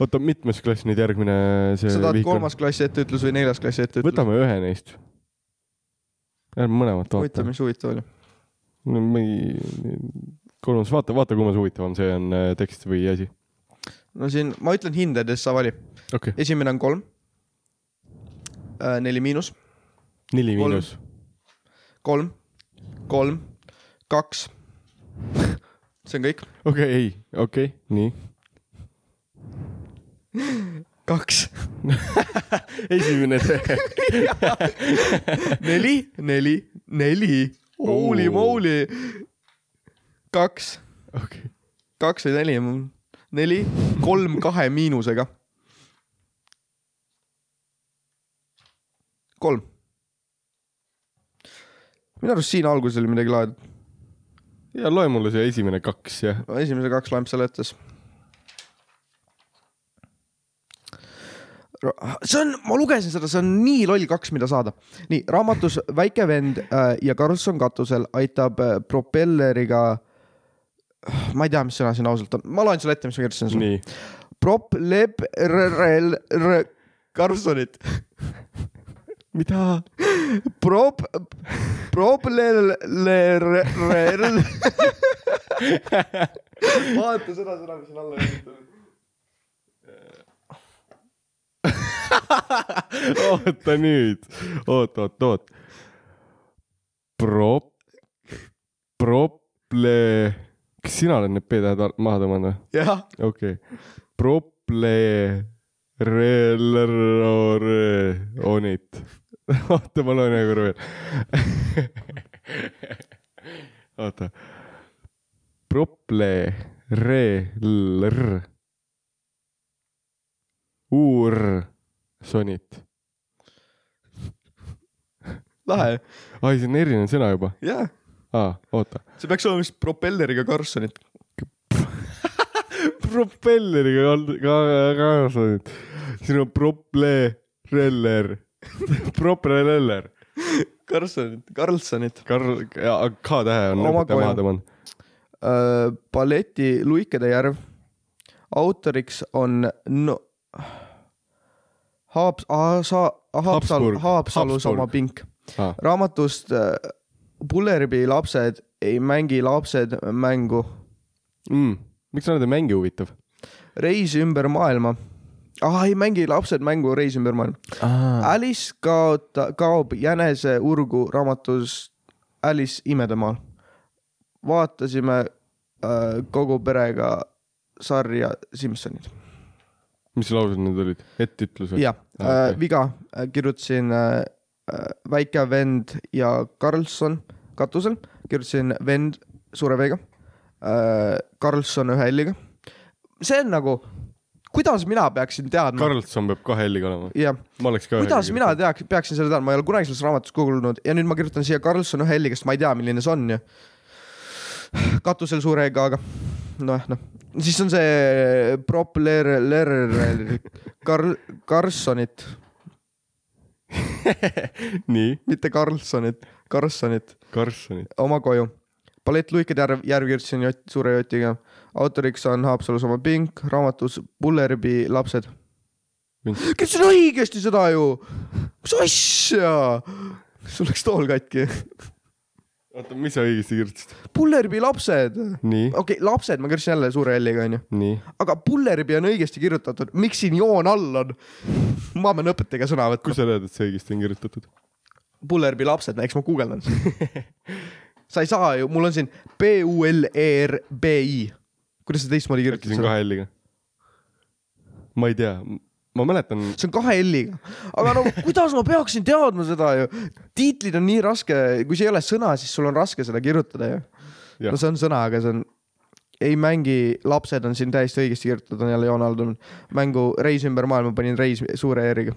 [SPEAKER 3] oota , mitmes klass nüüd järgmine see
[SPEAKER 4] sa tahad
[SPEAKER 3] vihik on ?
[SPEAKER 4] kolmas klassi etteütlus või neljas klassi etteütlus ?
[SPEAKER 3] võtame ühe neist . ärme mõlemat
[SPEAKER 4] huvitav ,
[SPEAKER 3] vaata .
[SPEAKER 4] mis huvitav oli .
[SPEAKER 3] no ma ei , kolmas , vaata , vaata , kummas huvitavam see on äh, tekst või asi .
[SPEAKER 4] no siin ma ütlen hinded ja siis sa vali .
[SPEAKER 3] okei okay. ,
[SPEAKER 4] esimene on kolm . neli miinus ,
[SPEAKER 3] neli
[SPEAKER 4] kolm.
[SPEAKER 3] miinus .
[SPEAKER 4] kolm , kolm , kaks . see on kõik .
[SPEAKER 3] okei okay, , ei , okei okay, , nii .
[SPEAKER 4] kaks ,
[SPEAKER 3] esimene see .
[SPEAKER 4] <laughs> neli , neli , neli . Holy
[SPEAKER 3] Oo.
[SPEAKER 4] moly . kaks
[SPEAKER 3] <laughs> okei ,
[SPEAKER 4] kaks või neli , neli , kolm kahe miinusega . kolm . minu arust siin alguses oli midagi lahedat ,
[SPEAKER 3] ja loe mulle see esimene kaks ja
[SPEAKER 4] esimese kaks lamp seletas . see on , ma lugesin seda , see on nii loll kaks , mida saada . nii raamatus Väike vend äh, ja Karlsson katusel aitab äh, propelleriga . ma ei tea , mis sõna siin ausalt on , ma loen sulle ette , mis ma kirjutasin sulle .
[SPEAKER 3] nii .
[SPEAKER 4] proplebrel <laughs> Karlssonit .
[SPEAKER 3] mida ?
[SPEAKER 4] prop , proplebrel . vaata seda sõna , mis siin alla kirjutatud .
[SPEAKER 3] oota nüüd , oot , oot , oot . Prop- , prople , kas sina oled need P-tähed al- maha tõmmanud või ?
[SPEAKER 4] jah ,
[SPEAKER 3] okei okay. , prople- , relrore- , on it . <laughs> oota , ma loen ühe korra veel . <laughs> oota . Prople- , relr- , uur , sonit .
[SPEAKER 4] lahe ,
[SPEAKER 3] ai , see on erinev sõna juba .
[SPEAKER 4] jah .
[SPEAKER 3] aa , oota .
[SPEAKER 4] see peaks olema vist propelleriga Karlssonit .
[SPEAKER 3] propelleriga kald- ka- ka- kaasa nüüd . siin on <laughs> proplereller , proplereller ,
[SPEAKER 4] Karlssonit , Karlssonit .
[SPEAKER 3] kar- , K-tähe on õpetaja
[SPEAKER 4] Oma koja.
[SPEAKER 3] maha tõmmanud .
[SPEAKER 4] balleti Äh, Luikede järv . autoriks on no... . Haab- , Haapsa- , Haapsalu ,
[SPEAKER 3] Habsburg.
[SPEAKER 4] Haapsalus
[SPEAKER 3] Habsburg.
[SPEAKER 4] oma pink .
[SPEAKER 3] Ah,
[SPEAKER 4] raamatust äh, Pullerbi lapsed ei mängi lapsed mängu .
[SPEAKER 3] mm. miks sa nende mängi huvitav
[SPEAKER 4] reis ümber maailma . ah , ei mängi lapsed mängu Reis ümber maailma .
[SPEAKER 3] ah. ?
[SPEAKER 4] Alice kaota- , kaob jänese urgu raamatus Alice imedemaal . vaatasime äh, kogu perega sarja Simsonid .
[SPEAKER 3] mis laused need olid , etteütlused ?
[SPEAKER 4] jah
[SPEAKER 3] Ah,
[SPEAKER 4] äh,
[SPEAKER 3] okei. ,
[SPEAKER 4] viga , kirjutasin äh, äh, väike vend ja Karlsson katusel , kirjutasin vend suure V-ga äh, , Karlsson ühe L-iga . see on nagu , kuidas mina peaksin teadma ,
[SPEAKER 3] Karlsson peab kahe L-iga olema ,
[SPEAKER 4] jah ,
[SPEAKER 3] ma oleks ka .
[SPEAKER 4] kuidas mina ? teaks , peaksin seda teadma , ma ei ole kunagi selles raamatus kuulnud ja nüüd ma kirjutan siia Karlsson ühe L-iga , sest ma ei tea , milline see on ju . katusel suure E-ga , aga nojah , noh , siis on see Propler , Ler- , Karl , Karlssonit
[SPEAKER 3] nii ,
[SPEAKER 4] mitte Karlssonit , Karlssonit ,
[SPEAKER 3] Karlssonit ,
[SPEAKER 4] oma koju . ballett Luikede järv , järv kirjutasin jott, suure jotiga . autoriks on Haapsalus oma pink , raamatus Pullerbi lapsed .
[SPEAKER 3] Vints.
[SPEAKER 4] kirjutasin õigesti seda ju , mis asja , sul läks tool katki .
[SPEAKER 3] oota , mis sa õigesti kirjutasid ?
[SPEAKER 4] Pullerbi lapsed ,
[SPEAKER 3] nii ,
[SPEAKER 4] okei okay, , lapsed , ma kirjutasin jälle suure L-iga onju ,
[SPEAKER 3] nii ,
[SPEAKER 4] aga Pullerbi on õigesti kirjutatud , miks siin joon all on ? ma pean õpetajaga sõna võtma .
[SPEAKER 3] kust sa tead , et see õigesti on kirjutatud ?
[SPEAKER 4] Pullerbi lapsed , eks ma guugeldan . sa ei saa ju , mul on siin B U L E R B I . kuidas sa teistmoodi
[SPEAKER 3] äkki see on
[SPEAKER 4] kirjutad seda ?
[SPEAKER 3] kahe L-iga ? ma ei tea , ma mäletan
[SPEAKER 4] see on kahe L-iga , aga no kuidas ma peaksin teadma seda ju , tiitlid on nii raske , kui see ei ole sõna , siis sul on raske seda kirjutada ju .
[SPEAKER 3] Jah.
[SPEAKER 4] no see on sõna , aga see on , ei mängi , lapsed on siin täiesti õigesti kirjutatud , on jälle joon all tulnud . mängu Reis ümber maailma panin Reis suure R-iga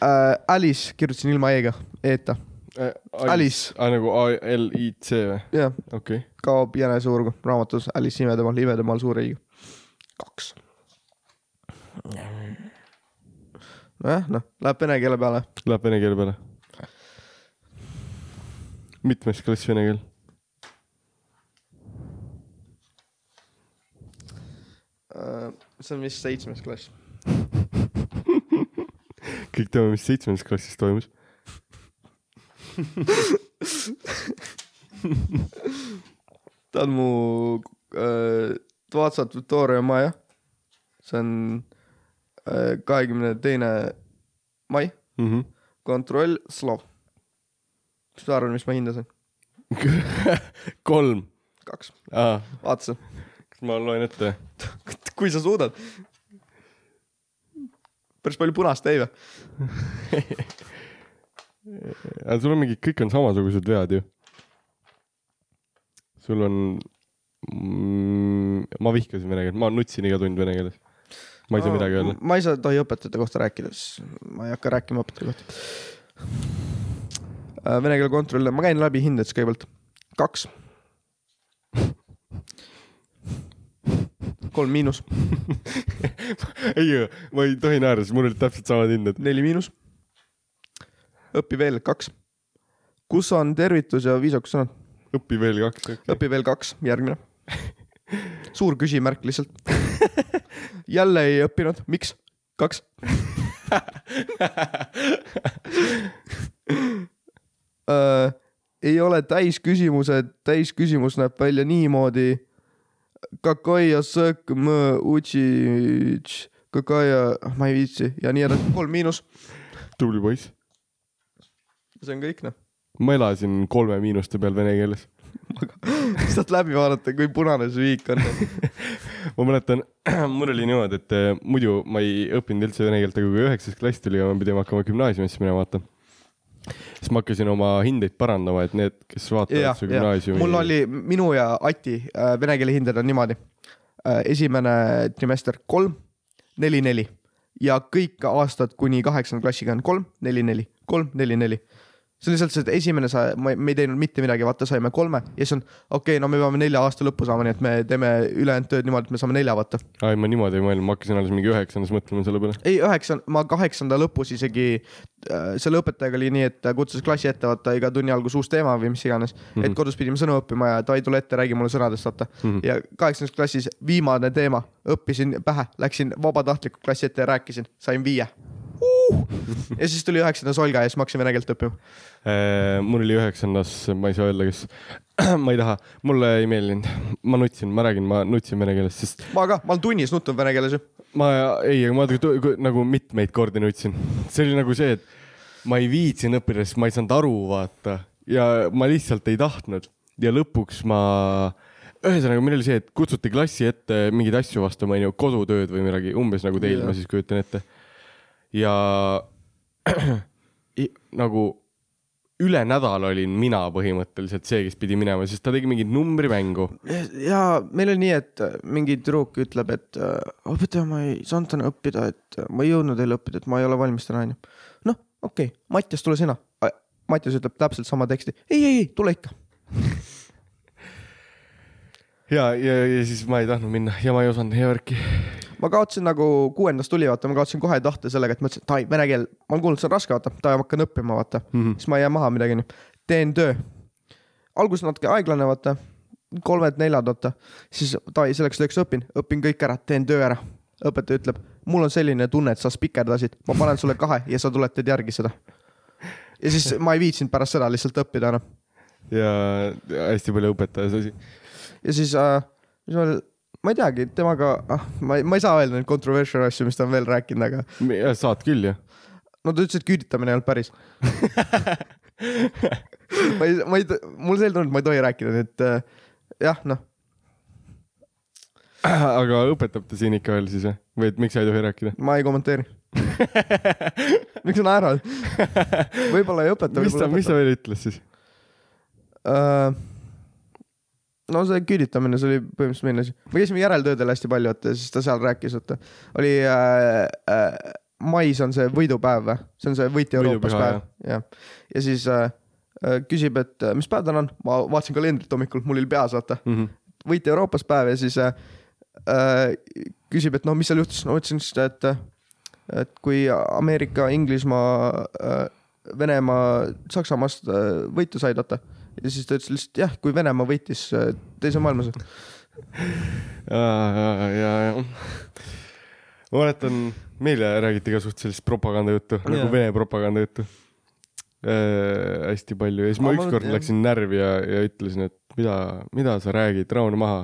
[SPEAKER 4] äh, . Alice kirjutasin ilma E-ga , E-ta ,
[SPEAKER 3] äh, .
[SPEAKER 4] Alice.
[SPEAKER 3] ah, . nagu A L I C või ?
[SPEAKER 4] jah
[SPEAKER 3] okei okay. ,
[SPEAKER 4] kaob jäneseurgu raamatus Alice imedemaal , imedemaal suure i . kaks . jah , noh , läheb vene keele peale .
[SPEAKER 3] Läheb vene keele peale . mitmes klass vene keel ?
[SPEAKER 4] Äh, see on vist seitsmes klass .
[SPEAKER 3] kõik teame , mis seitsmendas klassis toimus .
[SPEAKER 4] ta on mu äh, Vatsat Victoria maja . see on kahekümne äh, teine mai ,
[SPEAKER 3] Mm
[SPEAKER 4] kontroll , slov . mis sa arvad , mis ma hindasin ?
[SPEAKER 3] -hmm. <laughs> kolm
[SPEAKER 4] kaks ,
[SPEAKER 3] ah, .
[SPEAKER 4] vaatasin . <laughs>
[SPEAKER 3] kas ma loen ette ?
[SPEAKER 4] kui sa suudad . päris palju punast jäi või ?
[SPEAKER 3] aga sul on mingi , kõik on samasugused vead ju . sul on mm, , ma vihkasin vene keelt , ma nutsin iga tund vene keeles . ma ei saa midagi öelda ..
[SPEAKER 4] ma ei saa , tohi õpetajate kohta rääkida , siis ma ei hakka rääkima õpetajate kohta . Vene keele kontroll , ma käin läbi hinded siis kõigepealt . kaks . kolm miinus ,
[SPEAKER 3] <laughs> ei , ma ei tohi naerda , sest mul olid täpselt samad hinded .
[SPEAKER 4] neli miinus . õpi veel kaks . kus on tervitus ja viisakus sõnad ?
[SPEAKER 3] õpi veel kaks okay. .
[SPEAKER 4] õpi veel kaks , järgmine . suur küsimärk lihtsalt . jälle ei õppinud , miks ? kaks . Äh, ei ole täisküsimused , täisküsimus näeb välja niimoodi . Kakaia sõk m utsi , kakaia , ah, ma ei viitsi ja nii edasi , kolm miinus .
[SPEAKER 3] tubli poiss .
[SPEAKER 4] see on kõik noh ,
[SPEAKER 3] ma elasin kolme miinuste peal vene keeles .
[SPEAKER 4] saad läbi vaadata , kui punane see viik on . noh.
[SPEAKER 3] ma mäletan , <clears throat> mul oli niimoodi , et äh, muidu ma ei õppinud üldse vene keelt , aga kui üheksas klass tuli ja me pidime hakkama gümnaasiumisse minema vaata , siis ma hakkasin oma hindeid parandama , et need , kes
[SPEAKER 4] jah
[SPEAKER 3] vaatavad , su
[SPEAKER 4] jah ,
[SPEAKER 3] gümnaasiumi .
[SPEAKER 4] mul oli minu ja Ati äh, vene keele hinded on niimoodi . esimene trimester kolm , neli , neli ja kõik aastad kuni kaheksanda klassiga on kolm , neli , neli , kolm , neli , neli . see on lihtsalt see , et esimene sa , me ei teinud mitte midagi , vaata , saime kolme ja siis on okei okay, , no me peame nelja aasta lõppu saama , nii et me teeme ülejäänud tööd niimoodi , et me saame nelja , vaata .
[SPEAKER 3] ai , ma niimoodi ei mõelnud , ma hakkasin alles mingi üheksandas mõtlema selle peale .
[SPEAKER 4] ei , üheksa , ma kaheksanda lõpus isegi äh, selle õpetajaga oli nii , et ta kutsus klassi ette , vaata iga tunni alguses uus teema või mis iganes mm , -hmm. et kodus pidime sõnu õppima ja davai , tule ette , räägi mulle sõnadest , vaata mm . -hmm. ja kaheksandas klassis viimane teema , õppisin pähe , läksin vabatahtlikult klassi ette ja rääkisin , sain viie uh! . ja siis tuli üheksandas Olga ja siis ma hakkasin vene keelt õppima .
[SPEAKER 3] Eh, mul oli üheksandas , ma ei saa öelda , kes , <clears throat> ma ei taha , mulle ei meeldinud , ma nutsin , ma räägin , ma nutsin vene keeles , sest
[SPEAKER 4] ma ka , ma olen tunnis nutnud vene keeles ju .
[SPEAKER 3] ma ei , aga ma tu- ku- nagu mitmeid kordi nutsin , see oli nagu see , et ma ei viitsinud õppida , sest ma ei saanud aru , vaata ja ma lihtsalt ei tahtnud ja lõpuks ma , ühesõnaga , meil oli see , et kutsuti klassi ette mingeid asju vastama , onju , kodutööd või midagi umbes nagu teil , ma
[SPEAKER 4] Jah.
[SPEAKER 3] siis kujutan ette . ja <clears throat> i- nagu üle nädala olin mina põhimõtteliselt see , kes pidi minema , sest ta tegi mingit numbrimängu
[SPEAKER 4] ja meil oli nii , et äh, mingi tüdruk ütleb , et äh, õpetaja , ma ei saanud täna õppida , et äh, ma ei jõudnud eile õppida , et ma ei ole valmis täna , onju . noh , okei okay. , Mattias , tule sina . Mattias ütleb täpselt sama teksti . ei , ei , ei , tule ikka .
[SPEAKER 3] ja , ja , ja siis ma ei tahtnud minna ja ma ei osanud ja värki
[SPEAKER 4] ma kaotasin nagu kuuendast tuli , vaata , ma kaotasin kohe tahte sellega , et mõtlesin , et ai , vene keel , ma olen kuulnud , see on raske , vaata , davai , ma hakkan õppima , vaata mm . -hmm. siis ma ei jää maha midagi , onju . teen töö . alguses natuke aeglane , vaata . kolmed-neljad , vaata . siis davai , selleks tööks õpin , õpin kõik ära , teen töö ära . õpetaja ütleb , mul on selline tunne , et sa spikerdasid , ma panen sulle kahe ja sa tuled , teed järgi seda . ja siis ma ei viitsinud pärast seda lihtsalt õppida noh. enam .
[SPEAKER 3] ja hästi palju õpetaja sasi .
[SPEAKER 4] ja siis äh, , mis ma veel , ma ei teagi , temaga , ah , ma ei , ma ei saa öelda neid controversial asju , mis ta on veel rääkinud , aga
[SPEAKER 3] äh, saad küll ju .
[SPEAKER 4] no ta ütles , et küüditamine ei olnud päris . ma ei , ma ei , mul see tunne , et ma ei tohi rääkida , nii et äh, jah , noh ,
[SPEAKER 3] <clears throat> aga õpetab ta siin ikka veel siis või ? või et miks sa ei tohi rääkida ?
[SPEAKER 4] ma ei kommenteeri . miks sa naerad ? võib-olla ei õpeta ,
[SPEAKER 3] mis ta ,
[SPEAKER 4] võib-olla
[SPEAKER 3] mis ta veel ütles siis ?
[SPEAKER 4] õpeta . Äh, no see küüditamine , see oli põhimõtteliselt meie asi . me käisime järeltöödel hästi palju , et siis ta seal rääkis , et oli äh, äh, mais on see võidupäev või , see on see võitja Euroopas
[SPEAKER 3] Võidupüha,
[SPEAKER 4] päev , jah . ja siis äh, äh, küsib , et äh, mis päev täna on , ma vaatasin kalendrit hommikul , mul oli peas , vaata võit Euroopas päev ja siis äh, äh, küsib , et no mis seal juhtus , no ütlesin siis , et äh, et kui Ameerika , Inglismaa , Venemaa , Saksamaast äh, võitu said , vaata . ja siis ta ütles lihtsalt jah , kui Venemaa võitis äh, teise maailmasõja .
[SPEAKER 3] ja , ja , ja . ma mäletan , meile räägiti ka suht sellist propagandajuttu , nagu
[SPEAKER 4] Jaa.
[SPEAKER 3] Vene propagandajuttu äh, . hästi palju ja siis ma
[SPEAKER 4] Aga ma-
[SPEAKER 3] ükskord
[SPEAKER 4] jah.
[SPEAKER 3] läksin närvi ja , ja ütlesin , et mida , mida sa räägid , rahune maha .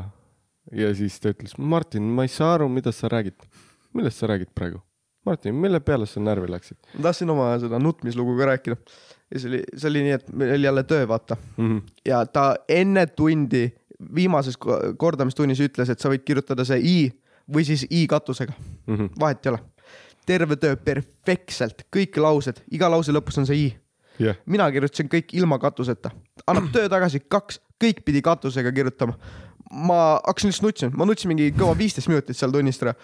[SPEAKER 3] ja siis ta ütles , Martin , ma ei saa aru , mida sa räägid . millest sa räägid praegu ? Martin , mille peale sa närvi läksid
[SPEAKER 4] ma tahtsin oma seda nutmislugu ka rääkida . ja see oli , see oli nii , et meil oli jälle töö , vaata .
[SPEAKER 3] mm ? -hmm.
[SPEAKER 4] ja ta enne tundi , viimases ko- kordamistunnis ütles , et sa võid kirjutada see i või siis i katusega
[SPEAKER 3] Mm -hmm.
[SPEAKER 4] vahet ei ole . terve töö perfektselt , kõik laused , iga lause lõpus on see i .
[SPEAKER 3] jah ,
[SPEAKER 4] mina kirjutasin kõik ilma katuseta , annab töö tagasi kaks , kõik pidi katusega kirjutama . ma hakkasin lihtsalt nutsima , ma nutsin mingi kõva viisteist minutit seal tunnis ära .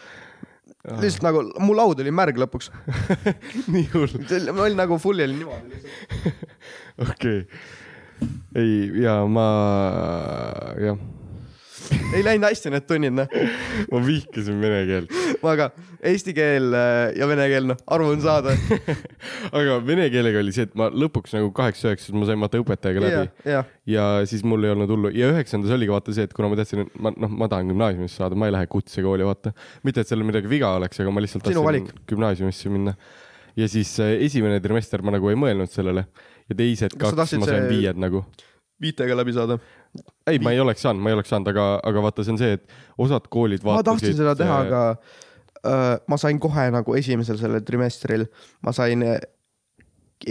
[SPEAKER 4] lihtsalt nagu mu laud oli märg lõpuks ,
[SPEAKER 3] <laughs> <laughs> nii hull .
[SPEAKER 4] ma olin nagu full oli niimoodi .
[SPEAKER 3] okei okay. . ei , ja ma , jah ,
[SPEAKER 4] ei läinud hästi need tunnid noh ,
[SPEAKER 3] ma vihkasin vene keelt , <laughs>
[SPEAKER 4] aga eesti keel äh, ja vene keel noh , aru on
[SPEAKER 3] <laughs>
[SPEAKER 4] saada .
[SPEAKER 3] aga vene keelega oli see , et ma lõpuks nagu kaheksa-üheksas ma sain vaata õpetajaga läbi
[SPEAKER 4] jah
[SPEAKER 3] yeah. ,
[SPEAKER 4] jah ,
[SPEAKER 3] ja siis mul ei olnud hullu ja üheksandas oligi vaata see , et kuna ma tahtsin , ma noh , ma tahan gümnaasiumisse saada , ma ei lähe kutsekooli , vaata . mitte , et seal midagi viga oleks , aga ma lihtsalt
[SPEAKER 4] Sinu
[SPEAKER 3] tahtsin
[SPEAKER 4] valik.
[SPEAKER 3] gümnaasiumisse minna . ja siis äh, esimene trimester ma nagu ei mõelnud sellele ja teised
[SPEAKER 4] Kas
[SPEAKER 3] kaks
[SPEAKER 4] sa tahtsid
[SPEAKER 3] ma sain
[SPEAKER 4] see-
[SPEAKER 3] viied nagu
[SPEAKER 4] viitega läbi saada .
[SPEAKER 3] ei , ma ei oleks saanud , ma ei oleks saanud , aga , aga vaata , see on see , et osad koolid
[SPEAKER 4] ma
[SPEAKER 3] vaatasid .
[SPEAKER 4] tahtsin seda teha ,
[SPEAKER 3] äh,
[SPEAKER 4] aga öö, ma sain kohe nagu esimesel sellel trimestril , ma sain äh,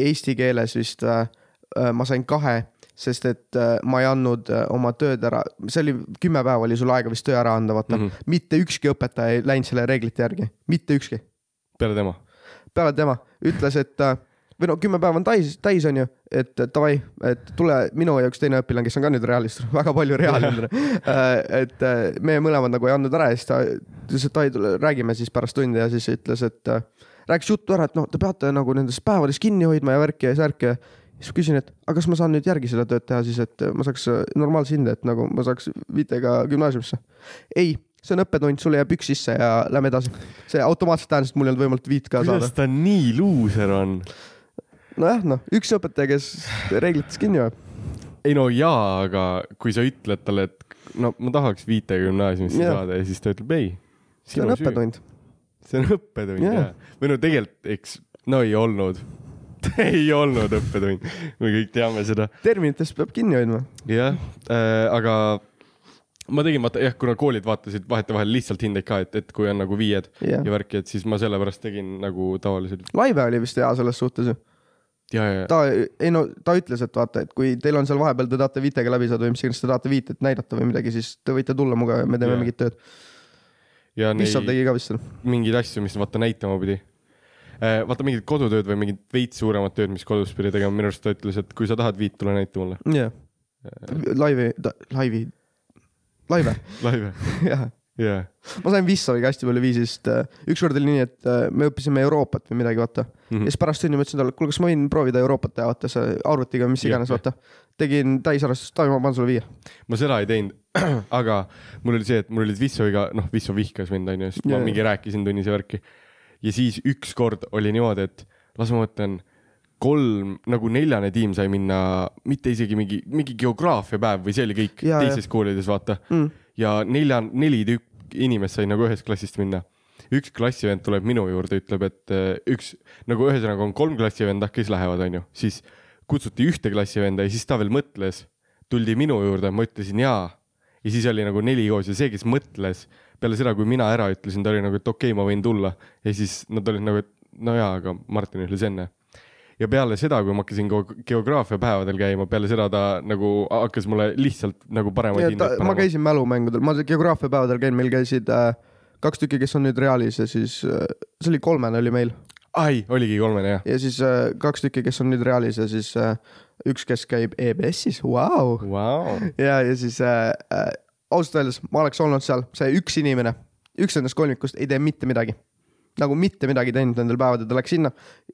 [SPEAKER 4] eesti keeles vist , ma sain kahe , sest et äh, ma ei andnud äh, oma tööd ära , see oli kümme päeva oli sul aega vist töö ära anda , vaata mm .
[SPEAKER 3] Mhm.
[SPEAKER 4] -hmm. mitte ükski õpetaja ei läinud selle reeglite järgi , mitte ükski ,
[SPEAKER 3] peale tema .
[SPEAKER 4] peale tema ütles , et äh, või no kümme päeva on täis , täis on ju , et äh, davai , et tule minu ja üks teine õpilane , kes on ka nüüd realist , <laughs> väga palju realist , et äh, me mõlemad nagu ei andnud ära ja siis ta ütles , et davai , tule räägime siis pärast tundi ja siis ütles , et äh, rääkis juttu ära , et noh , te peate nagu nendes päevades kinni hoidma ja värki ja särki ja siis ma küsin , et aga kas ma saan nüüd järgi seda tööd teha siis , et ma saaks äh, normaalse hinde , et nagu ma saaks viitega gümnaasiumisse . ei , see on õppetund , sulle jääb üks sisse ja lähme edasi . see automaatselt tähendas , et mul ei olnud võimalik viit ka saada
[SPEAKER 3] kuidas . ta nii luuser on ?
[SPEAKER 4] nojah , noh , üks õpetaja , kes reeglitest kinni hoiab .
[SPEAKER 3] ei no jaa , aga kui sa ütled talle , et no ma tahaks viite gümnaasiumisse
[SPEAKER 4] Jah.
[SPEAKER 3] saada ja siis ta ütleb ei .
[SPEAKER 4] see on . õppetund .
[SPEAKER 3] see on õppetund
[SPEAKER 4] Jah.
[SPEAKER 3] jaa . või no tegelikult , eks , no ei olnud . <laughs> ei olnud õppetund , me kõik teame seda .
[SPEAKER 4] terminitest peab kinni hoidma .
[SPEAKER 3] jah äh, , aga ma tegin vaata jah , kuna koolid vaatasid vahetevahel lihtsalt hindeid ka , et , et kui on nagu viied
[SPEAKER 4] Jah.
[SPEAKER 3] ja värki , et siis ma sellepärast tegin nagu tavaliselt
[SPEAKER 4] Laive oli vist hea selles suhtes ju .
[SPEAKER 3] ja , ja , ja ,
[SPEAKER 4] ta , ei no ta ütles , et vaata , et kui teil on seal vahepeal , te tahate viitega läbi saada või mis iganes te tahate viitet näidata või midagi , siis te võite tulla muga ja me teeme
[SPEAKER 3] Jah.
[SPEAKER 4] mingit tööd .
[SPEAKER 3] ja
[SPEAKER 4] Vissal
[SPEAKER 3] neid
[SPEAKER 4] tegi ka vist seda .
[SPEAKER 3] mingeid asju , mis vaata näitama pidi . vaata mingit kodutööd või mingit veits suuremat tööd , mis kodus pidi tegema , minu arust ta ütles , et kui sa tahad viit , tule näita mulle
[SPEAKER 4] jah . Laivi , laivi , laive , <laughs>
[SPEAKER 3] laive .
[SPEAKER 4] jah
[SPEAKER 3] jaa ,
[SPEAKER 4] ma sain Vissaviga hästi palju viisist , ükskord oli nii , et äh, me õppisime Euroopat või midagi , vaata mm . -hmm.
[SPEAKER 3] Mhm.
[SPEAKER 4] ja siis pärast tundi ma ütlesin talle , et kuule , kas ma võin proovida Euroopat teha , vaata see arvutiga või mis
[SPEAKER 3] Jah,
[SPEAKER 4] iganes ,
[SPEAKER 3] jah.
[SPEAKER 4] vaata . tegin täisarvestust , Taavi , ma panen sulle viie .
[SPEAKER 3] ma seda ei teinud , <clears throat> aga mul oli see , et mul olid Vissoviga , noh , Visso vihkas mind , onju , sest ma
[SPEAKER 4] Jaa.
[SPEAKER 3] mingi rääkisin tunnis ja värki . ja siis ükskord oli niimoodi , et las ma mõtlen , kolm , nagu neljane tiim sai minna , mitte isegi mingi , mingi geograafiapäev või see oli kõik
[SPEAKER 4] Jaa,
[SPEAKER 3] ja,
[SPEAKER 4] jaa.
[SPEAKER 3] teistes koolides , vaata
[SPEAKER 4] Mm.
[SPEAKER 3] ja nelja , neli tükk inimest sai nagu ühest klassist minna . üks klassivend tuleb minu juurde , ütleb , et äh, üks nagu ühesõnaga on kolm klassivenda , kes lähevad , onju , siis kutsuti ühte klassivenda ja siis ta veel mõtles , tuldi minu juurde , ma ütlesin jaa ja siis oli nagu neli koos ja see , kes mõtles peale seda , kui mina ära ütlesin , ta oli nagu , et okei okay, , ma võin tulla ja siis nad olid nagu , et no jaa , aga Martin ütles enne ja peale seda , kui ma hakkasin geo- geograafiapäevadel käima , peale seda ta nagu hakkas mulle lihtsalt nagu paremaid hindeid
[SPEAKER 4] ma käisin mälumängudel , ma geograafiapäevadel käin , meil käisid äh, kaks tükki , kes on nüüd Realis ja siis , see oli kolmene oli meil
[SPEAKER 3] ai , oligi kolmene jah
[SPEAKER 4] ja siis äh, kaks tükki , kes on nüüd Realis ja siis äh, üks , kes käib EBS-is , vau .
[SPEAKER 3] wow. .
[SPEAKER 4] ja , ja siis äh, äh, ausalt öeldes ma oleks olnud seal , see üks inimene , üks nendest kolmikust ei tee mitte midagi . nagu mitte midagi ei teinud nendel päevadel , ta läks sinna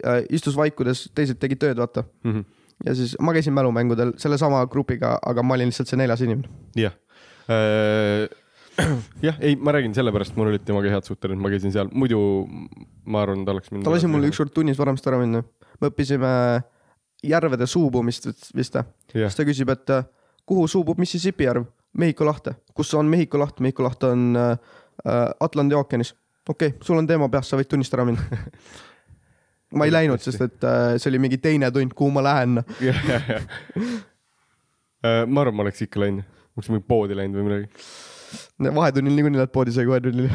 [SPEAKER 4] äh, , istus vaikudes , teised tegid tööd , vaata .
[SPEAKER 3] Mhm.
[SPEAKER 4] ja siis ma käisin mälumängudel sellesama grupiga , aga ma olin lihtsalt see neljas inimene .
[SPEAKER 3] jah , Äh, <clears throat> jah , ei , ma räägin sellepärast , mul olid temaga head suhted , ma käisin seal , muidu ma arvan , ta oleks mind .
[SPEAKER 4] ta lasi mul ükskord tunnis varamist ära minna . me õppisime järvede suubumist vist- vist või ?
[SPEAKER 3] jah
[SPEAKER 4] siis , ta küsib , et äh, kuhu suubub Mississippi järv ? Mehhiko lahte . kus on Mehhiko laht ? Mehhiko laht on äh, äh, Atlandi ookeanis . okei okay, , sul on teema peas , sa võid tunnist ära minna . ma ei läinud , sest et äh, see oli mingi teine tund , kuhu ma lähen .
[SPEAKER 3] <laughs> jah , jah , jah . ma arvan , ma oleks ikka läinud , oleks mingi poodi läinud või midagi .
[SPEAKER 4] vahetunnil niikuinii lähed poodi , sa ei kohe tunnil .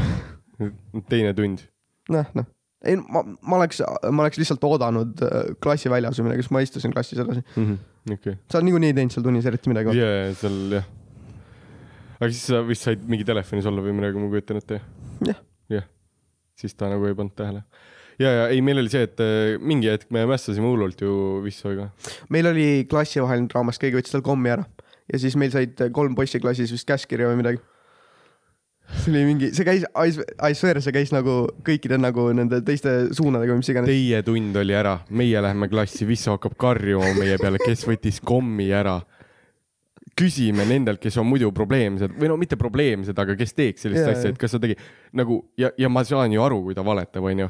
[SPEAKER 4] <laughs>
[SPEAKER 3] teine tund .
[SPEAKER 4] noh , noh . ei , ma , ma oleks , ma oleks lihtsalt oodanud äh, klassi väljas või midagi , siis ma istusin klassis edasi .
[SPEAKER 3] okei .
[SPEAKER 4] sa niikuinii ei teinud seal tunnis eriti midagi .
[SPEAKER 3] ja , ja seal jah . aga siis sa vist said mingi telefonis olla või midagi , ma kujutan ette .
[SPEAKER 4] Jah. .
[SPEAKER 3] jah , siis ta nagu ei pannud tähele . ja , ja ei , meil oli see , et äh, mingi hetk me mässasime hullult ju Vissoiga .
[SPEAKER 4] meil oli klassivaheline draamas , keegi võttis tal kommi ära ja siis meil said kolm poissi klassis vist käskkirja või midagi . see oli mingi , see käis , I swear , see käis nagu kõikide nagu nende teiste suunadega või mis iganes .
[SPEAKER 3] Teie tund oli ära , meie läheme klassi , Visso hakkab karjuma meie peale , kes võttis kommi ära . küsime nendelt , kes on muidu probleemsed või no mitte probleemsed , aga kes teeks sellist
[SPEAKER 4] Jaa,
[SPEAKER 3] asja , et
[SPEAKER 4] jaa.
[SPEAKER 3] kas sa tegi nagu ja , ja ma saan ju aru , kui ta valetab , onju .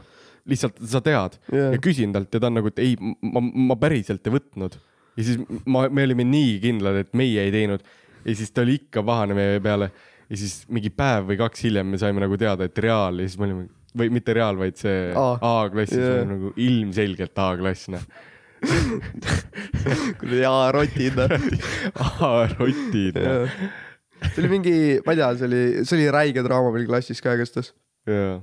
[SPEAKER 3] lihtsalt sa tead
[SPEAKER 4] Jaa.
[SPEAKER 3] ja küsin talt ja ta on nagu , et ei , ma , ma päriselt ei võtnud . ja siis ma , me olime nii kindlad , et meie ei teinud ja siis ta oli ikka pahane meie peale ja siis mingi päev või kaks hiljem me saime nagu teada , et reaal ja siis me olime või mitte reaal , vaid see
[SPEAKER 4] Aa.
[SPEAKER 3] A-klassis
[SPEAKER 4] Jaa.
[SPEAKER 3] yeah. nagu ilmselgelt A-klass , noh .
[SPEAKER 4] jaa , rotid .
[SPEAKER 3] <laughs> A-rotid , noh .
[SPEAKER 4] see oli mingi , ma ei tea , see oli , see oli räige draama meil klassis ka igastahes .
[SPEAKER 3] jaa .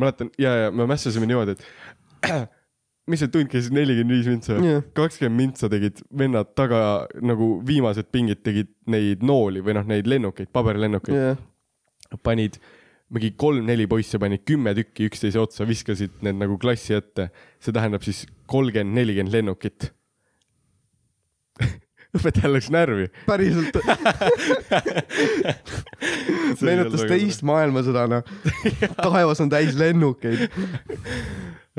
[SPEAKER 3] mäletan , ja , ja me mässasime niimoodi , et <clears throat> mis see tund käis , nelikümmend viis mintsa
[SPEAKER 4] Jaa.
[SPEAKER 3] või ? kakskümmend mintsa tegid vennad taga nagu viimased pingid tegid neid nooli või noh , neid lennukeid , paberlennukeid
[SPEAKER 4] jah ,
[SPEAKER 3] yeah. . panid mingi kolm-neli poisse panid kümme tükki üksteise otsa , viskasid need nagu klassi ette . see tähendab siis kolmkümmend , nelikümmend lennukit . õpetaja läks närvi . <laughs>
[SPEAKER 4] päriselt . meenutas teist maailmasõda ,
[SPEAKER 3] <laughs>
[SPEAKER 4] noh . taevas on täis lennukeid .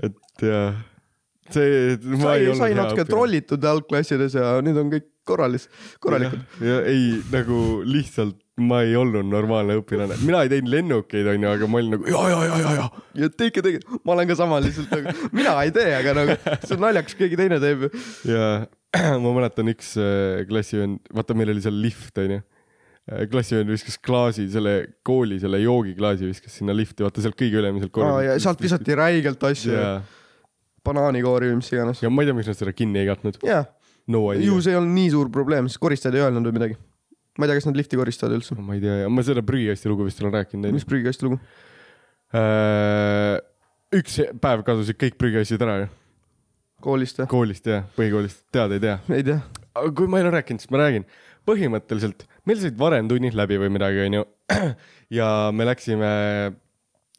[SPEAKER 3] et jaa , see , ma
[SPEAKER 4] sai
[SPEAKER 3] ei , olnud
[SPEAKER 4] sai natuke . trollitud algklassides ja nüüd on kõik korralis , korralikud ..
[SPEAKER 3] ja ei , nagu lihtsalt ma ei olnud normaalne õpilane , mina ei teinud lennukeid , onju , aga ma olin nagu ja , ja , ja , ja , ja .
[SPEAKER 4] ja tehke , tehke , ma olen ka sama lihtsalt nagu , mina ei tee , aga nagu see on naljakas , keegi teine teeb ju .
[SPEAKER 3] ja <clears throat> ma mäletan üks äh, klassivend , vaata , meil oli seal lift , onju . klassivend viskas klaasi , selle kooli selle joogiklaasi viskas sinna lifti , vaata sealt kõige ülemisel
[SPEAKER 4] aa
[SPEAKER 3] korrusel
[SPEAKER 4] ja sealt visati räigelt asju
[SPEAKER 3] ja,
[SPEAKER 4] yeah. , banaanikoori või mis iganes .
[SPEAKER 3] ja ma ei tea , miks nad seda kinni ei katnud .
[SPEAKER 4] jaa ,
[SPEAKER 3] no
[SPEAKER 4] ju
[SPEAKER 3] idea .
[SPEAKER 4] see ei olnud nii suur probleem , sest koristajad ei öelnud või midagi . ma ei tea , kas nad lifti koristavad üldse .
[SPEAKER 3] ma ei tea , ma seda prügikasti lugu vist olen rääkinud , onju
[SPEAKER 4] mis . prügikasti lugu ?
[SPEAKER 3] Äh, üks päev kadusid kõik prügiasjad ära ju ,
[SPEAKER 4] koolist või ?
[SPEAKER 3] koolist ja põhikoolist , tead ei tea .
[SPEAKER 4] ei tea .
[SPEAKER 3] aga kui ma ei ole rääkinud , siis ma räägin . põhimõtteliselt meil said varem tunnid läbi või midagi , onju . <clears throat> ja me läksime ,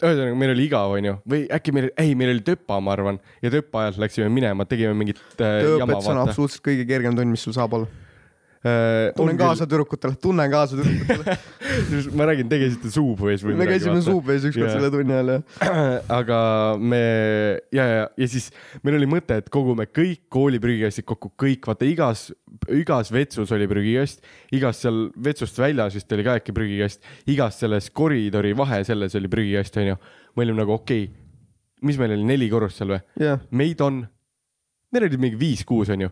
[SPEAKER 3] ühesõnaga meil oli igav , onju , või äkki meil , ei , meil oli töpa , ma arvan , ja töpa ajalt läksime minema , tegime mingit äh, jama ,
[SPEAKER 4] tööõpetus on
[SPEAKER 3] vaata . Äh,
[SPEAKER 4] absoluutselt kõige kergem tund , mis sul saab olla . tunnen
[SPEAKER 3] tunnen
[SPEAKER 4] kaasa tüdrukutele , tunnen kaasa tüdrukutele .
[SPEAKER 3] <laughs> ma räägin , te käisite Suubuees <laughs> või
[SPEAKER 4] me käisime
[SPEAKER 3] vaata.
[SPEAKER 4] suupees ükskord
[SPEAKER 3] Jaa.
[SPEAKER 4] selle tunni ajal ja
[SPEAKER 3] <clears throat> aga me ja , ja , ja siis meil oli mõte , et kogume kõik kooli prügikastid kokku , kõik , vaata igas , igas vetsus oli prügikast , igas seal vetsust väljas vist oli ka äkki prügikast , igas selles koridori vahe selles oli prügikast , onju . me olime nagu okei okay, , mis meil oli neli korrust seal või ?
[SPEAKER 4] jah ,
[SPEAKER 3] meid on , meil oli mingi viis-kuus , onju .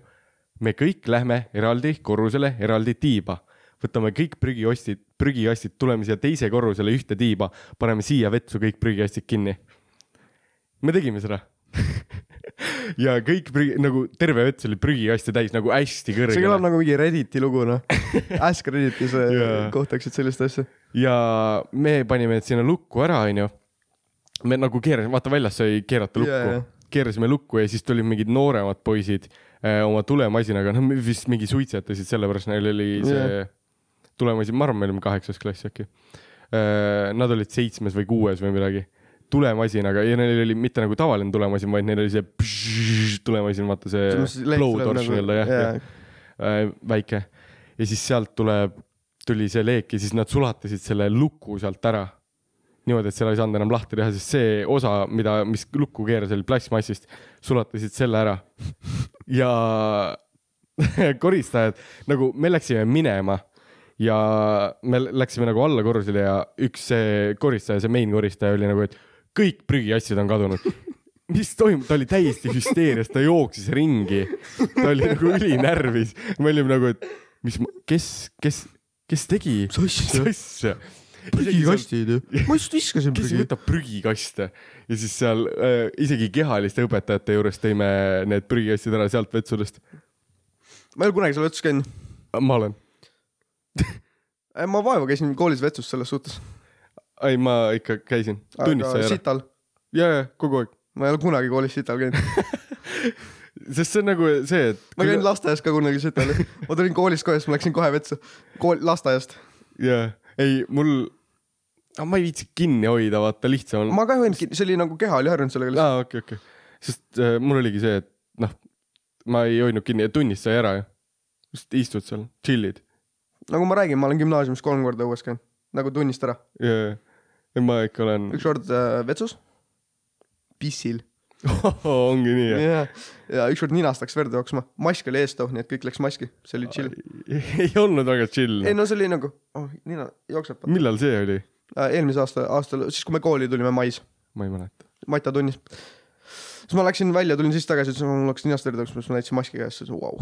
[SPEAKER 3] me kõik lähme eraldi korrusele , eraldi tiiba . võtame kõik prügiostid , prügiastid , tuleme siia teise korrusele ühte tiiba , paneme siia vetsu kõik prügiastid kinni . me tegime seda . <laughs> ja kõik prügi , nagu terve vets oli prügiaste täis nagu hästi
[SPEAKER 4] see
[SPEAKER 3] kõrgele
[SPEAKER 4] kõlab . nagu mingi Redditi lugu
[SPEAKER 3] <laughs>
[SPEAKER 4] noh . Ask Redditis
[SPEAKER 3] Jaa.
[SPEAKER 4] yeah. kohtaksid sellist asja .
[SPEAKER 3] ja me panime need sinna lukku ära , onju . me nagu keerasime , vaata väljas sai keerata lukku
[SPEAKER 4] Jaa, jaa.
[SPEAKER 3] yeah. , keerasime lukku ja siis tulid mingid nooremad poisid äh, oma tulemasinaga , noh vist mingi suitsetasid , sellepärast neil oli see
[SPEAKER 4] Jaa.
[SPEAKER 3] yeah. tulemasin , ma arvan , me olime kaheksas klass äkki . Nad olid seitsmes või kuues või midagi tulemasinaga ja neil oli mitte nagu tavaline tulemasin , vaid neil oli see pššš tulemasin , vaata see
[SPEAKER 4] Noh,
[SPEAKER 3] blowtorch
[SPEAKER 4] nagu-
[SPEAKER 3] nii-öelda jah yeah. , äh, väike ja siis sealt tuleb , tuli see leek ja siis nad sulatasid selle luku sealt ära . niimoodi , et seda ei saanud enam lahti teha , sest see osa , mida , mis lukku keeras , oli plastmassist , sulatasid selle ära <laughs> ja koristajad nagu me läksime minema ja me l- läksime nagu allakorrusele ja üks see koristaja , see main koristaja oli nagu , et kõik prügiasjad on kadunud . mis toimub , ta oli täiesti hüsteerias , ta jooksis ringi , ta oli nagu ülinärvis , me olime nagu , et mis , kes , kes , kes tegi
[SPEAKER 4] <laughs> Mis asja?
[SPEAKER 3] mis asja ?
[SPEAKER 4] prügikastid ju . ma just viskasin
[SPEAKER 3] kes
[SPEAKER 4] prügi .
[SPEAKER 3] võtab prügikaste ja siis seal äh, isegi kehaliste õpetajate juures tõime need prügikastid ära sealt vetsulest .
[SPEAKER 4] ma ei ole kunagi seal vetsus käinud .
[SPEAKER 3] ma olen ,
[SPEAKER 4] ma vaeva käisin koolis vetsus selles suhtes .
[SPEAKER 3] ei ma ikka käisin , tunnist sai ära ,
[SPEAKER 4] sital .
[SPEAKER 3] ja , ja kogu aeg ,
[SPEAKER 4] ma ei ole kunagi koolis sital käinud .
[SPEAKER 3] sest see on nagu see , et
[SPEAKER 4] ma käin lasteaias ka kunagi sital . ma tulin koolist kohe , siis ma läksin kohe vetsu . kool , lasteaiast .
[SPEAKER 3] jaa , ei mul , ma ei viitsi kinni hoida , vaata lihtsam on .
[SPEAKER 4] ma ka ei hoidnud kinni , see oli nagu keha oli harjunud sellega lihtsalt .
[SPEAKER 3] aa , okei , okei , sest äh, mul oligi see , et noh , ma ei hoidnud kinni ja tunnist sai ära ju , just istud seal , chill'id
[SPEAKER 4] nagu ma räägin , ma olen gümnaasiumis kolm korda õues käinud . nagu tunnist ära .
[SPEAKER 3] ja , ja ma ikka olen ,
[SPEAKER 4] ükskord äh, vetsus . pissil .
[SPEAKER 3] ongi nii jah .
[SPEAKER 4] ja, ja ükskord ninast läks verd jooksma . mask oli ees too , nii et kõik läks maski . see oli chill .
[SPEAKER 3] ei olnud väga chill
[SPEAKER 4] ei . no see oli nagu oh, , nina jookseb .
[SPEAKER 3] millal see oli ?
[SPEAKER 4] eelmise aasta , aastal , siis kui me kooli tulime mais ,
[SPEAKER 3] ma ei mäleta .
[SPEAKER 4] Mata tunnis . siis ma läksin välja , tulin siis tagasi , ütlesin , mul hakkas ninast verd jooksma , siis ma näitasin maski käes , siis vau .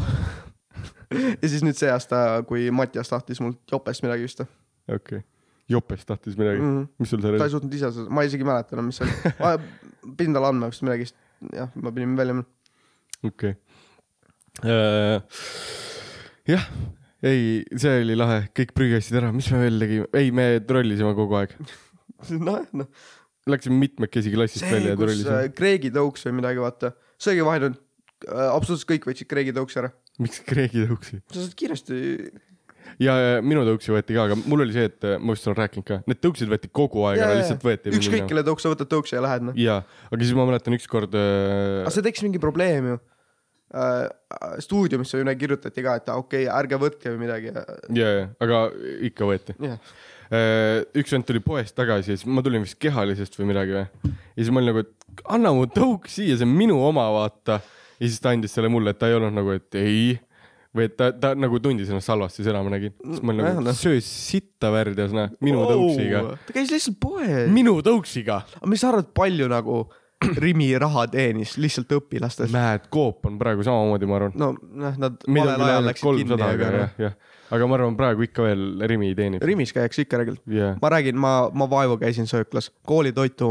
[SPEAKER 4] <laughs> ja siis nüüd see aasta , kui Mattias tahtis mult jopest midagi vist mm .
[SPEAKER 3] okei okay. . jopes tahtis midagi mm ,
[SPEAKER 4] -hmm.
[SPEAKER 3] -hmm. mis sul seal
[SPEAKER 4] ta ei
[SPEAKER 3] oli ?
[SPEAKER 4] suutnud ise seda , ma isegi ei mäleta enam , mis see oli . ma pidin talle andma vist midagi , jah , ma pidin välja minema . <laughs>
[SPEAKER 3] okei . jah , ei , see oli lahe , kõik prügikastid ära , mis me veel tegime , ei , me trollisime kogu aeg ,
[SPEAKER 4] nojah , noh .
[SPEAKER 3] läksime mitmekesi klassist
[SPEAKER 4] see
[SPEAKER 3] välja , ja
[SPEAKER 4] kus
[SPEAKER 3] trollisime
[SPEAKER 4] äh, . Kreegi tõuks või midagi , vaata , see oli vahel , absoluutselt kõik võtsid Kreegi tõuks ära .
[SPEAKER 3] miks Kreegi tõuksi ?
[SPEAKER 4] sa saad kiiresti ,
[SPEAKER 3] ja ja minu tõuksi võeti ka , aga mul oli see , et äh, ma vist olen rääkinud ka , need tõuksid võeti kogu aeg
[SPEAKER 4] Jaa,
[SPEAKER 3] ära ,
[SPEAKER 4] jaa,
[SPEAKER 3] lihtsalt võeti .
[SPEAKER 4] ükskõik . kelle tõuks sa võtad tõukse ja lähed , noh .
[SPEAKER 3] jaa , aga siis ma mäletan ükskord äh,
[SPEAKER 4] aga see tekkis mingi probleem ju . Äh, stuudiumisse ju ne- kirjutati ka , et aa, okei okay, , ärge võtke või midagi .
[SPEAKER 3] ja , ja , aga ikka võeti . üks vend tuli poest tagasi ja siis ma tulin vist kehalisest või midagi või . ja siis ma olin nagu , et anna mu tõuk siia , see on minu oma , vaata . ja siis ta andis selle mulle , et ta ei olnud nagu , et ei . või et ta , ta nagu tundis ennast halvasti , seda ma nägin . siis ma olin
[SPEAKER 4] Jah,
[SPEAKER 3] nagu ,
[SPEAKER 4] noh.
[SPEAKER 3] söö sitta värdjas , näe , minu tõuksiga ..
[SPEAKER 4] ta käis lihtsalt poes .
[SPEAKER 3] minu tõuksiga .
[SPEAKER 4] aga mis sa arvad , palju nagu <clears throat> Rimi raha teenis lihtsalt õpilastest ?
[SPEAKER 3] näed , Coop on praegu samamoodi , ma arvan .
[SPEAKER 4] no noh , nad
[SPEAKER 3] meil on küll
[SPEAKER 4] valel ajal
[SPEAKER 3] ainult
[SPEAKER 4] läksid kinni ,
[SPEAKER 3] kolmsada ,
[SPEAKER 4] aga
[SPEAKER 3] aga
[SPEAKER 4] noh
[SPEAKER 3] jah , jah . aga ma arvan , praegu ikka veel Rimi teenib .
[SPEAKER 4] Rimis käiakse ikka reegel .
[SPEAKER 3] jah ,
[SPEAKER 4] ma räägin , ma , ma vaevu käisin sööklas , koolitoitu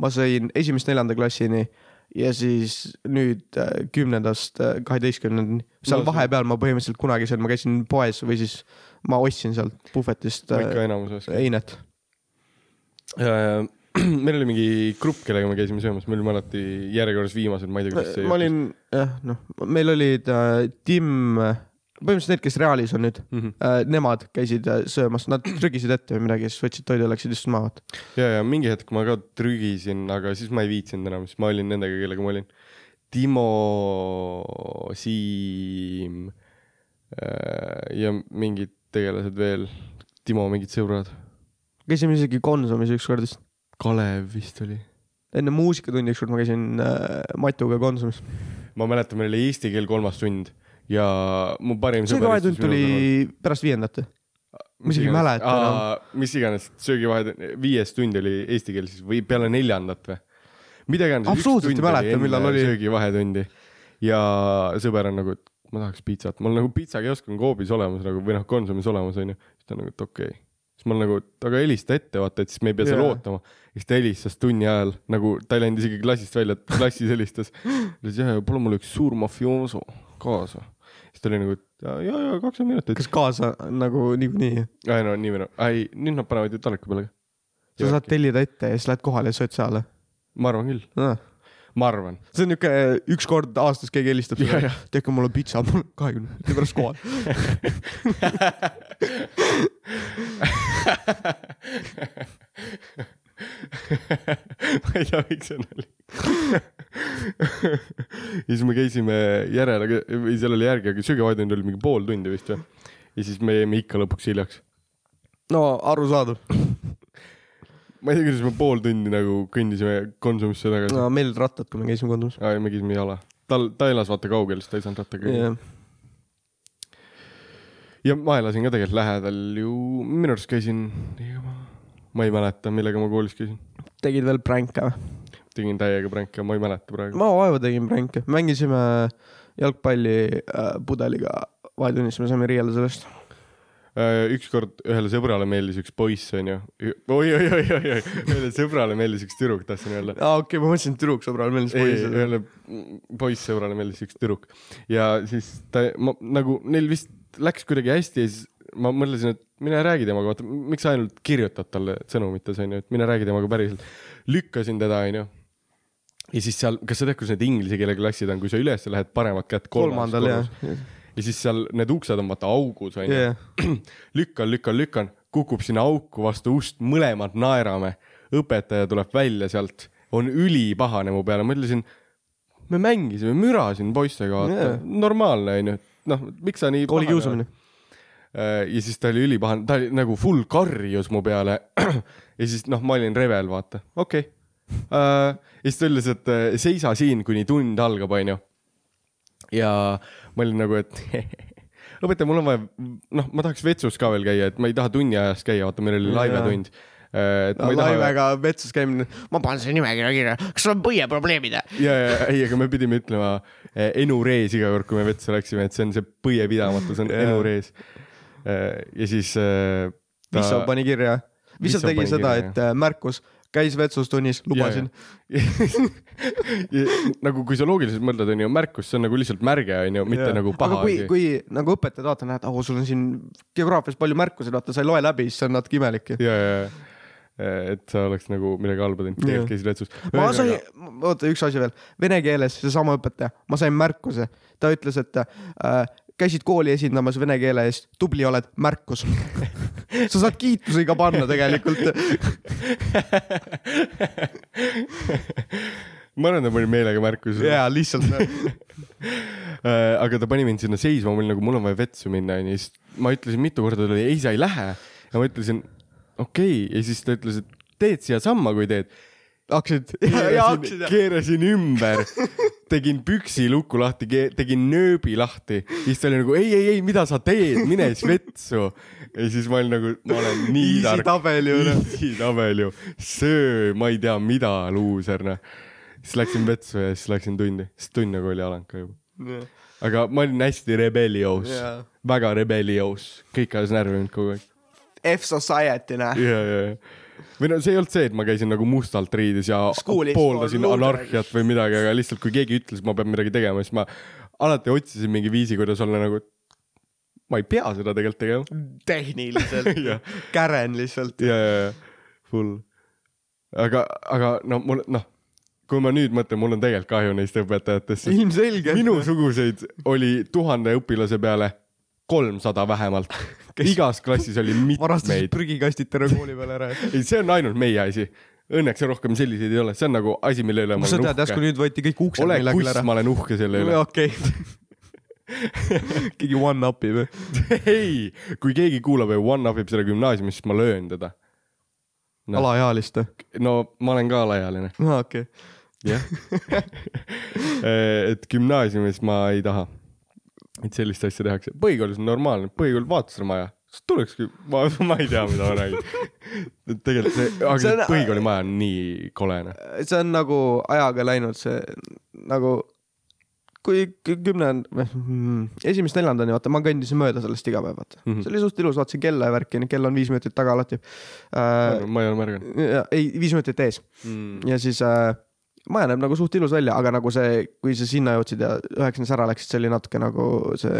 [SPEAKER 4] ma sõin esimest neljanda klassini ja siis nüüd äh, kümnendast äh, kaheteistkümnendani . seal
[SPEAKER 3] No see-
[SPEAKER 4] vahepeal ma põhimõtteliselt kunagi seal , ma käisin poes või siis ma ostsin sealt puhvetist
[SPEAKER 3] ma
[SPEAKER 4] äh,
[SPEAKER 3] ikka enamus oskan .
[SPEAKER 4] einet .
[SPEAKER 3] Äh, <clears throat> meil oli mingi grupp , kellega me käisime söömas , me olime alati järjekorras viimased , ma ei tea , kuidas see .
[SPEAKER 4] ma olin , jah , noh , meil olid äh, Tim , põhimõtteliselt need , kes Reaalis on nüüd .
[SPEAKER 3] mm . -hmm.
[SPEAKER 4] Äh, nemad käisid äh, söömas , nad trügisid ette või midagi , siis võtsid toidu ja läksid istusid maha .
[SPEAKER 3] ja , ja mingi hetk ma ka trügisin , aga siis ma ei viitsinud enam , siis ma olin nendega , kellega ma olin . Timo , Siim äh, ja mingid tegelased veel . Timo mingid sõbrad ,
[SPEAKER 4] käisime isegi Konsumis ükskord vist ,
[SPEAKER 3] Kalev vist oli .
[SPEAKER 4] enne muusikatundi ükskord ma käisin äh, Matuga Konsumis .
[SPEAKER 3] ma mäletan , meil oli eesti keel kolmas tund ja mu parim
[SPEAKER 4] söögivahetund
[SPEAKER 3] istus minu kõrval.
[SPEAKER 4] tuli pärast viiendat . ma isegi ei
[SPEAKER 3] iganes-
[SPEAKER 4] mäleta enam.
[SPEAKER 3] Aa, mis iganes , söögivahed , viies tund oli eesti keeles või peale neljandat või ? mida iganes .
[SPEAKER 4] Absoluutselt ei mäleta, millal oli.
[SPEAKER 3] söögivahetundi ja sõber on nagu , et ma tahaks pitsat , mul nagu pitsakiosk on Coopis olemas nagu või noh , Konsumis olemas onju . siis ta on nagu , et okei okay. siis ma olen nagu , et aga helista ette , vaata , et siis me ei pea seal
[SPEAKER 4] Jaa.
[SPEAKER 3] ootama . siis ta helistas tunni ajal nagu , ta ei läinud isegi klassist välja , klassis helistas . ütles jah , palun mulle üks suur mafiooso kaasa . siis ta oli nagu , et ja , ja kakskümmend minutit .
[SPEAKER 4] kas kaasa nagu niikuinii ?
[SPEAKER 3] ei no nii või naa , ei nüüd nad panevad ju taliku peale ka .
[SPEAKER 4] sa saad tellida ette ja siis lähed kohale ja sööd seal .
[SPEAKER 3] ma arvan küll ,
[SPEAKER 4] see
[SPEAKER 3] ma
[SPEAKER 4] <laughs>
[SPEAKER 3] arvan .
[SPEAKER 4] on niuke äh, üks kord aastas keegi helistab
[SPEAKER 3] Jaa,
[SPEAKER 4] sulle
[SPEAKER 3] jah. ,
[SPEAKER 4] tehke mulle pitsa , mul on kahekümne minuti pärast
[SPEAKER 3] <laughs>
[SPEAKER 4] kohal .
[SPEAKER 3] ma ei tea , miks see nali . ja siis me käisime järele või seal oli järgi , aga sügavaidund oli mingi pool tundi vist või . ja siis me jäime ikka lõpuks hiljaks .
[SPEAKER 4] no arusaadav .
[SPEAKER 3] ma ei tea , kuidas me pool tundi nagu kõndisime Konsumisse tagasi no. .
[SPEAKER 4] no meil olid rattad , kui me käisime kodus .
[SPEAKER 3] aa , ja me käisime jala . tal , ta elas vaata kaugel , siis ta ei saanud rattaga käia yeah. . ja ma elasin ka tegelikult lähedal ju , minu arust käisin , ma ei mäleta , millega ma koolis käisin ,
[SPEAKER 4] tegid veel pränke või ?
[SPEAKER 3] tegin täiega pränke , ma ei mäleta praegu .
[SPEAKER 4] ma vaeva tegin pränke , mängisime äh, jalgpalli äh, pudeliga vahetunnis , me saime riielda sellest .
[SPEAKER 3] Äh, ükskord ühele sõbrale meeldis üks poiss , onju . oi-oi-oi-oi , ühele sõbrale meeldis üks tüdruk , tahtsin öelda .
[SPEAKER 4] aa , okei okay, , ma mõtlesin , et tüdruksõbral meeldis
[SPEAKER 3] ei ,
[SPEAKER 4] poiss .
[SPEAKER 3] ühele poissõbrale meeldis üks tüdruk ja siis ta , ma nagu neil vist läks kuidagi hästi ja siis ma mõtlesin , et mine räägi temaga , vaata , miks sa ainult kirjutad talle sõnumites onju , et mine räägi temaga päriselt . lükkasin teda onju . ja siis seal , kas sa tead , kus need inglise keele klassid on , kui sa üles lähed paremat kätt kolmandas
[SPEAKER 4] kolmandal
[SPEAKER 3] korrus
[SPEAKER 4] jah .
[SPEAKER 3] ja siis seal need uksed on vaata augus onju
[SPEAKER 4] jah ,
[SPEAKER 3] <clears throat> lükkan , lükkan , lükkan , kukub sinna auku vastu ust , mõlemad naerame . õpetaja tuleb välja sealt , on ülipahane mu peale , ma ütlesin , me mängisime müra siin poistega , vaata
[SPEAKER 4] Jaa.
[SPEAKER 3] yeah. , normaalne onju , noh , miks sa nii .
[SPEAKER 4] kooli kiusamine ..
[SPEAKER 3] ja siis ta oli ülipahane , ta oli nagu full karjus mu peale . <clears throat> ja siis noh , ma olin revel , vaata , okei okay. . ja siis ta ütles , et äh, seisa siin , kuni tund algab , onju . ja ma olin nagu , et <laughs> õpetaja , mul on vaja , noh , ma tahaks vetsus ka veel käia , et ma ei taha tunni ajast käia , vaata , meil oli
[SPEAKER 4] Jaa.
[SPEAKER 3] laivetund . et ma ei taha . <laughs>
[SPEAKER 4] laivega metsas käimine , ma panen selle nimekirja kirja , kas sul on põieprobleemid ?
[SPEAKER 3] ja , ja ei , aga me pidime ütlema eh, enurees iga kord , kui me vetsu läksime , et see on see põiepidamatus on
[SPEAKER 4] Jaa.
[SPEAKER 3] enurees . ja siis eh, ta...
[SPEAKER 4] Visso pani kirja . Visso
[SPEAKER 3] Visso
[SPEAKER 4] tegi
[SPEAKER 3] pani
[SPEAKER 4] seda ,
[SPEAKER 3] kirja,
[SPEAKER 4] et äh, märkus , käis vetsus tunnis , lubasin .
[SPEAKER 3] <laughs> nagu kui sa loogiliselt mõtled , onju , märkus , see on nagu lihtsalt märge , onju , mitte nagu paha
[SPEAKER 4] aga kui ,
[SPEAKER 3] asi .
[SPEAKER 4] kui nagu õpetajad vaatavad , näed , oo , sul on siin geograafias palju märkusi , vaata , sa ei loe läbi , siis see on natuke imelik .
[SPEAKER 3] ja , ja , ja et sa oleks nagu midagi halba teinud ,
[SPEAKER 4] Jaa.
[SPEAKER 3] tegelikult käisid vetsus .
[SPEAKER 4] ma sain , oota , üks asi veel , vene keeles seesama õpetaja , ma sain märkuse , ta ütles , et äh, käisid kooli esindamas vene keele eest , tubli oled ,
[SPEAKER 3] <laughs>
[SPEAKER 4] märkus . sa saad kiituse ka panna tegelikult .
[SPEAKER 3] <laughs> <laughs> ma arvan , ta pani meelega märkuse
[SPEAKER 4] jaa ,
[SPEAKER 3] <laughs>
[SPEAKER 4] lihtsalt .
[SPEAKER 3] aga ta pani mind sinna seisma , ma olin nagu , mul on vaja vetsu minna , onju , siis ma ütlesin mitu korda talle , ei , sa ei lähe . ja ma ütlesin , okei okay. , ja siis ta ütles , et teed siiasamma , kui teed . <laughs>
[SPEAKER 4] hakkasid .
[SPEAKER 3] keerasin , keerasin ümber , tegin püksi lukku lahti , tegin nööbi lahti , siis ta oli nagu ei , ei , ei , mida sa teed , mine siis vetsu . ja siis ma olin nagu , ma olen nii
[SPEAKER 4] Easy
[SPEAKER 3] tark .
[SPEAKER 4] tabel ju, noh.
[SPEAKER 3] Easy tabel ju , söö , ma ei tea , mida , luuser , noh . siis läksin vetsu ja siis läksin tundi , sest tund nagu oli alanud ka juba . aga ma olin hästi rebellios
[SPEAKER 4] Jaa.
[SPEAKER 3] yeah. , väga rebellios , kõik ajas närvi mind kogu aeg .
[SPEAKER 4] F-Society , näe .
[SPEAKER 3] ja , ja , ja . või no see ei olnud see , et ma käisin nagu mustalt riides ja
[SPEAKER 4] Schoolis
[SPEAKER 3] pooldasin
[SPEAKER 4] for losers.
[SPEAKER 3] anarhiat või midagi , aga lihtsalt kui keegi ütles , ma pean midagi tegema , siis ma alati otsisin mingi viisi , kuidas olla nagu , ma ei pea seda tegelikult tegema .
[SPEAKER 4] <laughs> tehniliselt
[SPEAKER 3] Jah.
[SPEAKER 4] kären lihtsalt .
[SPEAKER 3] ja , ja , ja , full . aga , aga no mul , noh , kui ma nüüd mõtlen , mul on tegelikult kahju neist õpetajatest ,
[SPEAKER 4] <laughs>
[SPEAKER 3] sest
[SPEAKER 4] ilmselgelt .
[SPEAKER 3] minusuguseid oli tuhande õpilase peale kolmsada
[SPEAKER 4] <laughs>
[SPEAKER 3] vähemalt . igas klassis oli
[SPEAKER 4] varastasid
[SPEAKER 3] mitmeid .
[SPEAKER 4] prügikastid terve kooli peale ära . <laughs>
[SPEAKER 3] ei , see on ainult meie asi . Õnneks rohkem selliseid ei ole , see on nagu asi , mille üle ma
[SPEAKER 4] kas sa
[SPEAKER 3] olen
[SPEAKER 4] tead , järsku
[SPEAKER 3] uhke .
[SPEAKER 4] nüüd võeti kõik uksed
[SPEAKER 3] ole
[SPEAKER 4] meile küll
[SPEAKER 3] kuss
[SPEAKER 4] ära ?,
[SPEAKER 3] ma olen uhke selle üle .
[SPEAKER 4] <laughs> okei . keegi one-up'i või ?
[SPEAKER 3] <laughs> ei , kui keegi kuulab ja one-up'ib seda gümnaasiumi , siis ma löön teda . No.
[SPEAKER 4] alaealist või ?
[SPEAKER 3] no ma olen ka alaealine ,
[SPEAKER 4] aa , okei .
[SPEAKER 3] <laughs> jah . Äh, et gümnaasiumis ma ei taha , et sellist asja tehakse . põhikoolis on normaalne , põhikool vaatas seda maja , siis tulekski , ma , ma ei tea , mida ma räägin . <laughs> tegelikult see , aga
[SPEAKER 4] See
[SPEAKER 3] see
[SPEAKER 4] on-
[SPEAKER 3] põhikooli maja on nii noh. kolene .
[SPEAKER 4] see on nagu ajaga läinud see nagu kui kü- kümnend- , mm, esimest neljandani , vaata , ma kõndisin mööda sellest iga päev , vaata mm .
[SPEAKER 3] Mhm.
[SPEAKER 4] -hmm. see oli suht ilus , vaatasin kella ja värki , kell on viis minutit taga alati äh, .
[SPEAKER 3] ma ei ole märganud
[SPEAKER 4] ei , viis minutit ees .
[SPEAKER 3] mm. .
[SPEAKER 4] ja siis äh, maja näeb nagu suht ilus välja , aga nagu see , kui sa sinna jõudsid ja üheksandas ära läksid , see oli natuke nagu see .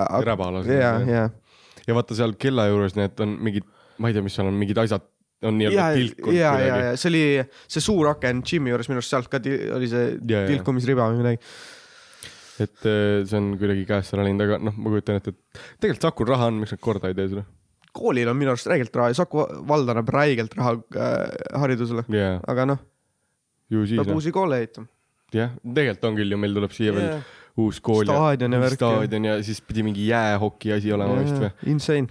[SPEAKER 4] äh,
[SPEAKER 3] Räba lasin,
[SPEAKER 4] ja ,
[SPEAKER 3] nagu, jah.
[SPEAKER 4] ja ,
[SPEAKER 3] ja vaata seal kella juures need on mingid , ma ei tea , mis seal on , mingid asjad on nii-öelda
[SPEAKER 4] ja ,
[SPEAKER 3] tilkunud
[SPEAKER 4] ja , ja
[SPEAKER 3] kuidagi .,
[SPEAKER 4] ja see oli see suur aken džimi juures , minu arust sealt ka ti- oli see
[SPEAKER 3] Ja, ja.
[SPEAKER 4] tilkumisriba või midagi .
[SPEAKER 3] et eh, see on kuidagi käest ära läinud , aga noh , ma kujutan ette , et tegelikult Sakul raha on , miks nad korda ei tee seda .
[SPEAKER 4] koolil on minu arust räigelt raha ja Saku vald annab räigelt raha äh, haridusele ,
[SPEAKER 3] jaa ,
[SPEAKER 4] aga noh ,
[SPEAKER 3] ju
[SPEAKER 4] peab
[SPEAKER 3] siis ,
[SPEAKER 4] uusi koole ehitama .
[SPEAKER 3] jah , tegelikult on küll ju , meil tuleb siia veel
[SPEAKER 4] Jaa.
[SPEAKER 3] uus kool
[SPEAKER 4] Staadion ja
[SPEAKER 3] uus
[SPEAKER 4] värk ja-
[SPEAKER 3] staadion ja siis pidi mingi jäähoki asi olema vist või ?
[SPEAKER 4] Insane .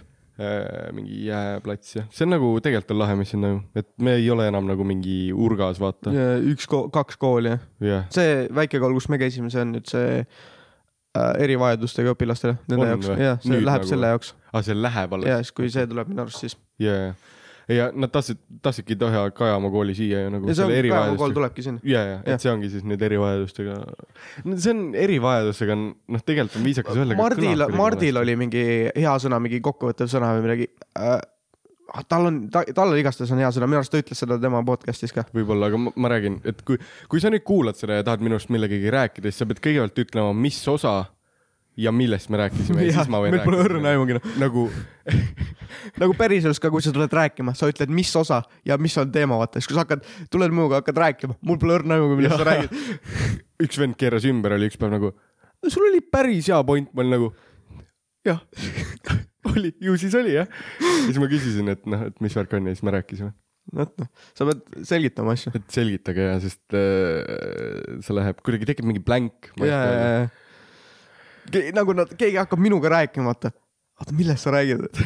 [SPEAKER 3] mingi jääplats ja see on nagu tegelikult on lahe , mis sinna ju , et me ei ole enam nagu mingi urgas , vaata ,
[SPEAKER 4] üks , kaks kooli jah .
[SPEAKER 3] jah .
[SPEAKER 4] see väike kool , kus me käisime , see on nüüd see äh, erivajadustega õpilastele ,
[SPEAKER 3] On
[SPEAKER 4] nende jaoks ,
[SPEAKER 3] või?
[SPEAKER 4] jah , see
[SPEAKER 3] Nüüd
[SPEAKER 4] Nüüd läheb
[SPEAKER 3] nagu
[SPEAKER 4] nagu... selle jaoks
[SPEAKER 3] aga see läheb alles
[SPEAKER 4] ja siis , kui see tuleb minu arust , siis .
[SPEAKER 3] ja , ja , ja nad tahtsid , tahtsidki teha Kajamaa kooli siia ja nagu
[SPEAKER 4] ja see
[SPEAKER 3] selle
[SPEAKER 4] ongi , päeva kool
[SPEAKER 3] erivajadustega .
[SPEAKER 4] tulebki sinna .
[SPEAKER 3] ja , ja ,
[SPEAKER 4] Jah.
[SPEAKER 3] et see ongi siis nüüd erivajadustega . no see on erivajadusega on , noh , tegelikult on viisakas öelda .
[SPEAKER 4] Mardil , Mardil . oli mingi hea sõna , mingi kokkuvõttev sõna või midagi äh, . tal on ta, , tal igastahes on hea sõna , minu arust ta ütles seda tema podcast'is ka .
[SPEAKER 3] võib-olla , aga ma, ma räägin , et kui , kui sa nüüd kuulad seda ja tahad minust millegagi rääkida , siis sa pead kõigepealt ütlema , mis osa ja millest me rääkisime ja siis ma võin
[SPEAKER 4] meil pole õrna . aimugi noh .
[SPEAKER 3] nagu ,
[SPEAKER 4] nagu päriselus ka , kui sa tuled rääkima , sa ütled , mis osa ja mis on teema , vaata , siis kui sa hakkad , tuled minuga , hakkad rääkima , mul pole õrna aimugi , millest sa räägid .
[SPEAKER 3] üks vend keeras ümber , oli üks päev nagu , sul oli päris hea point , ma olin nagu , jah , <laughs> oli , ju siis oli jah . ja siis ma küsisin , et noh , et mis värk on ja siis me rääkisime ,
[SPEAKER 4] vot noh , sa pead selgitama asju .
[SPEAKER 3] et selgitage ja sest äh, see läheb , kuidagi tekib mingi blank .
[SPEAKER 4] ja , ja , ja , ja . nagu nad , keegi hakkab minuga rääkima , vaata . oota , millest sa räägid ? <laughs>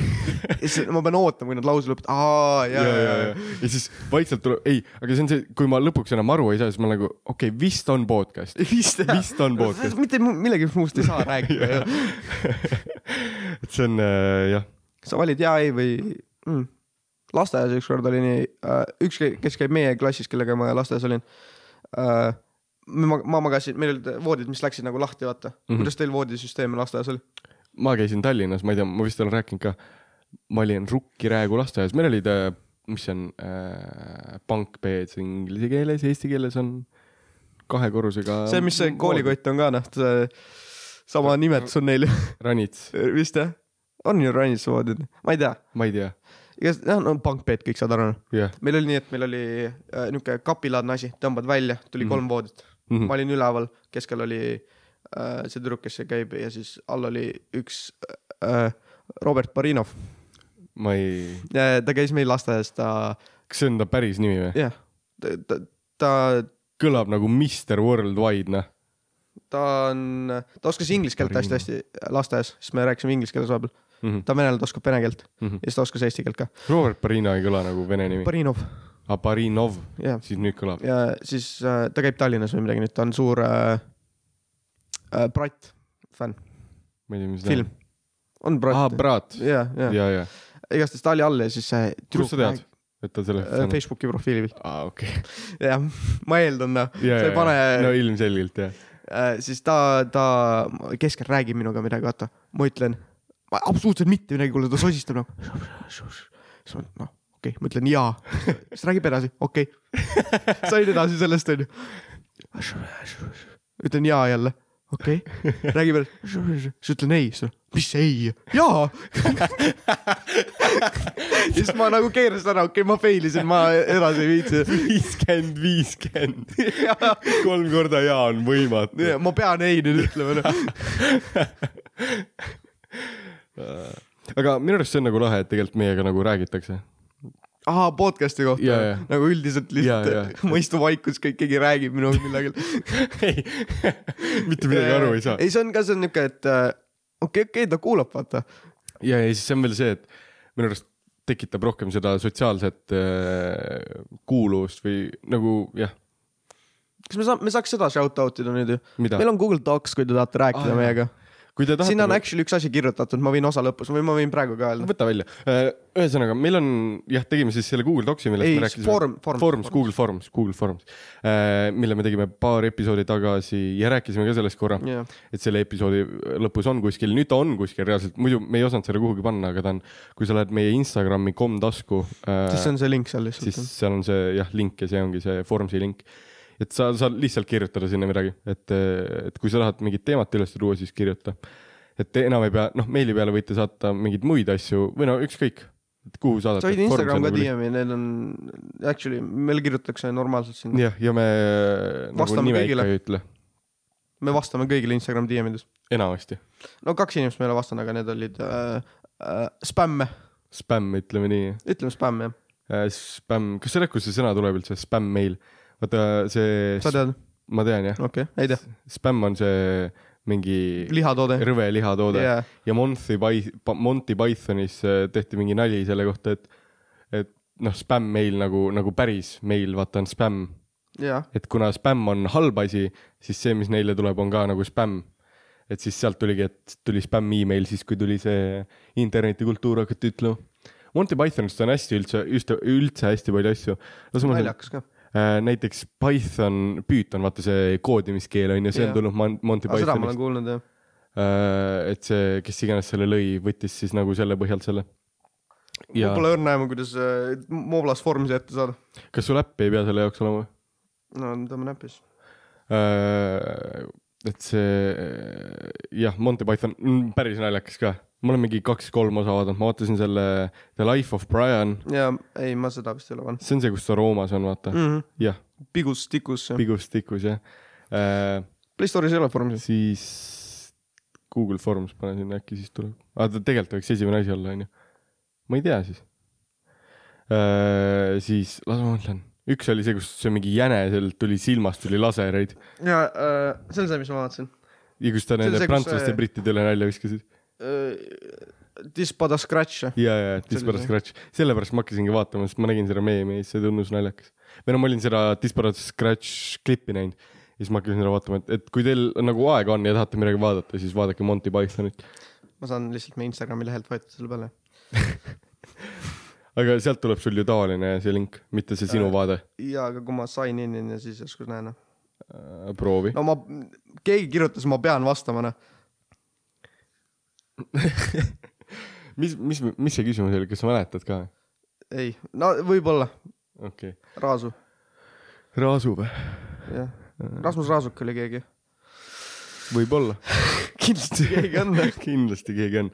[SPEAKER 4] ja siis ma pean ootama , kui nad lause lõpetavad . aa , ja , ja , ja, ja. .
[SPEAKER 3] ja siis vaikselt tuleb , ei , aga see on see , kui ma lõpuks enam aru ei saa , siis ma nagu , okei okay, , vist on podcast .
[SPEAKER 4] <laughs> vist jah .
[SPEAKER 3] vist on podcast .
[SPEAKER 4] mitte mu- millegi muust <laughs> ei saa
[SPEAKER 3] <laughs>
[SPEAKER 4] rääkida .
[SPEAKER 3] et see on äh, jah ,
[SPEAKER 4] sa valid jaa , ei või mm. . lasteaias ükskord oli nii , üks , kes käib meie klassis , kellega ma lasteaias olin äh, . ma , ma magasin , meil olid voodid , mis läksid nagu lahti , vaata mm . -hmm. kuidas teil voodisüsteem lasteaias oli ?
[SPEAKER 3] ma käisin Tallinnas , ma ei tea , ma vist olen rääkinud ka . ma olin Rukki Räägu lasteaias , meil olid , mis see on äh, , pank B-d siin inglise keeles , eesti keeles on kahe korrusega .
[SPEAKER 4] see , mis see . koolikott on ka noh , see sama nimetus on neil <laughs> ju
[SPEAKER 3] ranits ,
[SPEAKER 4] Äh, vist jah ? on ju Rainis voodid ? ma ei tea ,
[SPEAKER 3] ma ei tea ,
[SPEAKER 4] igas- , noh , no pankpeet kõik saad aru .
[SPEAKER 3] jah .
[SPEAKER 4] meil oli nii , et meil oli äh, niuke kapilaadne asi , tõmbad välja , tuli mm -hmm. kolm voodit -hmm. ma olin üleval , keskel oli äh, see tüdruk , kes seal käib ja siis all oli üks äh, Robert Barinov .
[SPEAKER 3] ma ei ,
[SPEAKER 4] ta käis meil lasteaias , ta
[SPEAKER 3] kas see on ta päris nimi või ?
[SPEAKER 4] jah , ta , ta, ta ,
[SPEAKER 3] kõlab nagu Mr Worldwide , noh .
[SPEAKER 4] ta on , ta oskas inglise keelt hästi-hästi lasteaias , siis me rääkisime inglise keeles vahepeal .
[SPEAKER 3] Mhm.
[SPEAKER 4] ta on venelane , ta oskab vene keelt
[SPEAKER 3] Mhm.
[SPEAKER 4] ja siis ta oskas eesti keelt ka .
[SPEAKER 3] Robert Barina ei kõla nagu vene nimi .
[SPEAKER 4] Barinov ,
[SPEAKER 3] aga Barinov ,
[SPEAKER 4] jah ,
[SPEAKER 3] siis nüüd kõlab .
[SPEAKER 4] ja siis äh, ta käib Tallinnas või midagi , nüüd ta on suur äh, äh, Brat fänn ,
[SPEAKER 3] ma ei tea , mis ta
[SPEAKER 4] film . on
[SPEAKER 3] aa ,
[SPEAKER 4] Brat ,
[SPEAKER 3] Brat .
[SPEAKER 4] ja , ja
[SPEAKER 3] Ah, ja , ja .
[SPEAKER 4] igastahes ta oli all ja siis see
[SPEAKER 3] kust sa tead , et ta selle
[SPEAKER 4] Äh, ? Facebooki profiili pealt ,
[SPEAKER 3] aa ,
[SPEAKER 4] <laughs>
[SPEAKER 3] okei .
[SPEAKER 4] jah , ma eeldan noh ,
[SPEAKER 3] ja ,
[SPEAKER 4] sa ei pane
[SPEAKER 3] ja , no ilmselgelt
[SPEAKER 4] <laughs>
[SPEAKER 3] jah .
[SPEAKER 4] äh, siis ta , ta keskelt räägib minuga midagi , vaata , ma ütlen , ma absoluutselt mitte midagi , kuule ta sosistab <laughs> nagu . siis ma , noh , okei okay. , ma ütlen jaa , siis räägib edasi , okei okay. . sain edasi sellest , onju . ütlen jaa jälle , okei okay. , räägib edasi , siis ütlen ei , siis ta , mis ei , jaa . siis ma nagu keerasin ära , okei okay, , ma fail isin , ma edasi ei viitsi .
[SPEAKER 3] viiskümmend ,
[SPEAKER 4] <laughs>
[SPEAKER 3] viiskümmend . kolm korda ja on võimatu .
[SPEAKER 4] ma pean ei nüüd ütlema , noh .
[SPEAKER 3] <laughs> aga minu arust see on nagu lahe , et tegelikult meiega nagu räägitakse . <laughs>
[SPEAKER 4] ahaa , podcast'i kohta
[SPEAKER 3] Jaa, jaa.
[SPEAKER 4] nagu üldiselt lihtsalt
[SPEAKER 3] Jaa,
[SPEAKER 4] ma istun vaikus , kõik , keegi räägib minuga millegagi .
[SPEAKER 3] ei , <laughs> mitte midagi aru ei saa .
[SPEAKER 4] ei , see on ka , see on niuke , et äh, okei , okei , ta kuulab , vaata .
[SPEAKER 3] ja , ja siis see on veel see , et minu arust tekitab rohkem seda sotsiaalset äh, kuuluvust või nagu jah ,
[SPEAKER 4] kas me saame , me saaks seda shout out ida nüüd ju ?
[SPEAKER 3] mida .
[SPEAKER 4] meil on Google Docs , kui te tahate
[SPEAKER 3] Aa,
[SPEAKER 4] rääkida ah,
[SPEAKER 3] jaa.
[SPEAKER 4] meiega .
[SPEAKER 3] kui te tahate .
[SPEAKER 4] sinna on actually üks asi kirjutatud , ma võin osa lõpus või ma võin praegu ka öelda .
[SPEAKER 3] võta välja . ühesõnaga , meil on , jah , tegime siis selle Google Docsi , millest
[SPEAKER 4] Ei,
[SPEAKER 3] me rääkisime .
[SPEAKER 4] Form- Forms.
[SPEAKER 3] Forms, Forms , Google Forms , Google Forms , mille me tegime paar episoodi tagasi ja rääkisime ka sellest korra ,
[SPEAKER 4] jah ,
[SPEAKER 3] et selle episoodi lõpus on kuskil , nüüd ta on kuskil reaalselt , muidu me ei osanud seda kuhugi panna , aga ta on , kui sa lähed meie Instagrami komtasku , äh,
[SPEAKER 4] siis see on see link seal lihtsalt
[SPEAKER 3] siis . seal on see jah , link ja see ongi see Formsi link et sa saad lihtsalt kirjutada sinna midagi , et , et kui sa tahad mingit teemat üles tuua , siis kirjuta . et enam ei pea , noh , meili peale võite saata mingeid muid asju või no ükskõik , et kuhu saadate .
[SPEAKER 4] sa võid Instagram
[SPEAKER 3] nagu
[SPEAKER 4] ka . DM-i , need on actually , meil kirjutatakse normaalselt sinna .
[SPEAKER 3] jah , ja me nagu
[SPEAKER 4] Vastame
[SPEAKER 3] nime
[SPEAKER 4] kõigile.
[SPEAKER 3] ikka ei ütle ,
[SPEAKER 4] me vastame kõigile Instagram DM-ides .
[SPEAKER 3] enamasti .
[SPEAKER 4] no kaks inimest meile vastanud , aga need olid äh, äh, spämme ,
[SPEAKER 3] Spämm , ütleme nii .
[SPEAKER 4] ütleme spämm jah ,
[SPEAKER 3] Spämm , kas sa tead , kust see sõna tuleb üldse , spämm-meil ? vaata see ,
[SPEAKER 4] sa tead ?
[SPEAKER 3] ma tean jah ,
[SPEAKER 4] okei okay, , ei tea ,
[SPEAKER 3] spämm on see mingi
[SPEAKER 4] lihatoode .
[SPEAKER 3] rõve lihatoode
[SPEAKER 4] Jaa.
[SPEAKER 3] ja Monty Pyth- , Monty Pythonis äh, tehti mingi nali selle kohta , et , et noh , spämm-meil nagu , nagu päris meil , vaata on spämm .
[SPEAKER 4] jah ,
[SPEAKER 3] et kuna spämm on halb asi , siis see , mis neile tuleb , on ka nagu spämm . et siis sealt tuligi , et tuli spämm email siis , kui tuli see internetikultuur hakati ütlema . Monty Pythonist on hästi üldse , üldse , üldse hästi palju asju .
[SPEAKER 4] naljakas ka .
[SPEAKER 3] äh, näiteks Python , Python , vaata see koodimiskeel on ju , see on
[SPEAKER 4] Jah.
[SPEAKER 3] tulnud Mon- Monty
[SPEAKER 4] aga seda ma olen
[SPEAKER 3] Pythonist .
[SPEAKER 4] kuulnud jah .
[SPEAKER 3] Äh, et see , kes iganes selle lõi , võttis siis nagu selle põhjalt selle . ja
[SPEAKER 4] mul pole õrna aimu , kuidas äh, Moblas vormi siia ette saada .
[SPEAKER 3] kas sul äppi ei pea selle jaoks olema ?
[SPEAKER 4] no võtame näpis .
[SPEAKER 3] Äh, et see , jah , Monty Python , päris naljakas ka . ma olen mingi kaks-kolm osa vaadanud , ma vaatasin selle The Life of Brian ,
[SPEAKER 4] ja ei , ma seda vist ei ole pannud
[SPEAKER 3] see on see , kus ta Roomas on , vaata mm. .
[SPEAKER 4] mm -hmm. .
[SPEAKER 3] jah ,
[SPEAKER 4] Pigus tikus .
[SPEAKER 3] Bigus Tikus jah äh, .
[SPEAKER 4] Play Store'is ei ole vormi .
[SPEAKER 3] siis Google Forms pane sinna , äkki siis tuleb . aga ta tegelikult võiks esimene asi olla , onju . ma ei tea siis äh, . siis , las ma mõtlen , üks oli see , kus see mingi jänesel tuli silmast tuli lasereid
[SPEAKER 4] ja äh, see on see , mis ma vaatasin
[SPEAKER 3] ja kus ta
[SPEAKER 4] See on
[SPEAKER 3] nende
[SPEAKER 4] see, kus
[SPEAKER 3] prantslaste
[SPEAKER 4] see-
[SPEAKER 3] ja brittide üle nalja viskas
[SPEAKER 4] äh, . Dispada Scratch .
[SPEAKER 3] ja , ja , Disparate
[SPEAKER 4] see.
[SPEAKER 3] Scratch , sellepärast ma hakkasingi vaatama , sest ma nägin seda meemi ja siis see tundus naljakas . või no ma olin seda Disparate Scratch klippi näinud ja siis ma hakkasin seda vaatama , et , et kui teil nagu aega on ja tahate midagi vaadata , siis vaadake Monty Pythonit .
[SPEAKER 4] ma saan lihtsalt meie Instagrami lehelt võetud selle peale .
[SPEAKER 3] aga sealt tuleb sul ju tavaline see link , mitte see sinu vaade .
[SPEAKER 4] ja , aga kui ma sain in ja siis järsku näen .
[SPEAKER 3] Äh, proovi no. .
[SPEAKER 4] no ma , keegi kirjutas , ma pean vastama noh .
[SPEAKER 3] <laughs> mis , mis , mis see küsimus oli , kas sa mäletad ka ?
[SPEAKER 4] ei , no võib-olla ,
[SPEAKER 3] okei okay. .
[SPEAKER 4] Raasu ,
[SPEAKER 3] Raasu või ?
[SPEAKER 4] jah . Rasmus Raasuk oli keegi .
[SPEAKER 3] võib-olla . <laughs>
[SPEAKER 4] kindlasti keegi on .
[SPEAKER 3] kindlasti keegi on .